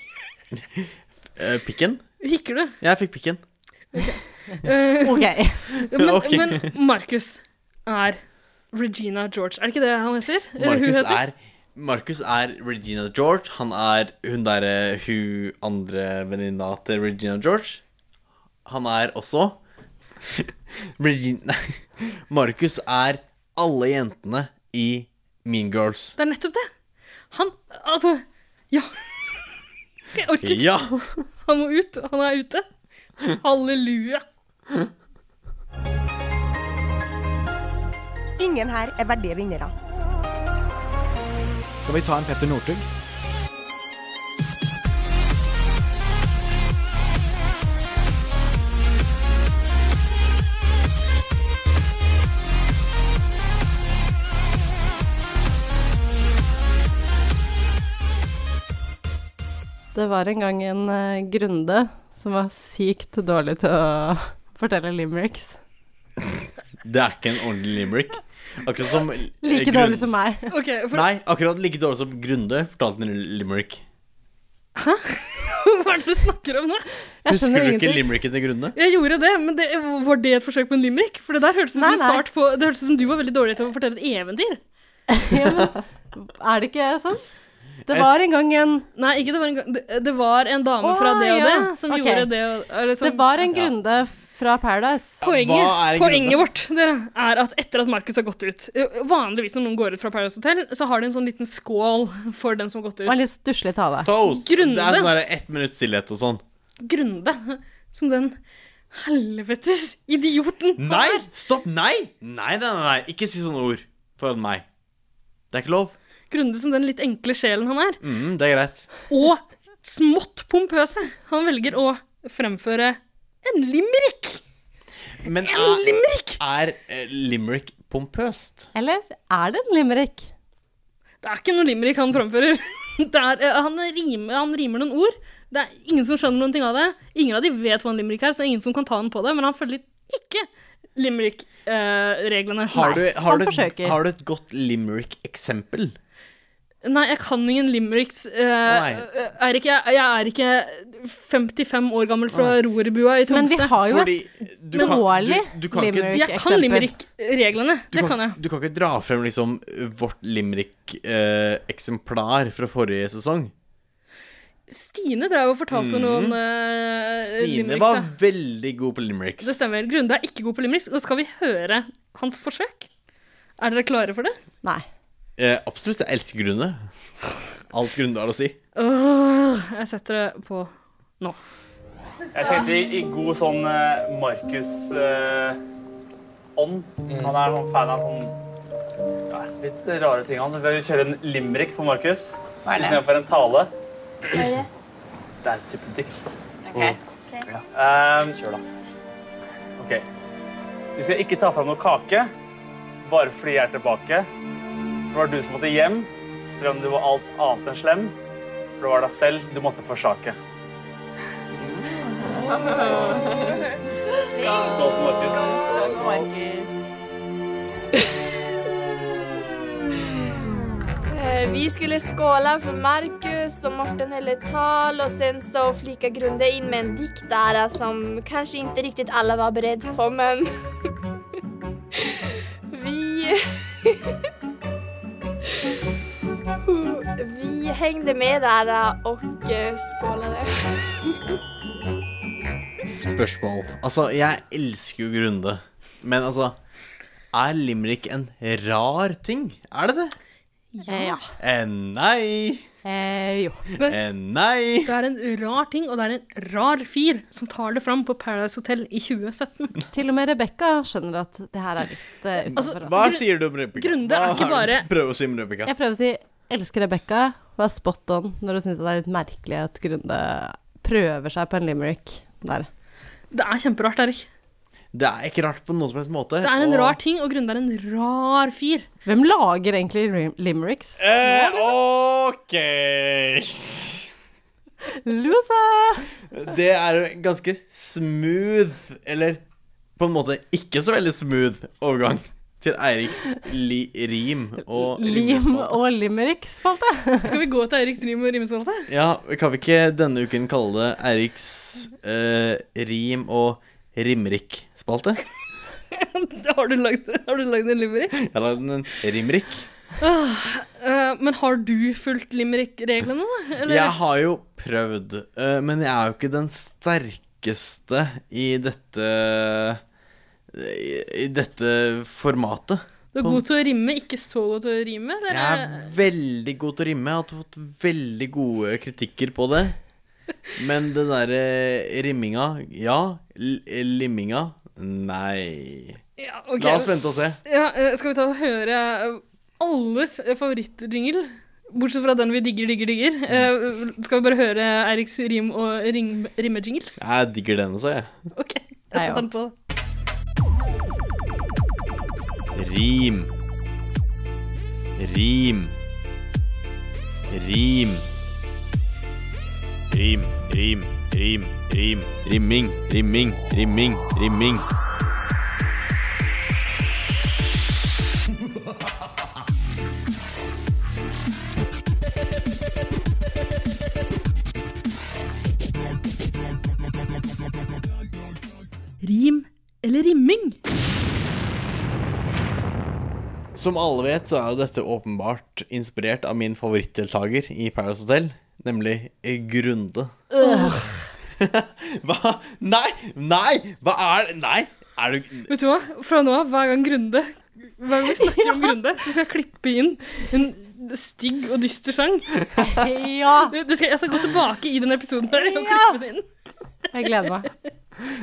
[SPEAKER 1] Eh, pikken?
[SPEAKER 4] Hikker du?
[SPEAKER 1] Jeg fikk pikken.
[SPEAKER 4] Eh,
[SPEAKER 3] Ok.
[SPEAKER 4] Men,
[SPEAKER 1] Ok.
[SPEAKER 4] men Markus er Regina George. Er det ikke det han heter? Eller hun
[SPEAKER 1] Markus
[SPEAKER 4] heter?
[SPEAKER 1] er Markus er Regina George. Han er hun derre hun andre venninna til Regina George. Han er også Regina Nei. Markus er alle jentene i Mean Girls.
[SPEAKER 4] Det er nettopp det. Han Altså, ja. Jeg orker ikke.
[SPEAKER 1] Ja!
[SPEAKER 4] Han må ut. Han er ute. Halleluja.
[SPEAKER 13] Ingen her er verdige vinnere.
[SPEAKER 14] Skal vi ta en Petter Northug?
[SPEAKER 3] Det var en gang en eh, Grunde som var sykt dårlig til å fortelle limericks.
[SPEAKER 1] Det er ikke en ordentlig limerick. Akkurat som
[SPEAKER 3] Like dårlig som meg.
[SPEAKER 4] Ok, for
[SPEAKER 1] Nei, akkurat like dårlig som Grunde fortalte en limerick.
[SPEAKER 4] Hva er det du snakker om nå?
[SPEAKER 1] Husker du ikke limericken til Grunde?
[SPEAKER 4] Jeg gjorde det, men det, var det et forsøk på en limerick? For det der hørtes ut som
[SPEAKER 3] Nei,
[SPEAKER 4] en
[SPEAKER 3] nei.
[SPEAKER 4] start på Det hørtes ut som du var veldig dårlig til å fortelle et eventyr.
[SPEAKER 3] Er det ikke sånn? Det var en gang en
[SPEAKER 4] Nei, ikke det var en gang Det, det var en dame fra
[SPEAKER 3] Å,
[SPEAKER 4] det og
[SPEAKER 3] ja.
[SPEAKER 4] det som
[SPEAKER 3] Ok.
[SPEAKER 4] gjorde det og eller som,
[SPEAKER 3] Det var en Grunde fra Paradise.
[SPEAKER 1] Hva er
[SPEAKER 4] Poenget,
[SPEAKER 1] grunnen til-
[SPEAKER 4] poenget vårt dere, er at etter at Markus har gått ut eh, Vanligvis når noen går ut fra Paradise Hotel, så har de en sånn liten skål for den som har gått
[SPEAKER 3] Det var en
[SPEAKER 4] ut.
[SPEAKER 3] litt stusslig tale.
[SPEAKER 1] Toast!
[SPEAKER 4] Grunde.
[SPEAKER 1] Det er sånn derre ett minutts stillhet og sånn.
[SPEAKER 4] Grunde som den helvetes idioten han
[SPEAKER 1] Nei!
[SPEAKER 4] er.
[SPEAKER 1] Stopp! Nei! Nei, nei, nei, nei. Ikke si sånne ord foran meg. Det er ikke lov.
[SPEAKER 4] Grunde som den litt enkle sjelen han er.
[SPEAKER 1] Mm, det er greit.
[SPEAKER 4] Og smått pompøse. Han velger å fremføre en limerick.
[SPEAKER 1] Men
[SPEAKER 4] En limerick!
[SPEAKER 1] Er, er eh, limerick pompøst?
[SPEAKER 3] Eller er det en limerick?
[SPEAKER 4] Det er ikke noe limerick han fremfører. Det er, eh, han, rimer, han rimer noen ord. Det er ingen som skjønner noen ting av det. Ingen av de vet hva en limerick er, så det er ingen som kan ta han på det. Men han følger ikke eh, limerick-reglene.
[SPEAKER 1] Har du, har, du, et- har du et godt limerick-eksempel?
[SPEAKER 4] Nei, jeg kan ingen limericks. eh,
[SPEAKER 1] nei.
[SPEAKER 4] eh, Eirik, jeg, jeg er ikke 55 år gammel fra Rorbua i Tromsø.
[SPEAKER 3] Men vi har jo
[SPEAKER 1] Fordi du kan- dårlig du- du kan ikke-
[SPEAKER 4] Jeg kan
[SPEAKER 1] limerick-eksempel.
[SPEAKER 4] limerick-reglene.
[SPEAKER 1] Du
[SPEAKER 4] Det kan jeg.
[SPEAKER 1] Du kan ikke dra frem liksom vårt limerick-eksemplar fra eh, forrige sesong.
[SPEAKER 4] Stine drev og fortalte
[SPEAKER 1] Mhm.
[SPEAKER 4] noen uh,
[SPEAKER 1] Stine var veldig god på limericks.
[SPEAKER 4] Det stemmer. Grunde er ikke god på limericks. Nå skal vi høre hans forsøk. Er dere klare for det?
[SPEAKER 3] Nei.
[SPEAKER 1] Eh, absolutt. Jeg elsker Grunde. Alt Grunde har å si.
[SPEAKER 4] Åh, jeg setter det på nå.
[SPEAKER 14] Jeg tenkte i, i god sånn eh, Markus eh, ånd. Han er sånn fan av sånn ja, litt rare ting. Han vil kjøre en limerick for Markus
[SPEAKER 11] Hva er det?
[SPEAKER 14] istedenfor en tale.
[SPEAKER 11] det?
[SPEAKER 14] Det er et type dikt.
[SPEAKER 11] Ok.
[SPEAKER 14] Ja. Mm. Kjør, da. OK. Vi skal ikke ta fram noe kake bare fordi jeg er tilbake. For det var du som måtte hjem, selv om du var alt annet enn slem. For det var deg selv du måtte forsake. Skål for Markus.
[SPEAKER 7] Skål for Markus.
[SPEAKER 15] Eh, Vi skulle skåla för Marcus och Morten höll ett tal och sen så flikade Grunde in med en dikt där eh, som kanske inte riktigt alla var beredd på men vi vi hängde med där eh, och eh, skålade.
[SPEAKER 1] Spørsmål. Altså, jeg elsker jo Grunde, men altså Er limerick en rar ting? Er det det?
[SPEAKER 4] Eh, ja.
[SPEAKER 1] Eh, nei.
[SPEAKER 3] Eh, jo.
[SPEAKER 1] Eh, nei.
[SPEAKER 4] Det er en rar ting, og det er en rar fyr som tar det fram på Paradise Hotel i 2017.
[SPEAKER 3] Til og med Rebekka skjønner at det her er litt uh, utenfor.
[SPEAKER 1] Hva sier du om Rebekka?
[SPEAKER 4] Grunde er
[SPEAKER 1] Hva
[SPEAKER 4] ikke
[SPEAKER 1] har du-
[SPEAKER 4] bare-
[SPEAKER 1] Prøv å si om Rebekka.
[SPEAKER 3] Jeg prøver å si 'elsker Rebekka', og er spot on når du syns det er litt merkelig at Grunde prøver seg på en limerick der.
[SPEAKER 4] Det er kjemperart, Erik.
[SPEAKER 1] Det er ikke rart på noen som helst måte.
[SPEAKER 4] Det er en
[SPEAKER 1] og-
[SPEAKER 4] rar ting, og Grunde er en rar fyr.
[SPEAKER 3] Hvem lager egentlig rim- limericks?
[SPEAKER 1] Eh, OK Eh,
[SPEAKER 3] Loser!
[SPEAKER 1] Det er jo en ganske smooth, eller på en måte ikke så veldig smooth, overgang til Eiriks li rim og
[SPEAKER 3] Lim og limericks, falt det.
[SPEAKER 4] Skal vi gå til Eiriks rim og rimespalte?
[SPEAKER 1] Ja, kan vi ikke denne uken kalle det Eiriks eh, rim- og rimrikk-spalte?
[SPEAKER 4] Har du lagd, har du lagd en limerick?
[SPEAKER 1] Jeg lagde den en rimrikk.
[SPEAKER 4] Åh, eh, men har du fulgt limerick-reglene, da? Eller?
[SPEAKER 1] Jeg har jo prøvd, eh, men jeg er jo ikke den sterkeste i dette i i dette formatet.
[SPEAKER 4] Du er god til å rimme, ikke så god til å rime? eller?
[SPEAKER 1] Jeg er veldig god til å rimme. Jeg har fått veldig gode kritikker på det. Men den derre rimminga Ja. L limminga nei.
[SPEAKER 4] Ja, ok.
[SPEAKER 1] La oss vente og se.
[SPEAKER 4] Ja, eh, skal vi ta og høre eh, alles favorittjingle? Bortsett fra den vi digger, digger, digger. Eh, skal vi bare høre Eiriks rim- og rim- rimejingle?
[SPEAKER 1] Jeg digger den også, jeg.
[SPEAKER 4] Jeg setter den på.
[SPEAKER 1] Rim. Rim. Rim. Rim, rim, rim, rim. Rimming, rimming, rimming, rimming.
[SPEAKER 4] Rim eller rimming?
[SPEAKER 1] Som alle vet, så er jo dette åpenbart inspirert av min favorittdeltaker i Paradise Hotel, nemlig Grunde. hva? Nei! Nei! Hva er det? Nei! Er du
[SPEAKER 4] Vet du hva? Fra nå av, hver gang Grunde Hver gang vi snakker om Grunde, så skal jeg klippe inn en stygg og dyster sang.
[SPEAKER 3] Ja.
[SPEAKER 4] Det det skal, jeg skal gå tilbake i den episoden her og klippe det inn.
[SPEAKER 3] Jeg gleder meg.
[SPEAKER 1] Det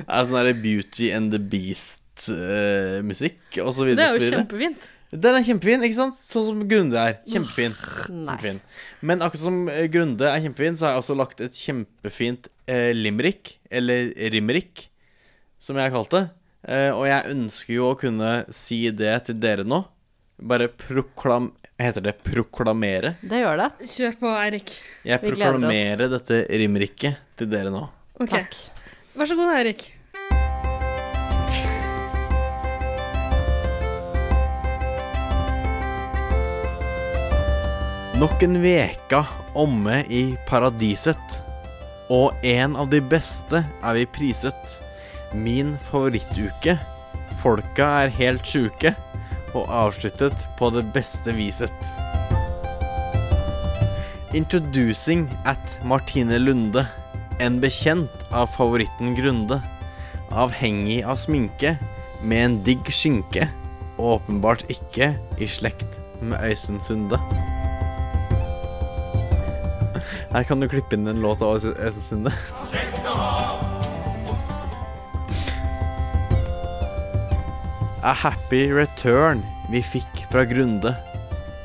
[SPEAKER 1] er sånn der Beauty and the Beast-musikk og så
[SPEAKER 4] Det
[SPEAKER 1] videre.
[SPEAKER 4] er
[SPEAKER 1] og så videre.
[SPEAKER 4] jo kjempefint.
[SPEAKER 1] Den er kjempefin, ikke sant? Sånn som Grunde er. Kjempefin. kjempefin. Men akkurat som eh, Grunde er kjempefin, så har jeg også lagt et kjempefint eh, limerick, eller rimerick, som jeg har kalt det. Eh, og jeg ønsker jo å kunne si det til dere nå. Bare proklam... Heter det proklamere?
[SPEAKER 3] Det gjør det.
[SPEAKER 4] Kjør på, Eirik.
[SPEAKER 1] Jeg proklamerer dette rimericket til dere nå.
[SPEAKER 4] Ok. Vær så god, Eirik.
[SPEAKER 1] Nok en veka omme i paradiset. Og en av de beste er vi priset. Min favorittuke. Folka er helt sjuke. Og avsluttet på det beste viset. Introducing at Martine Lunde. En bekjent av favoritten Grunde. Avhengig av sminke, med en digg skinke. Og åpenbart ikke i slekt med Øystein Sunde. Her kan du klippe inn en låt av Øystein Øystein Sunde. A happy return vi fikk fra Grunde.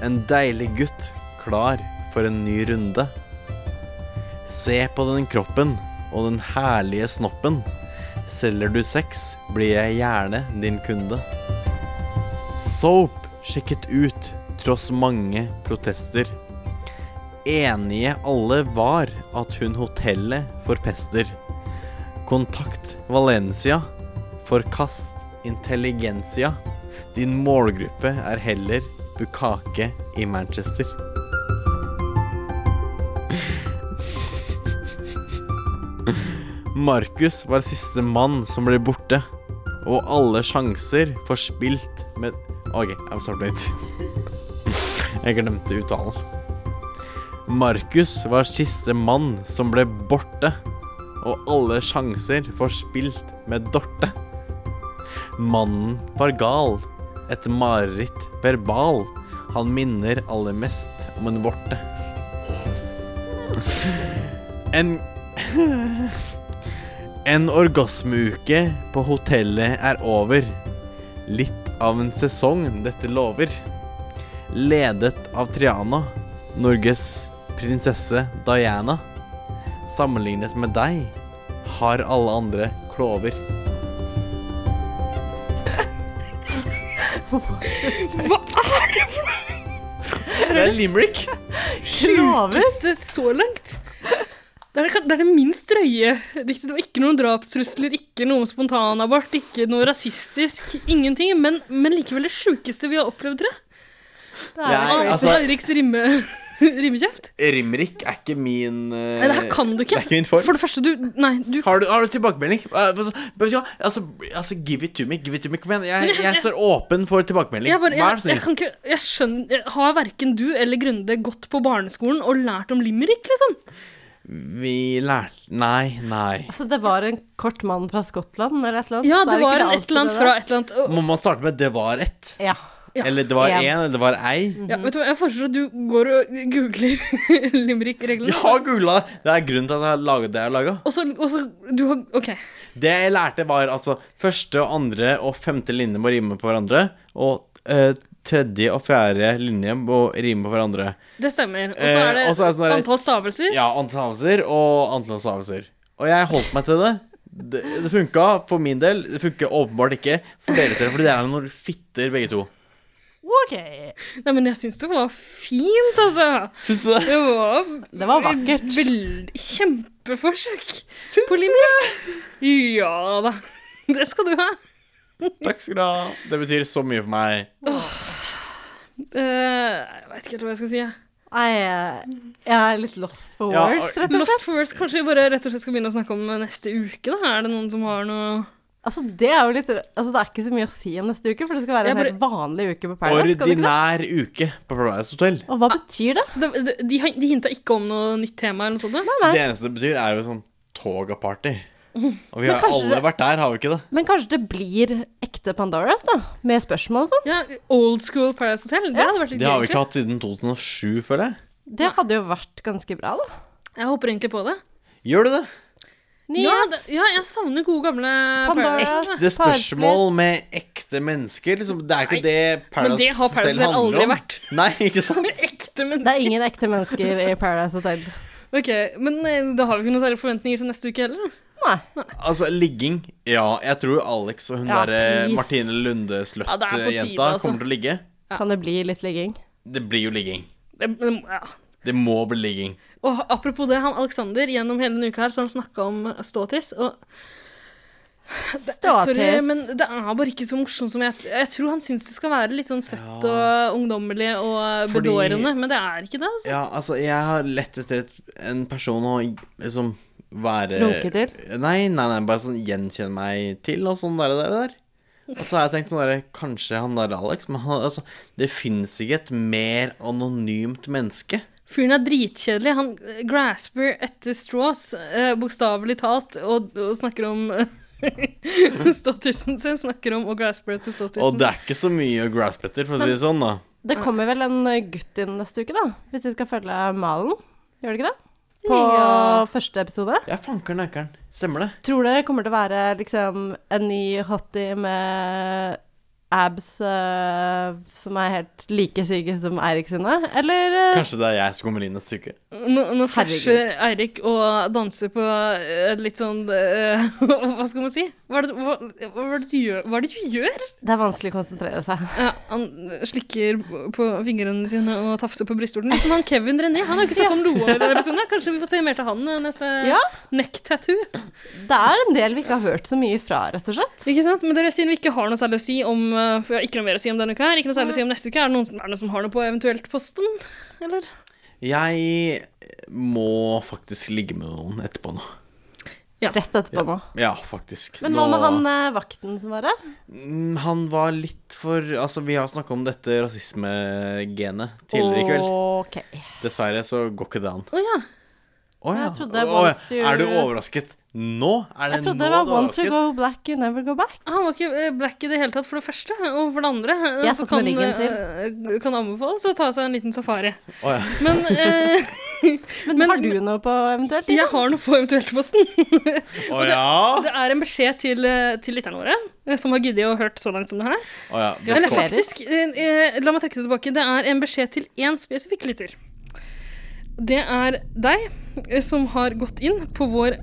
[SPEAKER 1] En deilig gutt klar for en ny runde. Se på den kroppen og den herlige snoppen. Selger du sex, blir jeg gjerne din kunde. Soap sjekket ut tross mange protester. Enige alle var at hun hotellet forpester. Kontakt Valencia. Forkast intelligensia. Din målgruppe er heller bukake i Manchester. Markus var siste mann som ble borte, og alle sjanser forspilt med OK, I'm sorry. Jeg glemte uttalen. Markus var siste mann som ble borte, og alle sjanser forspilt med Dorte. Mannen var gal, et mareritt verbal. Han minner aller mest om en vorte. En En orgasmeuke på hotellet er over. Litt av en sesong dette lover. Ledet av Triana, Norges prinsesse Diana. Sammenlignet med deg har alle andre klover.
[SPEAKER 4] Hva er det for noe?
[SPEAKER 1] Det er limerick.
[SPEAKER 4] Sjukeste så langt. Det er det, det er det minst drøye diktet. Det var ikke noen drapstrusler, ikke noe om spontanabort, ikke noe rasistisk. Ingenting. Men, men likevel det sjukeste vi har opplevd, tror jeg.
[SPEAKER 1] er Jeg- det. altså-
[SPEAKER 4] Henriks rimme, rimmekjeft.
[SPEAKER 1] Rimrik er ikke min eh,
[SPEAKER 4] Nei, det her kan du ikke.
[SPEAKER 1] Det er ikke min form.
[SPEAKER 4] For det første, du Nei, du
[SPEAKER 1] Har du, har du tilbakemelding? Eh, Altså, vet du hva? altså, altså, give it to me. Give it to me. Kom igjen. Jeg,
[SPEAKER 4] Men jeg-
[SPEAKER 1] jeg står åpen for tilbakemelding.
[SPEAKER 4] Jeg, bare,
[SPEAKER 1] Vær
[SPEAKER 4] jeg,
[SPEAKER 1] så
[SPEAKER 4] jeg
[SPEAKER 1] snill.
[SPEAKER 4] kan ikke Jeg skjønner jeg- Har verken du eller Grunde gått på barneskolen og lært om limerick, liksom?
[SPEAKER 1] Vi lærte Nei, nei.
[SPEAKER 3] Altså, det var en kort mann fra Skottland eller et eller annet? så
[SPEAKER 4] Ja,
[SPEAKER 3] er
[SPEAKER 4] det
[SPEAKER 3] ikke
[SPEAKER 4] var en
[SPEAKER 3] alltid
[SPEAKER 4] et eller annet
[SPEAKER 3] det
[SPEAKER 4] fra
[SPEAKER 3] der.
[SPEAKER 4] et eller annet og-
[SPEAKER 1] Må man starte med 'det var ett'?
[SPEAKER 3] Ja.
[SPEAKER 4] Ja.
[SPEAKER 1] Eller 'det var
[SPEAKER 4] En.
[SPEAKER 1] én', eller 'det var ei'?
[SPEAKER 4] Ja, vet du hva, Jeg foreslår at du går og googler limerick-reglene.
[SPEAKER 1] Jeg har googla! Det er grunnen til at jeg har laget det jeg har laga.
[SPEAKER 4] Og så, og så du har, OK.
[SPEAKER 1] Det jeg lærte, var altså første og andre og femte linje må rime på hverandre. Og eh, tredje og fjerde linje må rime på hverandre.
[SPEAKER 4] Det stemmer. Og så
[SPEAKER 1] Eh,
[SPEAKER 4] er det
[SPEAKER 1] og så er det sånn der-
[SPEAKER 4] antall stavelser.
[SPEAKER 1] Ja, antall stavelser og antall stavelser. Og jeg holdt meg til det. Det, det funka for min del. Det funker åpenbart ikke for dere tre, fordi dere er noen fitter begge to.
[SPEAKER 4] OK. Nei, men jeg syns det var fint, altså.
[SPEAKER 1] Syns du det?
[SPEAKER 4] Det var,
[SPEAKER 3] det var vakkert.
[SPEAKER 4] Veldig, kjempeforsøk på limerick. Ja da. Det skal du ha.
[SPEAKER 1] Takk skal du ha. Det betyr så mye for meg.
[SPEAKER 4] Eh, jeg vet ikke helt hva jeg skal si. jeg.
[SPEAKER 3] Nei, jeg- jeg er litt lost for
[SPEAKER 1] Ja,
[SPEAKER 3] words, rett og
[SPEAKER 4] Lost
[SPEAKER 3] slett.
[SPEAKER 4] for words. Kanskje vi bare rett og slett skal begynne å snakke om neste uke? da? Er det noen som har noe
[SPEAKER 3] Altså, det er jo litt Altså, det er ikke så mye å si om neste uke, for det skal være
[SPEAKER 4] Jeg
[SPEAKER 3] en
[SPEAKER 4] bare-
[SPEAKER 3] helt vanlig uke på Paradise. skal det ikke det?
[SPEAKER 1] Ordinær uke på Paradise Hotel.
[SPEAKER 3] Og hva betyr det?
[SPEAKER 4] det de, de, har- de hinta ikke om noe nytt tema? eller noe sånt? da?
[SPEAKER 1] Det eneste det betyr, er jo sånn toga-party. Og vi
[SPEAKER 3] Men
[SPEAKER 1] har
[SPEAKER 3] kanskje
[SPEAKER 1] alle
[SPEAKER 3] det-
[SPEAKER 1] vært der, har vi ikke det?
[SPEAKER 3] Men kanskje det blir ekte Pandoras, da? Med spørsmål og sånn?
[SPEAKER 4] Ja, Old school Paradise Hotel. Det hadde vært litt
[SPEAKER 1] Det har
[SPEAKER 4] gøy,
[SPEAKER 1] vi ikke hatt siden 2007, føler jeg.
[SPEAKER 3] Det hadde jo vært ganske bra, da.
[SPEAKER 4] Jeg håper egentlig på det.
[SPEAKER 1] Gjør du det?
[SPEAKER 4] Ja, det, ja, jeg savner gode, gamle
[SPEAKER 3] Pandora.
[SPEAKER 4] Paradise.
[SPEAKER 1] Ekte spørsmål med ekte mennesker. Liksom. Det er ikke det Paradise
[SPEAKER 4] men det har Paradise
[SPEAKER 1] Hotel handler
[SPEAKER 4] aldri
[SPEAKER 1] om.
[SPEAKER 4] vært.
[SPEAKER 1] Nei, ikke sant?
[SPEAKER 4] Ekte
[SPEAKER 3] Det er
[SPEAKER 4] mennesker.
[SPEAKER 3] ingen ekte mennesker i Paradise Hotel.
[SPEAKER 4] Ok, Men eh, da har vi ikke noen særlige forventninger til neste uke heller. da.
[SPEAKER 1] Altså, ligging Ja, jeg tror Alex og hun
[SPEAKER 3] Ja,
[SPEAKER 1] derre
[SPEAKER 3] please.
[SPEAKER 1] Martine
[SPEAKER 4] Ja, det er på
[SPEAKER 1] Lunde-sløtt-jenta
[SPEAKER 4] tide, altså.
[SPEAKER 1] kommer til å ligge.
[SPEAKER 3] Kan det bli litt ligging?
[SPEAKER 1] Det blir jo ligging.
[SPEAKER 4] Det, det- ja.
[SPEAKER 1] Det må bli ligging.
[SPEAKER 4] Og apropos det, han Alexander, gjennom hele denne uka her så har han snakka om ståtiss. Og det, Sorry,
[SPEAKER 3] Ståtiss.
[SPEAKER 4] men det er bare ikke så morsomt som jeg Jeg tror han syns det skal være litt sånn søtt og ungdommelig og
[SPEAKER 1] Fordi-
[SPEAKER 4] bedårende, men det er ikke det. altså.
[SPEAKER 1] Ja, altså, jeg har lett etter et- en person å liksom være
[SPEAKER 4] Runke
[SPEAKER 1] til? Nei, nei, nei, bare sånn gjenkjenne meg til, og sånn der, der, der. Og så har jeg tenkt sånn derre Kanskje han der Alex, men han, altså, det fins ikke et mer anonymt menneske.
[SPEAKER 4] Fyren er dritkjedelig. Han eh, grasper etter straws, eh, bokstavelig talt, og, og snakker om ståtissen sin. Snakker om å graspe etter ståtissen.
[SPEAKER 1] Og det er ikke så mye å grasp etter, for å si det sånn, da.
[SPEAKER 3] Det kommer vel en eh, gutt inn neste uke, da? Hvis vi skal følge malen? Gjør det ikke det? På
[SPEAKER 1] Ja.
[SPEAKER 3] første episode?
[SPEAKER 1] Ja, fankeren økeren. Stemmer det.
[SPEAKER 3] Tror dere kommer til å være liksom en ny hottie med abs eh, som er helt like syke som Eirik sine? Eller eh,
[SPEAKER 1] Kanskje det er jeg som kommer inn neste uke.
[SPEAKER 4] Nå, nå
[SPEAKER 3] Herregud.
[SPEAKER 4] flasher eh, Eirik og danser på et litt sånn eh, Hva skal man si? Hva er, det, hva, hva, er det du gjør? hva er det du gjør?
[SPEAKER 3] Det er vanskelig å konsentrere seg.
[SPEAKER 4] Ja, han slikker på fingrene sine og tafser på brystvorten. Liksom han Kevin René. Han har ikke snakket om noe i denne episoden. her. Kanskje vi får se mer til han eh, neste
[SPEAKER 3] Ja.
[SPEAKER 4] neck tattoo.
[SPEAKER 3] Det er en del vi ikke har hørt så mye fra, rett og slett.
[SPEAKER 4] Ikke sant? Men dere, siden vi ikke har noe særlig å si om eh, For vi har ikke noe mer å si om denne uka her, ikke noe særlig å si om neste uke, er det noen, som- er det noen som har noe på eventuelt posten? Eller?
[SPEAKER 1] Jeg må faktisk ligge med noen etterpå nå.
[SPEAKER 3] Rett etterpå nå.
[SPEAKER 1] Ja, faktisk.
[SPEAKER 3] Men hva med
[SPEAKER 1] Nå-
[SPEAKER 3] han eh, vakten som var her?
[SPEAKER 1] Mm, Han var litt for Altså, vi har snakka om dette rasismegenet tidligere i kveld.
[SPEAKER 3] Ok.
[SPEAKER 1] Dessverre så går ikke det an.
[SPEAKER 4] Å ja.
[SPEAKER 1] Å ja.
[SPEAKER 3] Jeg trodde
[SPEAKER 1] Å, ja.
[SPEAKER 3] once you-
[SPEAKER 1] Er du overrasket nå? Er det
[SPEAKER 3] Jeg trodde
[SPEAKER 1] nå
[SPEAKER 3] det var
[SPEAKER 1] du er
[SPEAKER 3] once you
[SPEAKER 1] overrasket?
[SPEAKER 3] go black, you never go back.
[SPEAKER 4] Han var ikke eh, black i det hele tatt, for det første. Og for det andre eh,
[SPEAKER 3] Jeg
[SPEAKER 4] så
[SPEAKER 3] satt med
[SPEAKER 4] kan,
[SPEAKER 3] ryggen
[SPEAKER 4] eh, kan anbefales å ta seg en liten safari.
[SPEAKER 1] Å ja.
[SPEAKER 4] Men, eh,
[SPEAKER 3] men, har du noe på eventuelt?
[SPEAKER 4] Jeg har noe på eventuelt-posten.
[SPEAKER 1] Å ja.
[SPEAKER 4] Det er en beskjed til, eh, til lytterne våre, eh, som har giddet å hørt så langt som det her.
[SPEAKER 1] Å ja. det
[SPEAKER 4] Eller
[SPEAKER 1] kom.
[SPEAKER 4] faktisk, eh, eh, la meg trekke det tilbake. Det er en beskjed til én spesifikk lytter. Det er deg eh, som har gått inn på vår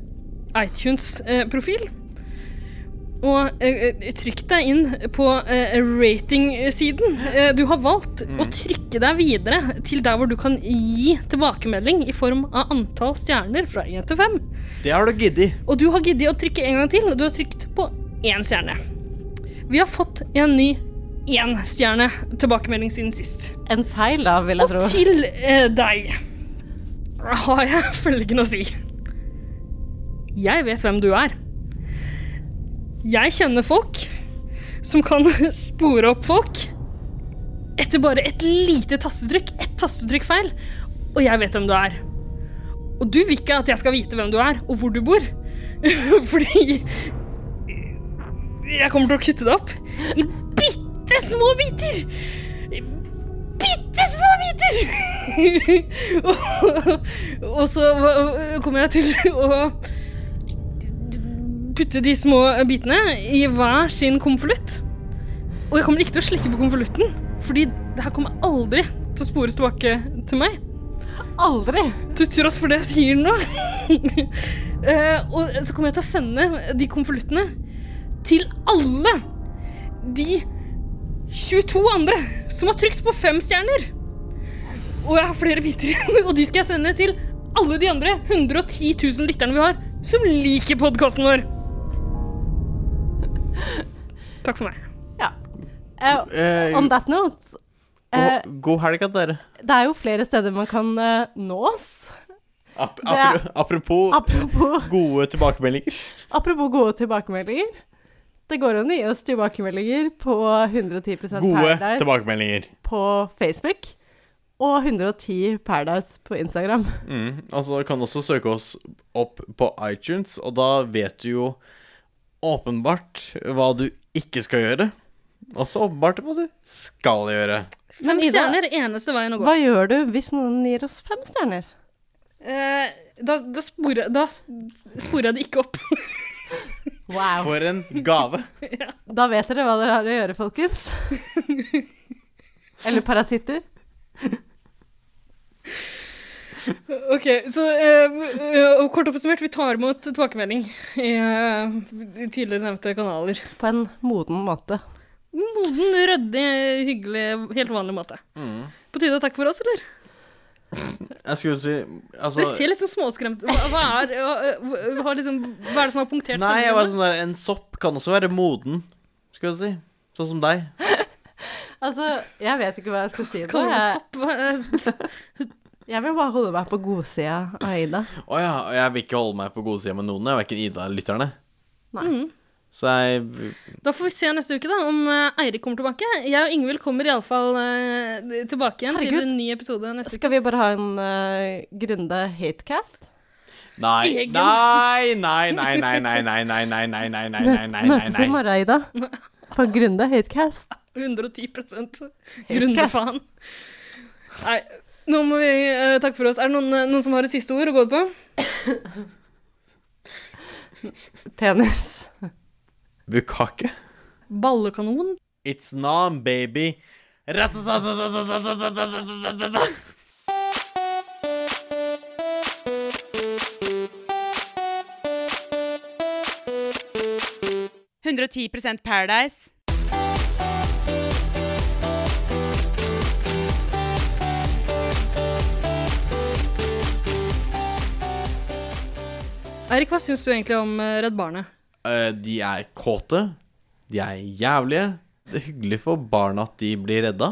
[SPEAKER 4] iTunes-profil. Og eh, eh, trykk deg inn på eh, rating-siden. Eh, du har valgt å trykke deg videre til der hvor du kan gi tilbakemelding i form av antall stjerner fra 1 til 5.
[SPEAKER 1] Det har du giddet.
[SPEAKER 4] Og du har giddet å trykke en gang til, og du har trykt på én stjerne. Vi har fått en ny énstjerne-tilbakemelding siden sist.
[SPEAKER 3] En feil, da, vil jeg tro.
[SPEAKER 4] Og til eh, deg har jeg følgende å si. Jeg vet hvem du er. Jeg kjenner folk som kan spore opp folk etter bare et lite tastetrykk. Ett tastetrykk feil. Og jeg vet hvem du er. Og du vil ikke at jeg skal vite hvem du er, og hvor du bor. Fordi jeg kommer til å kutte det opp i bitte små biter. I Bitte små biter! og, og så øh, kommer jeg til å putte de små bitene i hver sin konvolutt. Og jeg kommer ikke til å slikke på konvolutten, fordi det her kommer aldri til å spores tilbake til meg.
[SPEAKER 3] Aldri!
[SPEAKER 4] Til tross for det jeg sier nå. Eh, og så kommer jeg til å sende de konvoluttene til alle de 22 andre som har trykt på fem stjerner. Og jeg har flere biter igjen, og de skal jeg sende til alle de andre 110 000 lytterne vi har, som liker podkasten vår. Takk for meg.
[SPEAKER 1] Eh,
[SPEAKER 3] On that note eh,
[SPEAKER 1] god, god helg, at dere.
[SPEAKER 3] Det er jo flere steder man kan eh, nå oss.
[SPEAKER 1] Ap
[SPEAKER 3] Det er-
[SPEAKER 1] apro- apropos, gode tilbakemeldinger.
[SPEAKER 3] Apropos gode tilbakemeldinger. Det går an å gi oss tilbakemeldinger på 110
[SPEAKER 1] Gode
[SPEAKER 3] Paradise
[SPEAKER 1] tilbakemeldinger.
[SPEAKER 3] på Facebook og 110 Paradise på Instagram.
[SPEAKER 1] Mm. Altså, du kan også søke oss opp på iTunes, og da vet du jo åpenbart hva du ikke skal gjøre. Også åpenbart hva du skal gjøre.
[SPEAKER 4] Fem
[SPEAKER 3] Ida,
[SPEAKER 4] stjerner er eneste veien å gå.
[SPEAKER 3] Hva gjør du hvis noen gir oss fem stjerner?
[SPEAKER 4] Eh, da, da, sporer, da sporer jeg det ikke opp.
[SPEAKER 3] Wow.
[SPEAKER 1] For en gave.
[SPEAKER 3] Da vet dere hva dere har å gjøre, folkens. Eller parasitter.
[SPEAKER 4] Ok, så eh, eh, og kort oppsummert, vi tar imot tilbakemelding i eh, tidligere nevnte kanaler.
[SPEAKER 3] På en moden måte.
[SPEAKER 4] Moden, ryddig, hyggelig, helt vanlig måte.
[SPEAKER 1] Mm.
[SPEAKER 4] På tide å takke for oss, eller?
[SPEAKER 1] Jeg skulle si altså,
[SPEAKER 4] Dere ser litt sånn småskremt Hva, hva, er, hva- hva, har liksom, hva er det som har punktert
[SPEAKER 1] Nei, jeg var
[SPEAKER 4] sammenhengen?
[SPEAKER 1] sånn der, en sopp kan også være moden, skulle jeg si. Sånn som deg.
[SPEAKER 3] Altså, jeg vet ikke hva jeg skal si. nå.
[SPEAKER 4] Kaller
[SPEAKER 3] Jeg-
[SPEAKER 4] det sopp? Hva- eh,
[SPEAKER 3] Jeg vil bare holde meg på godsida av Ida.
[SPEAKER 1] Å ja, og jeg vil ikke holde meg på godsida med noen, jeg, verken Ida eller lytterne.
[SPEAKER 3] Nei.
[SPEAKER 1] Så jeg
[SPEAKER 4] Da får vi se neste uke da, om eh, Eirik kommer tilbake. Jeg og Ingvild kommer iallfall uh, tilbake igjen til
[SPEAKER 3] Herregud.
[SPEAKER 4] en ny episode neste uke.
[SPEAKER 3] Skal vi bare ha en eh, Grunde hatecast?
[SPEAKER 1] Nei,
[SPEAKER 3] Egen.
[SPEAKER 1] nei, nei, nei, nei, nei, nei, nei, nei, nei, nei, nei, nei, nei, nei,
[SPEAKER 3] Møtes i
[SPEAKER 1] nei.
[SPEAKER 3] morgen, Ida. På Grunde hatecast.
[SPEAKER 4] 110
[SPEAKER 3] Helt
[SPEAKER 4] Grundefaen. Nei, nå må vi eh, takke for oss. Er det noen, eh, noen som har et siste ord å gå på?
[SPEAKER 3] Penis.
[SPEAKER 1] Bukake.
[SPEAKER 4] Ballekanon?
[SPEAKER 1] It's nam, baby. Eh,
[SPEAKER 2] Paradise. 110 Paradise.
[SPEAKER 4] Eirik, hva syns du egentlig om eh, Redd Barnet?
[SPEAKER 1] Eh, De er kåte. De er jævlige. Det er hyggelig for barna at de blir redda.